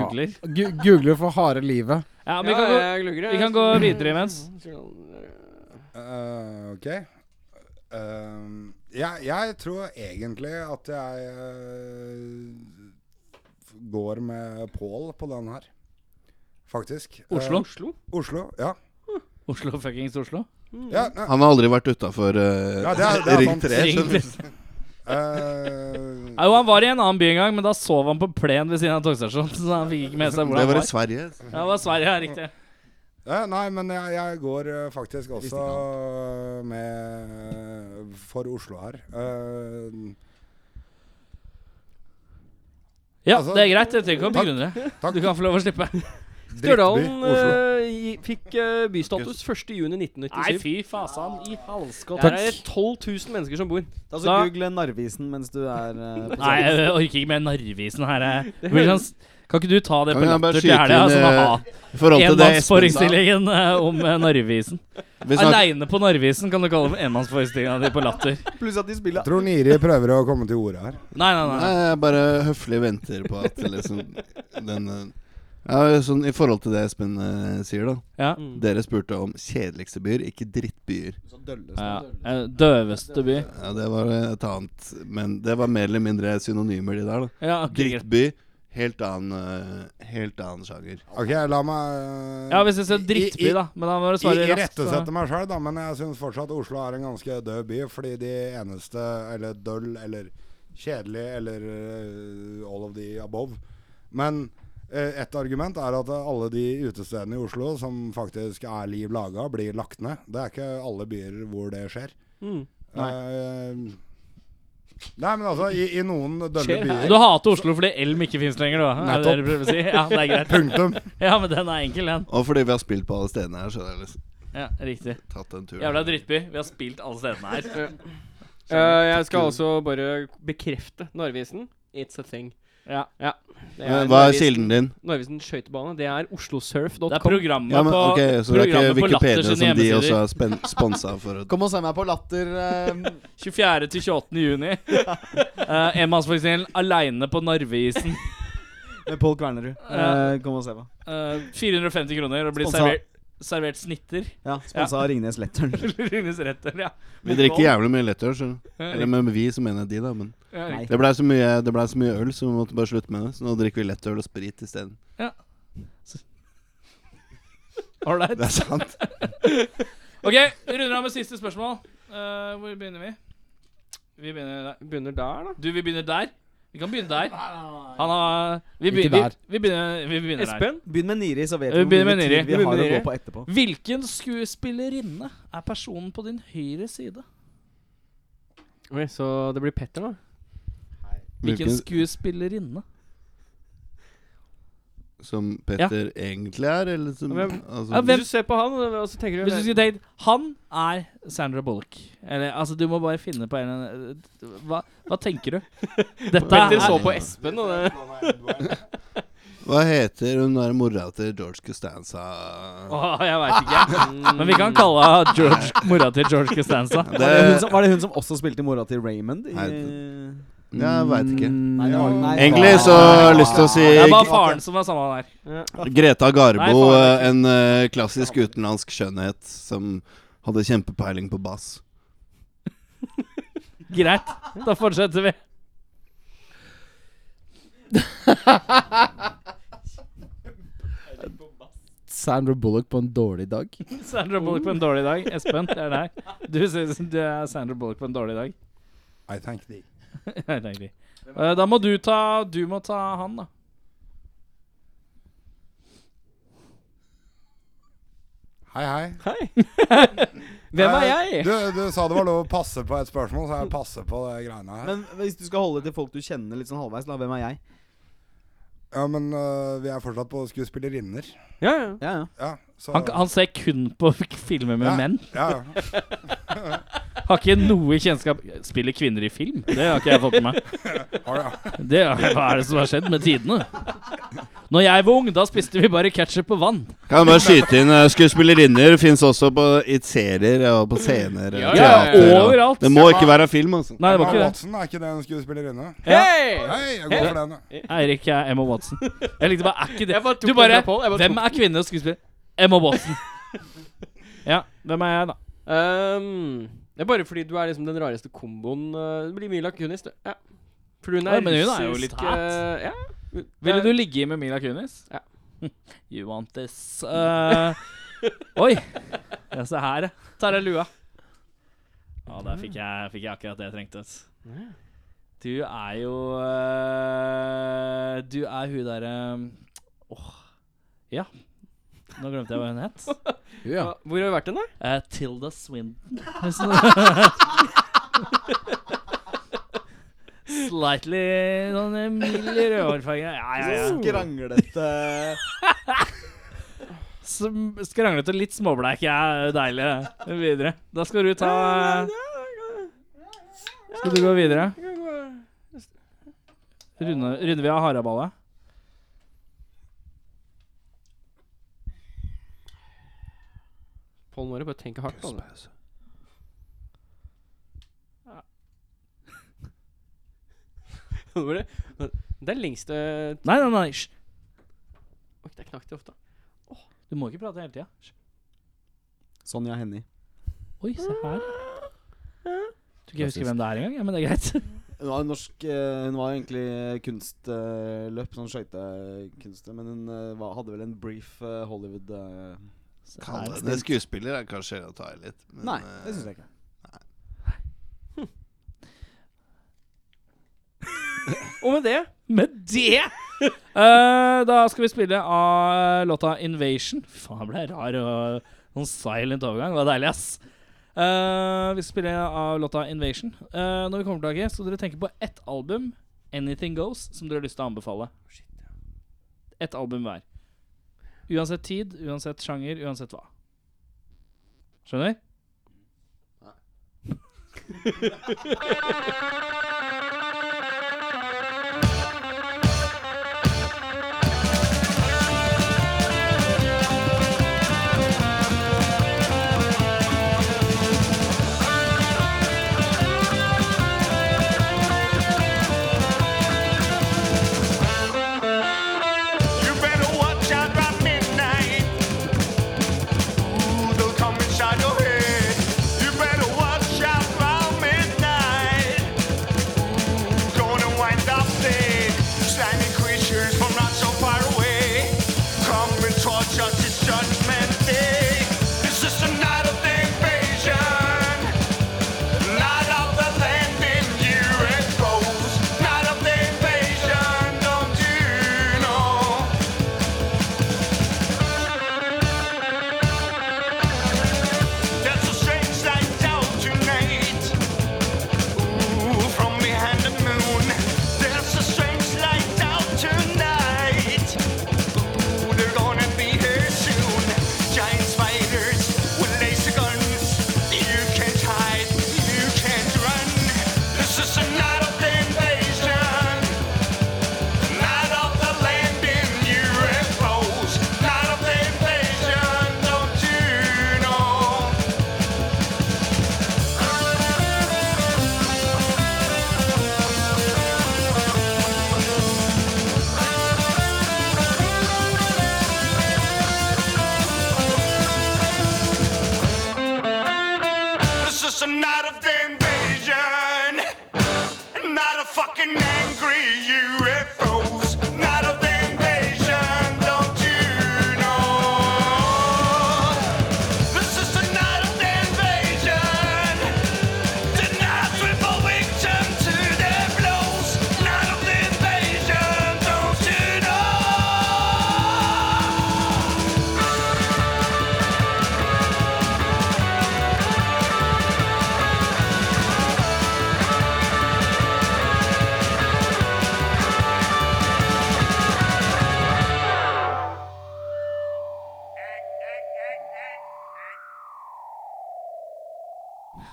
Googler. Gu Googler for harde livet. Ja, men vi Ja, kan gå, jeg glugger, vi jeg. kan gå videre imens. Eh, ok. Ehm, jeg, jeg tror egentlig at jeg eh, går med Pål på den her, faktisk. Eh, Oslo? Oslo, ja. Oslo fuckings Oslo? ja, nei, Han har aldri vært utafor Ja, det er- det er sånn Ring sant. 3. skjønner du. [LAUGHS] eh, Ja, jo, han var i en annen by en gang, men da sov han på plen ved siden av togstasjonen. [LAUGHS] Så han fikk ikke med seg hvor Det han var var. i Sverige. altså. Ja, det var Sverige, ja, riktig. ja, nei, men jeg, jeg går eh, faktisk også med For Oslo her. Eh, Ja, Altså- det er greit. Jeg trenger ikke å begrunne det. takk. Du kan få lov å slippe. Drittby, Stjørdalen Oslo. eh, gi- fikk eh, bystatus 1.6.1997. Nei, fy fasan i halskott. Der er det 12 000 mennesker som bor. Ta så Da- Google Narvisen mens du er eh, på Nei, jeg orker ikke mer Narvisen her. jeg. Det blir sånn- Kan ikke du ta det Kan på jeg bare latter til skyte helga? inn, Sånn eh, aha. I forhold til det Espen sa. Enmannsforestillingen eh, om eh, Narvisen. Vi snakker- Aleine på Narvisen kan du kalle det for enmannsforestillinga di på Latter. Pluss at de spiller Jeg tror Niri prøver å komme til ordet her. Nei, nei, nei. Nei, jeg bare høflig venter på at liksom den eh, ja, sånn, I forhold til det Espen eh, sier, da. Ja. Dere spurte om kjedeligste byer, ikke drittbyer. Ja. Eh, Døveste by. Ja, Det var eh, et annet Men det var mer eller mindre synonymer, de der. da Ja, ok, greit. Drittby, helt annen, eh, helt annen sjanger. Ok, la meg eh, ja hvis jeg sier I- drittby, i- da. Men da må du I svare raskt. irettesette så- meg sjøl, da, men jeg syns fortsatt Oslo er en ganske død by. Fordi de eneste Eller døll eller kjedelig eller øh, all of the above. Men eh, et argument er at alle de utestedene i Oslo som faktisk er liv laga, blir lagt ned. Det er ikke alle byer hvor det skjer. Mm. Nei, nei men altså, i, i noen dølle Skjer her. byer Du hater Oslo fordi Elm ikke fins lenger, du? da? Er det det du prøver å si? Ja, det er greit. Punktum. Ja, men den er enkel, den. Og fordi vi har spilt på alle stedene her, så har jeg liksom Ja, Riktig. tatt en tur. Jævla drittby. Vi har spilt alle stedene her. Eh, jeg skal altså bare bekrefte Narvesen. It's a thing. Ja. Det Men Hva er Narvesen- kilden din? Narvesen skøytebane. Det er oslosurf.com. Det er programmet Ja, men, på ok, så det er programmet ikke på Latter Wikipedia sine som de også hjemmesider. har spen sponsa for? å- Kom og se meg på Latter. eh, 24. til 28. juni. Uh, Enmannsforestillingen Aleine på Narvesen. med Pål Kvernerud. Ja. Eh, kom og se, hva. Eh, 450 kroner og blir Sponsa. servert, servert snitter. [LAUGHS] Ja, Sponsa av Ringnes Letteren. Rines retter, ja. Vi drikker jævlig mye lettøl, så Ja, Eller men vi, så mener jeg de, da. Men ja, Nei. det blei så, mye- det ble så mye øl, så vi måtte bare slutte med det. Så nå drikker vi lettøl og sprit isteden. Alright. Det [LAUGHS] er sant. Ok, vi runder av med siste spørsmål. Eh, hvor begynner vi? Vi begynner der. Begynner der, da. Du, vi begynner der. Vi kan begynne der. Han har vi, Ikke begynner- der. vi, vi begynner, vi begynner der. Espen? Begynn med Niri, så vet Vi vi hvor begynner mye med Niri. tid Vi vi har å begynner med gå på etterpå. Hvilken skuespillerinne er personen på din høyre side? Oi, så det blir Petter, da. Hvilken Hvilken skuespillerinne? som Petter egentlig er, eller som Hvem- altså, Ja, hvem- Hvis du ser på han, og så tenker du Hvis du skulle tenkt Han er Sandra Bullock. Eller altså, du må bare finne på en eller annen- Hva, hva tenker du? Dette Petter er så på Espen, og det Hva heter hun der mora til George Costanza? Åh, jeg veit ikke. Men vi kan kalle henne George, mora til George Costanza. Var det, hun Det, som, var det hun som også spilte mora til Raymond? I, Nei, jeg mm, veit ikke. Nei, det var det- nei, Egentlig faen. så har jeg lyst til å si Det er bare faren som er samme der. Greta Garbo, Nei, faen, en eh, klassisk utenlandsk skjønnhet som hadde kjempepeiling på bass. Greit, da fortsetter vi. Sandra Bullock på en dårlig dag. Sandra Bullock på en dårlig dag. Espen, det er deg. Du synes du er Sandra Bullock på en dårlig dag. [LAUGHS] I thank thee. Nei, det er ikke de. Eh, Da må du ta Du må ta han, da. Hei, hei. Hei. Hvem er Eh, jeg? Du, du sa det var lov å passe på et spørsmål, så jeg passer på de greiene her. Men hvis du skal holde til folk du kjenner litt sånn halvveis, da, hvem er jeg? ja, men eh, vi er fortsatt på skuespillerinner. Ja, ja. Ja, ja. Ja, så Han, han ser kun på filmer med Ja. menn. ja, ja. Har ikke noe kjennskap Spiller kvinner i film? Det har ikke jeg fått med meg. Har du- Det er, hva er det som har skjedd med tidene? Når jeg var ung, da spiste vi bare ketsjup og vann. Kan jeg bare skyte inn eh, skuespillerinner fins også på, i serier og på scener. Ja, og ja, ja. teater og- Overalt. Det må ikke være film, altså. Nei, [LAUGHS] det Emma var ikke det. Watson er ikke det en skuespillerinne? Hei! Hei, jeg går for den. jeg. Eirik er Emma Watson. Jeg likte bare Er ikke det Jeg bare tok Du bare den fra Paul, jeg bare Hvem tok er kvinne og skuespiller? Emma Watson. Ja, hvem er jeg, da? Ehm, det er bare fordi du er liksom den rareste komboen. eh, Det blir Mila Kunis, du. Ja. For hun Ja, er men hun er jo litt russisk, hot. eh, ja. Ville du ligge med Mila Kunis? Ja. [LAUGHS] You want this eh, [LAUGHS] Oi! Ja, se her, ja. tar av lua? Ja, der fikk jeg, fikk jeg akkurat det jeg trengte. ass. Du er jo eh, Du er hun derre Åh. Ja. Nå glemte jeg hva hun [LAUGHS] het. Ja. Hva- Hvor har du vært hen, da? Eh, Tilda [LAUGHS] Swinton. Slightly sånn eh, mild rødhårfarge. Ja, ja, ja. Skranglete Som- Skranglete og litt småbleik er deilig. Videre. Da skal du Eh, ta Skal du gå videre? Runde, runder vi av haraballet? Pål, nå er det bare å tenke hardt. på det. [LAUGHS] Nå var det- Det er lengste Oi, Nei, nei, nei. Hysj. det er knakk til hofta. Du må ikke prate hele tida. Sonja Hennie. Oi, se her. Tror ikke jeg husker hvem det er engang, ja, men det er greit. Hun var, en norsk, eh, hun var egentlig kunstløp, sånn skøytekunstner, men hun eh, var, hadde vel en brief eh, Hollywood eh, Se Kalle her. henne skuespiller er kanskje å ta i litt. men, Nei, eh, det syns jeg ikke. Og med det Med det [LAUGHS] Eh, Da skal vi spille av låta 'Invasion'. Fy Faen, det ble rar og sånn silent overgang. Det var deilig, ass. Eh, vi skal spille av låta 'Invasion'. Eh, når vi kommer tilbake, skal dere tenke på ett album, 'Anything Goes', som dere har lyst til å anbefale. Ett album hver. Uansett tid, uansett sjanger, uansett hva. Skjønner? You better watch out by midnight. Ooh, they'll come inside your head. You better watch out by midnight. Ooh, gonna wind up dead. Slimy creatures from not so far away. Come and torch us, it's judgment day. This is the night of the invasion. Night of the landing you expose. Night of the invasion, don't you know? There's a strange light out tonight. Ooh, from behind the moon. There's a strange light out tonight. Ooh, they're gonna be here soon. Giant spiders with laser guns. You can't hide, you can't run. This is the night of the invasion. The night of the landing UFOs. Night of the invasion, don't you know? This is a night of the invasion. Not a fucking angry UFOs. Not of the invasion, don't you know? This is the night of the invasion. Tonight we're all victim to their blows. Night of the invasion, don't you know?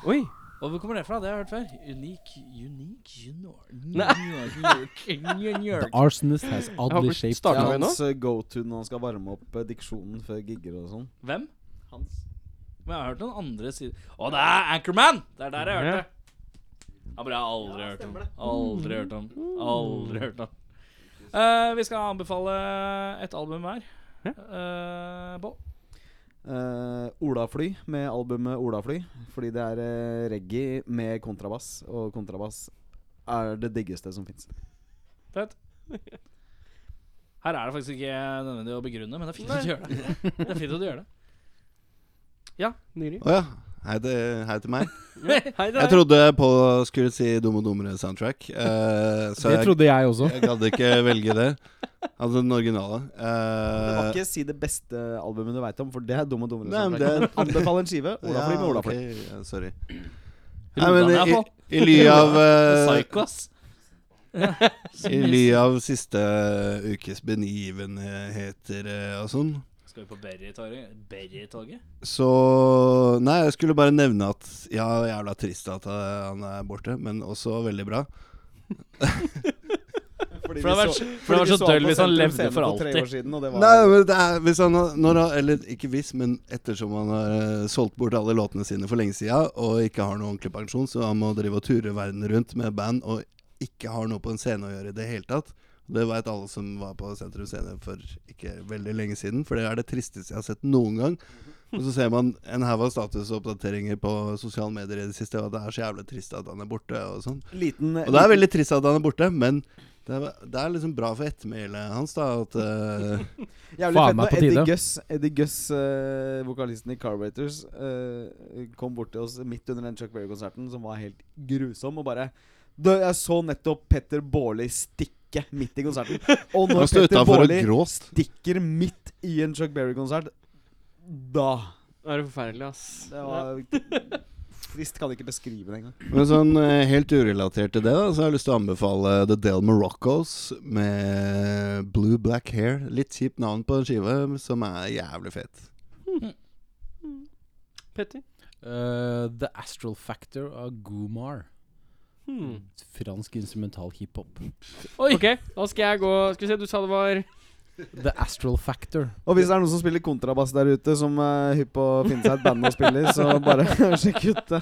Oi. Og hvor kommer det fra? Det har jeg hørt før. Unique, unique, junior, Nei. junior, junior. The arsonist has oddly shaped Det Starter er vi nå? hans eh, go-to når han skal varme opp eh, diksjonen før gigger og sånn. Hvem? Hans. Men jeg har hørt den andre siden Å, det er Anchorman! Det er der jeg hørte det. Ja, bare jeg har aldri hørt om. Aldri hørt om. Aldri hørt om. Eh, vi skal anbefale et album hver. Eh, Boll. Eh, Olafly med albumet Olafly. Fordi det er eh, reggae med kontrabass, og kontrabass er det diggeste som fins. Fett. Her er det faktisk ikke nødvendig å begrunne, men det er fint at du gjør det. Det er fint at du gjør det. Nyri. Å ja. Hei til, hei til meg. Hei, det Jeg er trodde på skulle si Dum og dummere soundtrack, eh, så Det jeg, trodde jeg også. jeg gadd ikke velge det. Altså den originale. Du kan Eh, ikke si det beste albumet du veit om, for det er dum og dummere. Nei, men soundtrack. det- Men Anbefal en skive. Olafly med Eh, ja, Olafly. ok, ja, sorry. [LAUGHS] Nei, Rodan men er i, på. i ly av eh, Psycho, ass. I ly av siste ukes begivenheter eh, og sånn, Skal vi på Berry-toget? Berry-toget? så Nei, jeg skulle bare nevne at Ja, jævla trist at eh, han er borte, men også veldig bra. For det Fordi vi har vært så- så- for det fordi har vi vært så så han døll på hvis han Sentrum levde for Scene for tre år alltid. Siden, og det var Nei, men det er, hvis han har- når han, Eller ikke hvis, men ettersom han har eh, solgt bort alle låtene sine for lenge sida og ikke har noe ordentlig pensjon, så han må drive og ture verden rundt med band og ikke har noe på en scene å gjøre i det hele tatt. Det veit alle som var på Sentrum Scene for ikke veldig lenge siden, for det er det tristeste jeg har sett noen gang. Og så ser man en haug av statusoppdateringer på sosiale medier i det siste, og det er så jævlig trist at han er borte og sånn. liten, Og det er veldig trist at han er borte, men det er, det er liksom bra for ettermælet hans, da, at eh, Jævlig Faen fett meg når på Eddie tide. Guss, Eddie Guss eh, vokalisten i Carburetors, eh, kom bort til oss midt under den Chuck Berry-konserten, som var helt grusom, og bare «Du, Jeg så nettopp Petter Baarli stikke midt i [LAUGHS] konserten. Og Han når sto Petter utenfor og Baarli gråt. stikker midt i en Chuck Berry-konsert, da Det er forferdelig, ass. Det var Trist kan jeg ikke beskrive det engang. Men sånn eh, helt urelatert til det, da, så har jeg lyst til å anbefale The Del Moroccos med Blue Black Hair. Litt kjipt navn på en skive, som er jævlig fet. Petter. Eh, the Astral Factor av Goomar. Hmm. Fransk instrumental hiphop. OK, da skal jeg gå Skal vi se, du sa det var The Astral Factor. Og hvis det er noen som spiller kontrabass der ute, som eh, hypp på å finne seg et band å spille i, så bare [LAUGHS] sjekk ut det.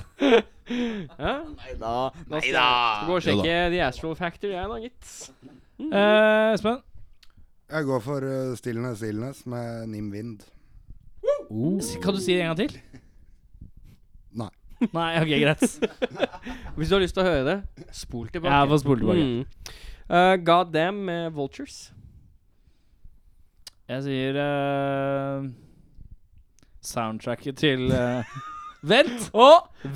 ja? Nei da. Nei da! Skal gå og Jo da. sjekke The Astral Factor, jeg da, gitt. Mm. Eh, Espen? Jeg går for eh, Stillness Stillness med Nim Vind. Oh. Kan du si det en gang til? [LAUGHS] Nei. Nei, ok, greit. Hvis du har lyst til å høre det, spol tilbake. Jeg får spole tilbake. Mm. Eh, God Damn med Vultures. Jeg sier eh, soundtracket til eh, Vent!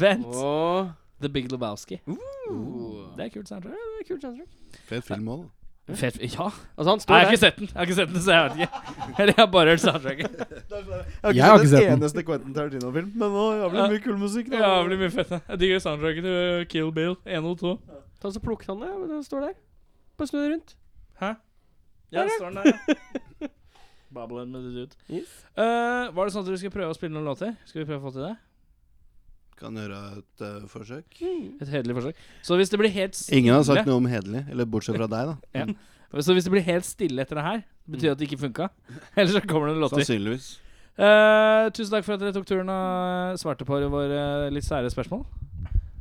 Vent! Og The Big Lebowski. Det er kult soundtrack. Det er kult soundtrack. Fet film òg, da. Fet, ja. Altså, han Nei, står jeg har der. ikke sett den, Jeg har ikke sett den, så jeg vet ikke. Eller jeg har bare hørt [LAUGHS] soundtracket. Jeg Jeg har har ikke ikke sett sett den. en eneste Quentin Tarantino-film, men nå jævlig Ja. mye kul musikk. da. Jævlig mye fett. Jeg digger soundtracket til eh, Kill Bill 1 og 2. Ta så Plukk han det, men den står der. Bare snu deg rundt. Ja, står den der, ja. [LAUGHS] Babylon med the dude. Eh, var det sånn at dere skulle prøve å spille noen låter? Skal vi prøve å få til det? Kan gjøre et eh, forsøk. Et hederlig forsøk. Så hvis det blir helt stille Ingen har sagt noe om hederlig, eller bortsett fra deg, da. Mm. Så hvis det blir helt stille etter det her, betyr det at det ikke [LAUGHS] funka? Ellers så kommer det en låter. Sannsynligvis. Eh, tusen takk for at dere tok turen og eh, svarte på våre eh, litt sære spørsmål.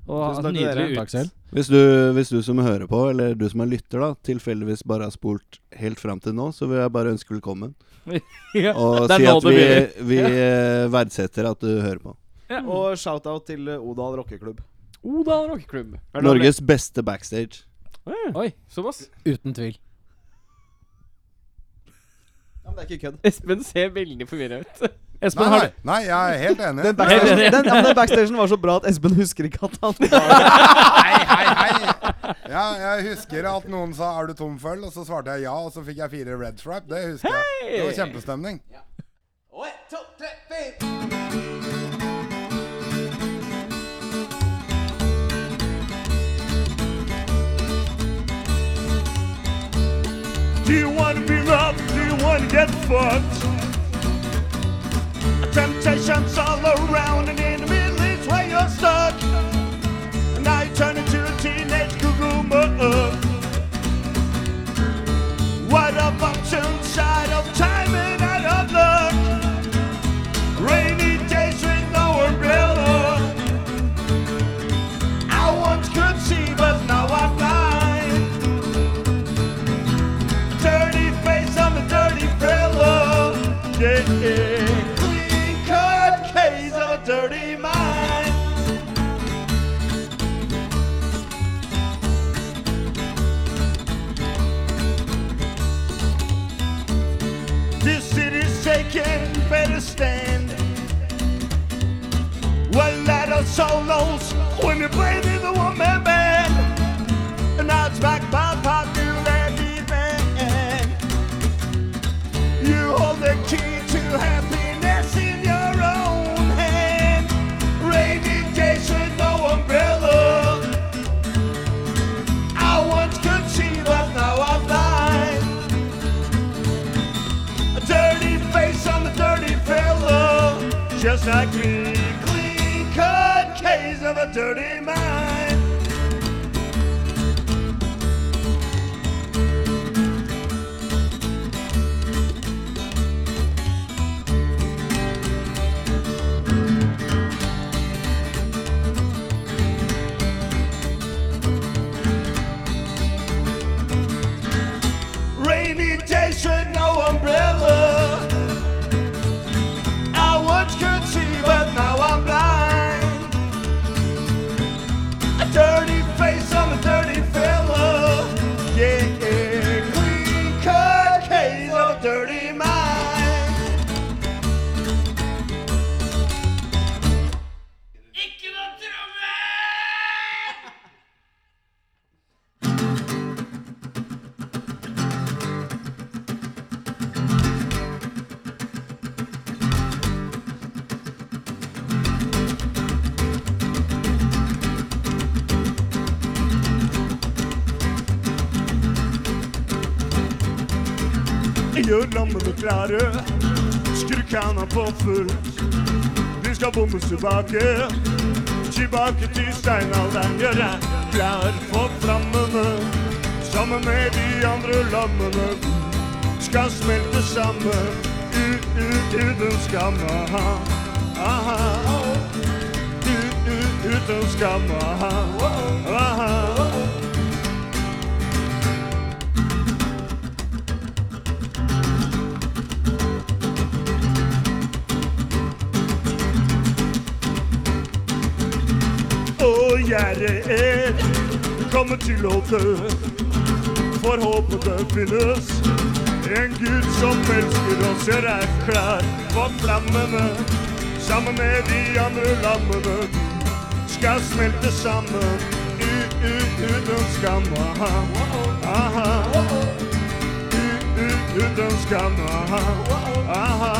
Og Tusen takk til nydelig dere. ut. Takk selv. Hvis du, hvis du som hører på, eller du som er lytter, da tilfeldigvis bare har spolt helt fram til nå, så vil jeg bare ønske velkommen. [LAUGHS] Ja, Og det er si nå at det vi, begynner. vi eh, verdsetter at du hører på. Og shout-out til eh, Odal rockeklubb. Odal rockeklubb. Norges beste backstage. Oi. Såpass. Uten tvil. Ja, men det er ikke kødd. Espen ser veldig forvirra ut. Espen, Nei, har nei, du nei, jeg er helt enig. Den backstagen, den, ja, men den backstagen var så bra at Espen husker ikke at han Hei, hei, hei! Ja, jeg husker at noen sa 'er du tom for øl', og så svarte jeg ja, og så fikk jeg fire red stripe. Det husker jeg. Det var kjempestemning. Do you want to be robbed? Do you want to get fucked? Temptations all around and in the middle is where you're you're stuck. Now you turn into a teenage Google mug. Wide up options, side of time and out of luck. Rainy days with no umbrella. I once could see, but now I'm blind. Dirty face, I'm a dirty fella. Yeah, yeah. Clean cut case of a dirty mind. This city's shaking, better stand. One night of solos when you played in the one man band. And now it's back by popular demand. You hold the key to happiness in your own hand. Rainy days with no umbrella. I once could see, but now I'm blind. A dirty face on the dirty fellow, just like me. Clean cut case of a dirty mind. Rainy days with no umbrella. I once could see, but now I'm blind. A dirty face, I'm a dirty fella. Yeah, yeah. Clean cut case of a dirty mind. Ikke noe trommer! gjør lammene klare. Skrukana på fullt. Vi skal bommes tilbake. Tilbake til steinalderen. Gjør deg klar for flammene. Sammen med de andre lammene. Skal smelte sammen. Ut, ut, uten skam. Aha. Aha. Ut, ut, uten skam. Aha. Aha. og gjerdet er kommer til å dø. For håpet det finnes en Gud som elsker oss, gjør deg klar for flammene. Sammen med de andre lammene skal smelte sammen ut, ut, uten skam. Aha, aha. Ut, ut, uten skam. Aha, aha.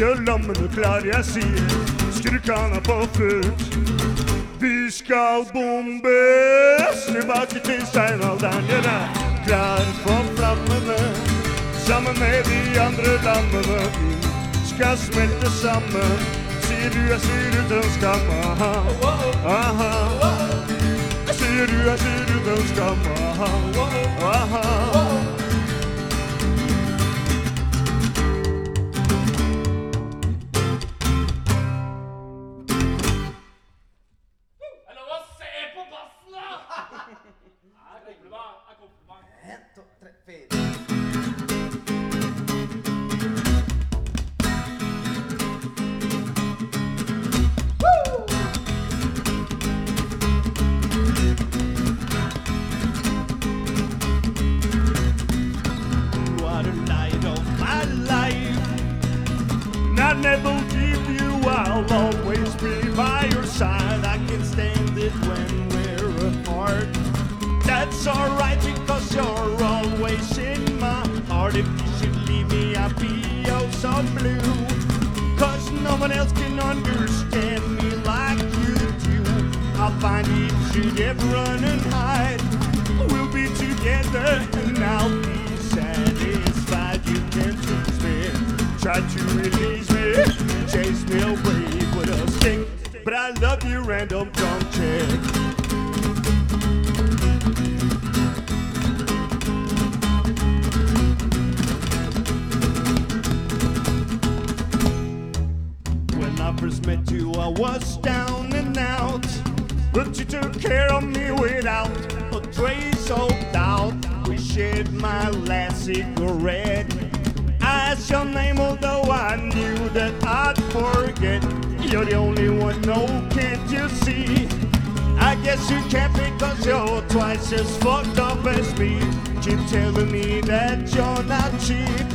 Gjør lammene klar, jeg sier Skru kana på fullt Vi skal bombes Tilbake til steinalderen Gjør deg klar for flammene Sammen med de andre lammene Vi skal smelte sammen Sier du, jeg sier uten skam Aha, aha Jeg sier du, jeg sier uten skam Aha, aha never leave you. I'll always be by your side. I can stand it when we're apart. That's alright because you're always in my heart. If you should leave me, I'd be oh so blue. Cause no one else can understand me like you do. I'll find you should ever run and hide. We'll be together and I'll be satisfied. You can choose me, try to release me, chase me away with a stick. But I love you, random don't check. When I first met you, I was down and out. But you took care of me without a trace of doubt. We shared my last cigarette. I your name, although I knew that I'd forget. You're the only one, no, can't you see? I guess you can't because you're twice as fucked up as me. Keep telling me that you're not cheap.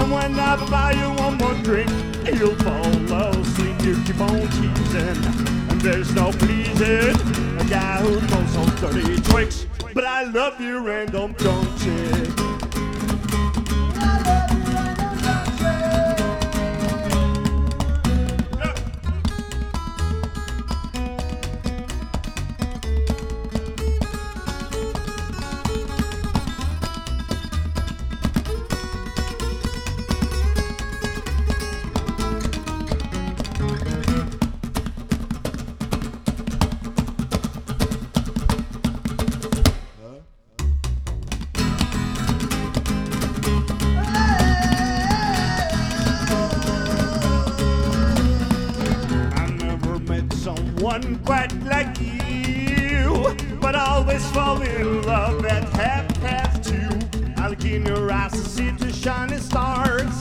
And when I buy you one more drink, you'll fall asleep. You keep on teasing, and there's no pleasing a guy who knows on dirty tricks. But I love you, random don't you? I never met someone quite like you, but I always fall in love at half past two. I'll in your eyes to see the shining stars.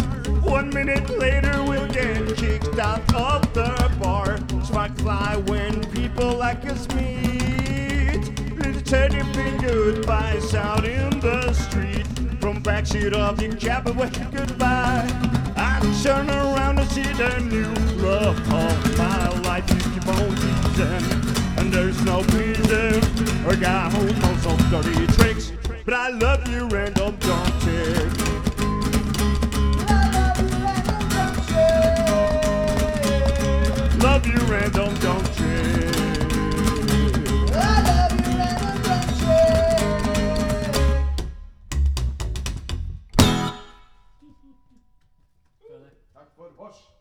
One minute later, we'll get kicked out of the bar. Spark fly when people like us meet. Little teddy bear goodbyes out in the street. From backseat of your cab away goodbye. I turn around to see the new love of my life. You keep on teasing, and there's no reason. A guy who knows all dirty tricks, but I love you, random don't tick. Love you, random don't you? Takk for vors.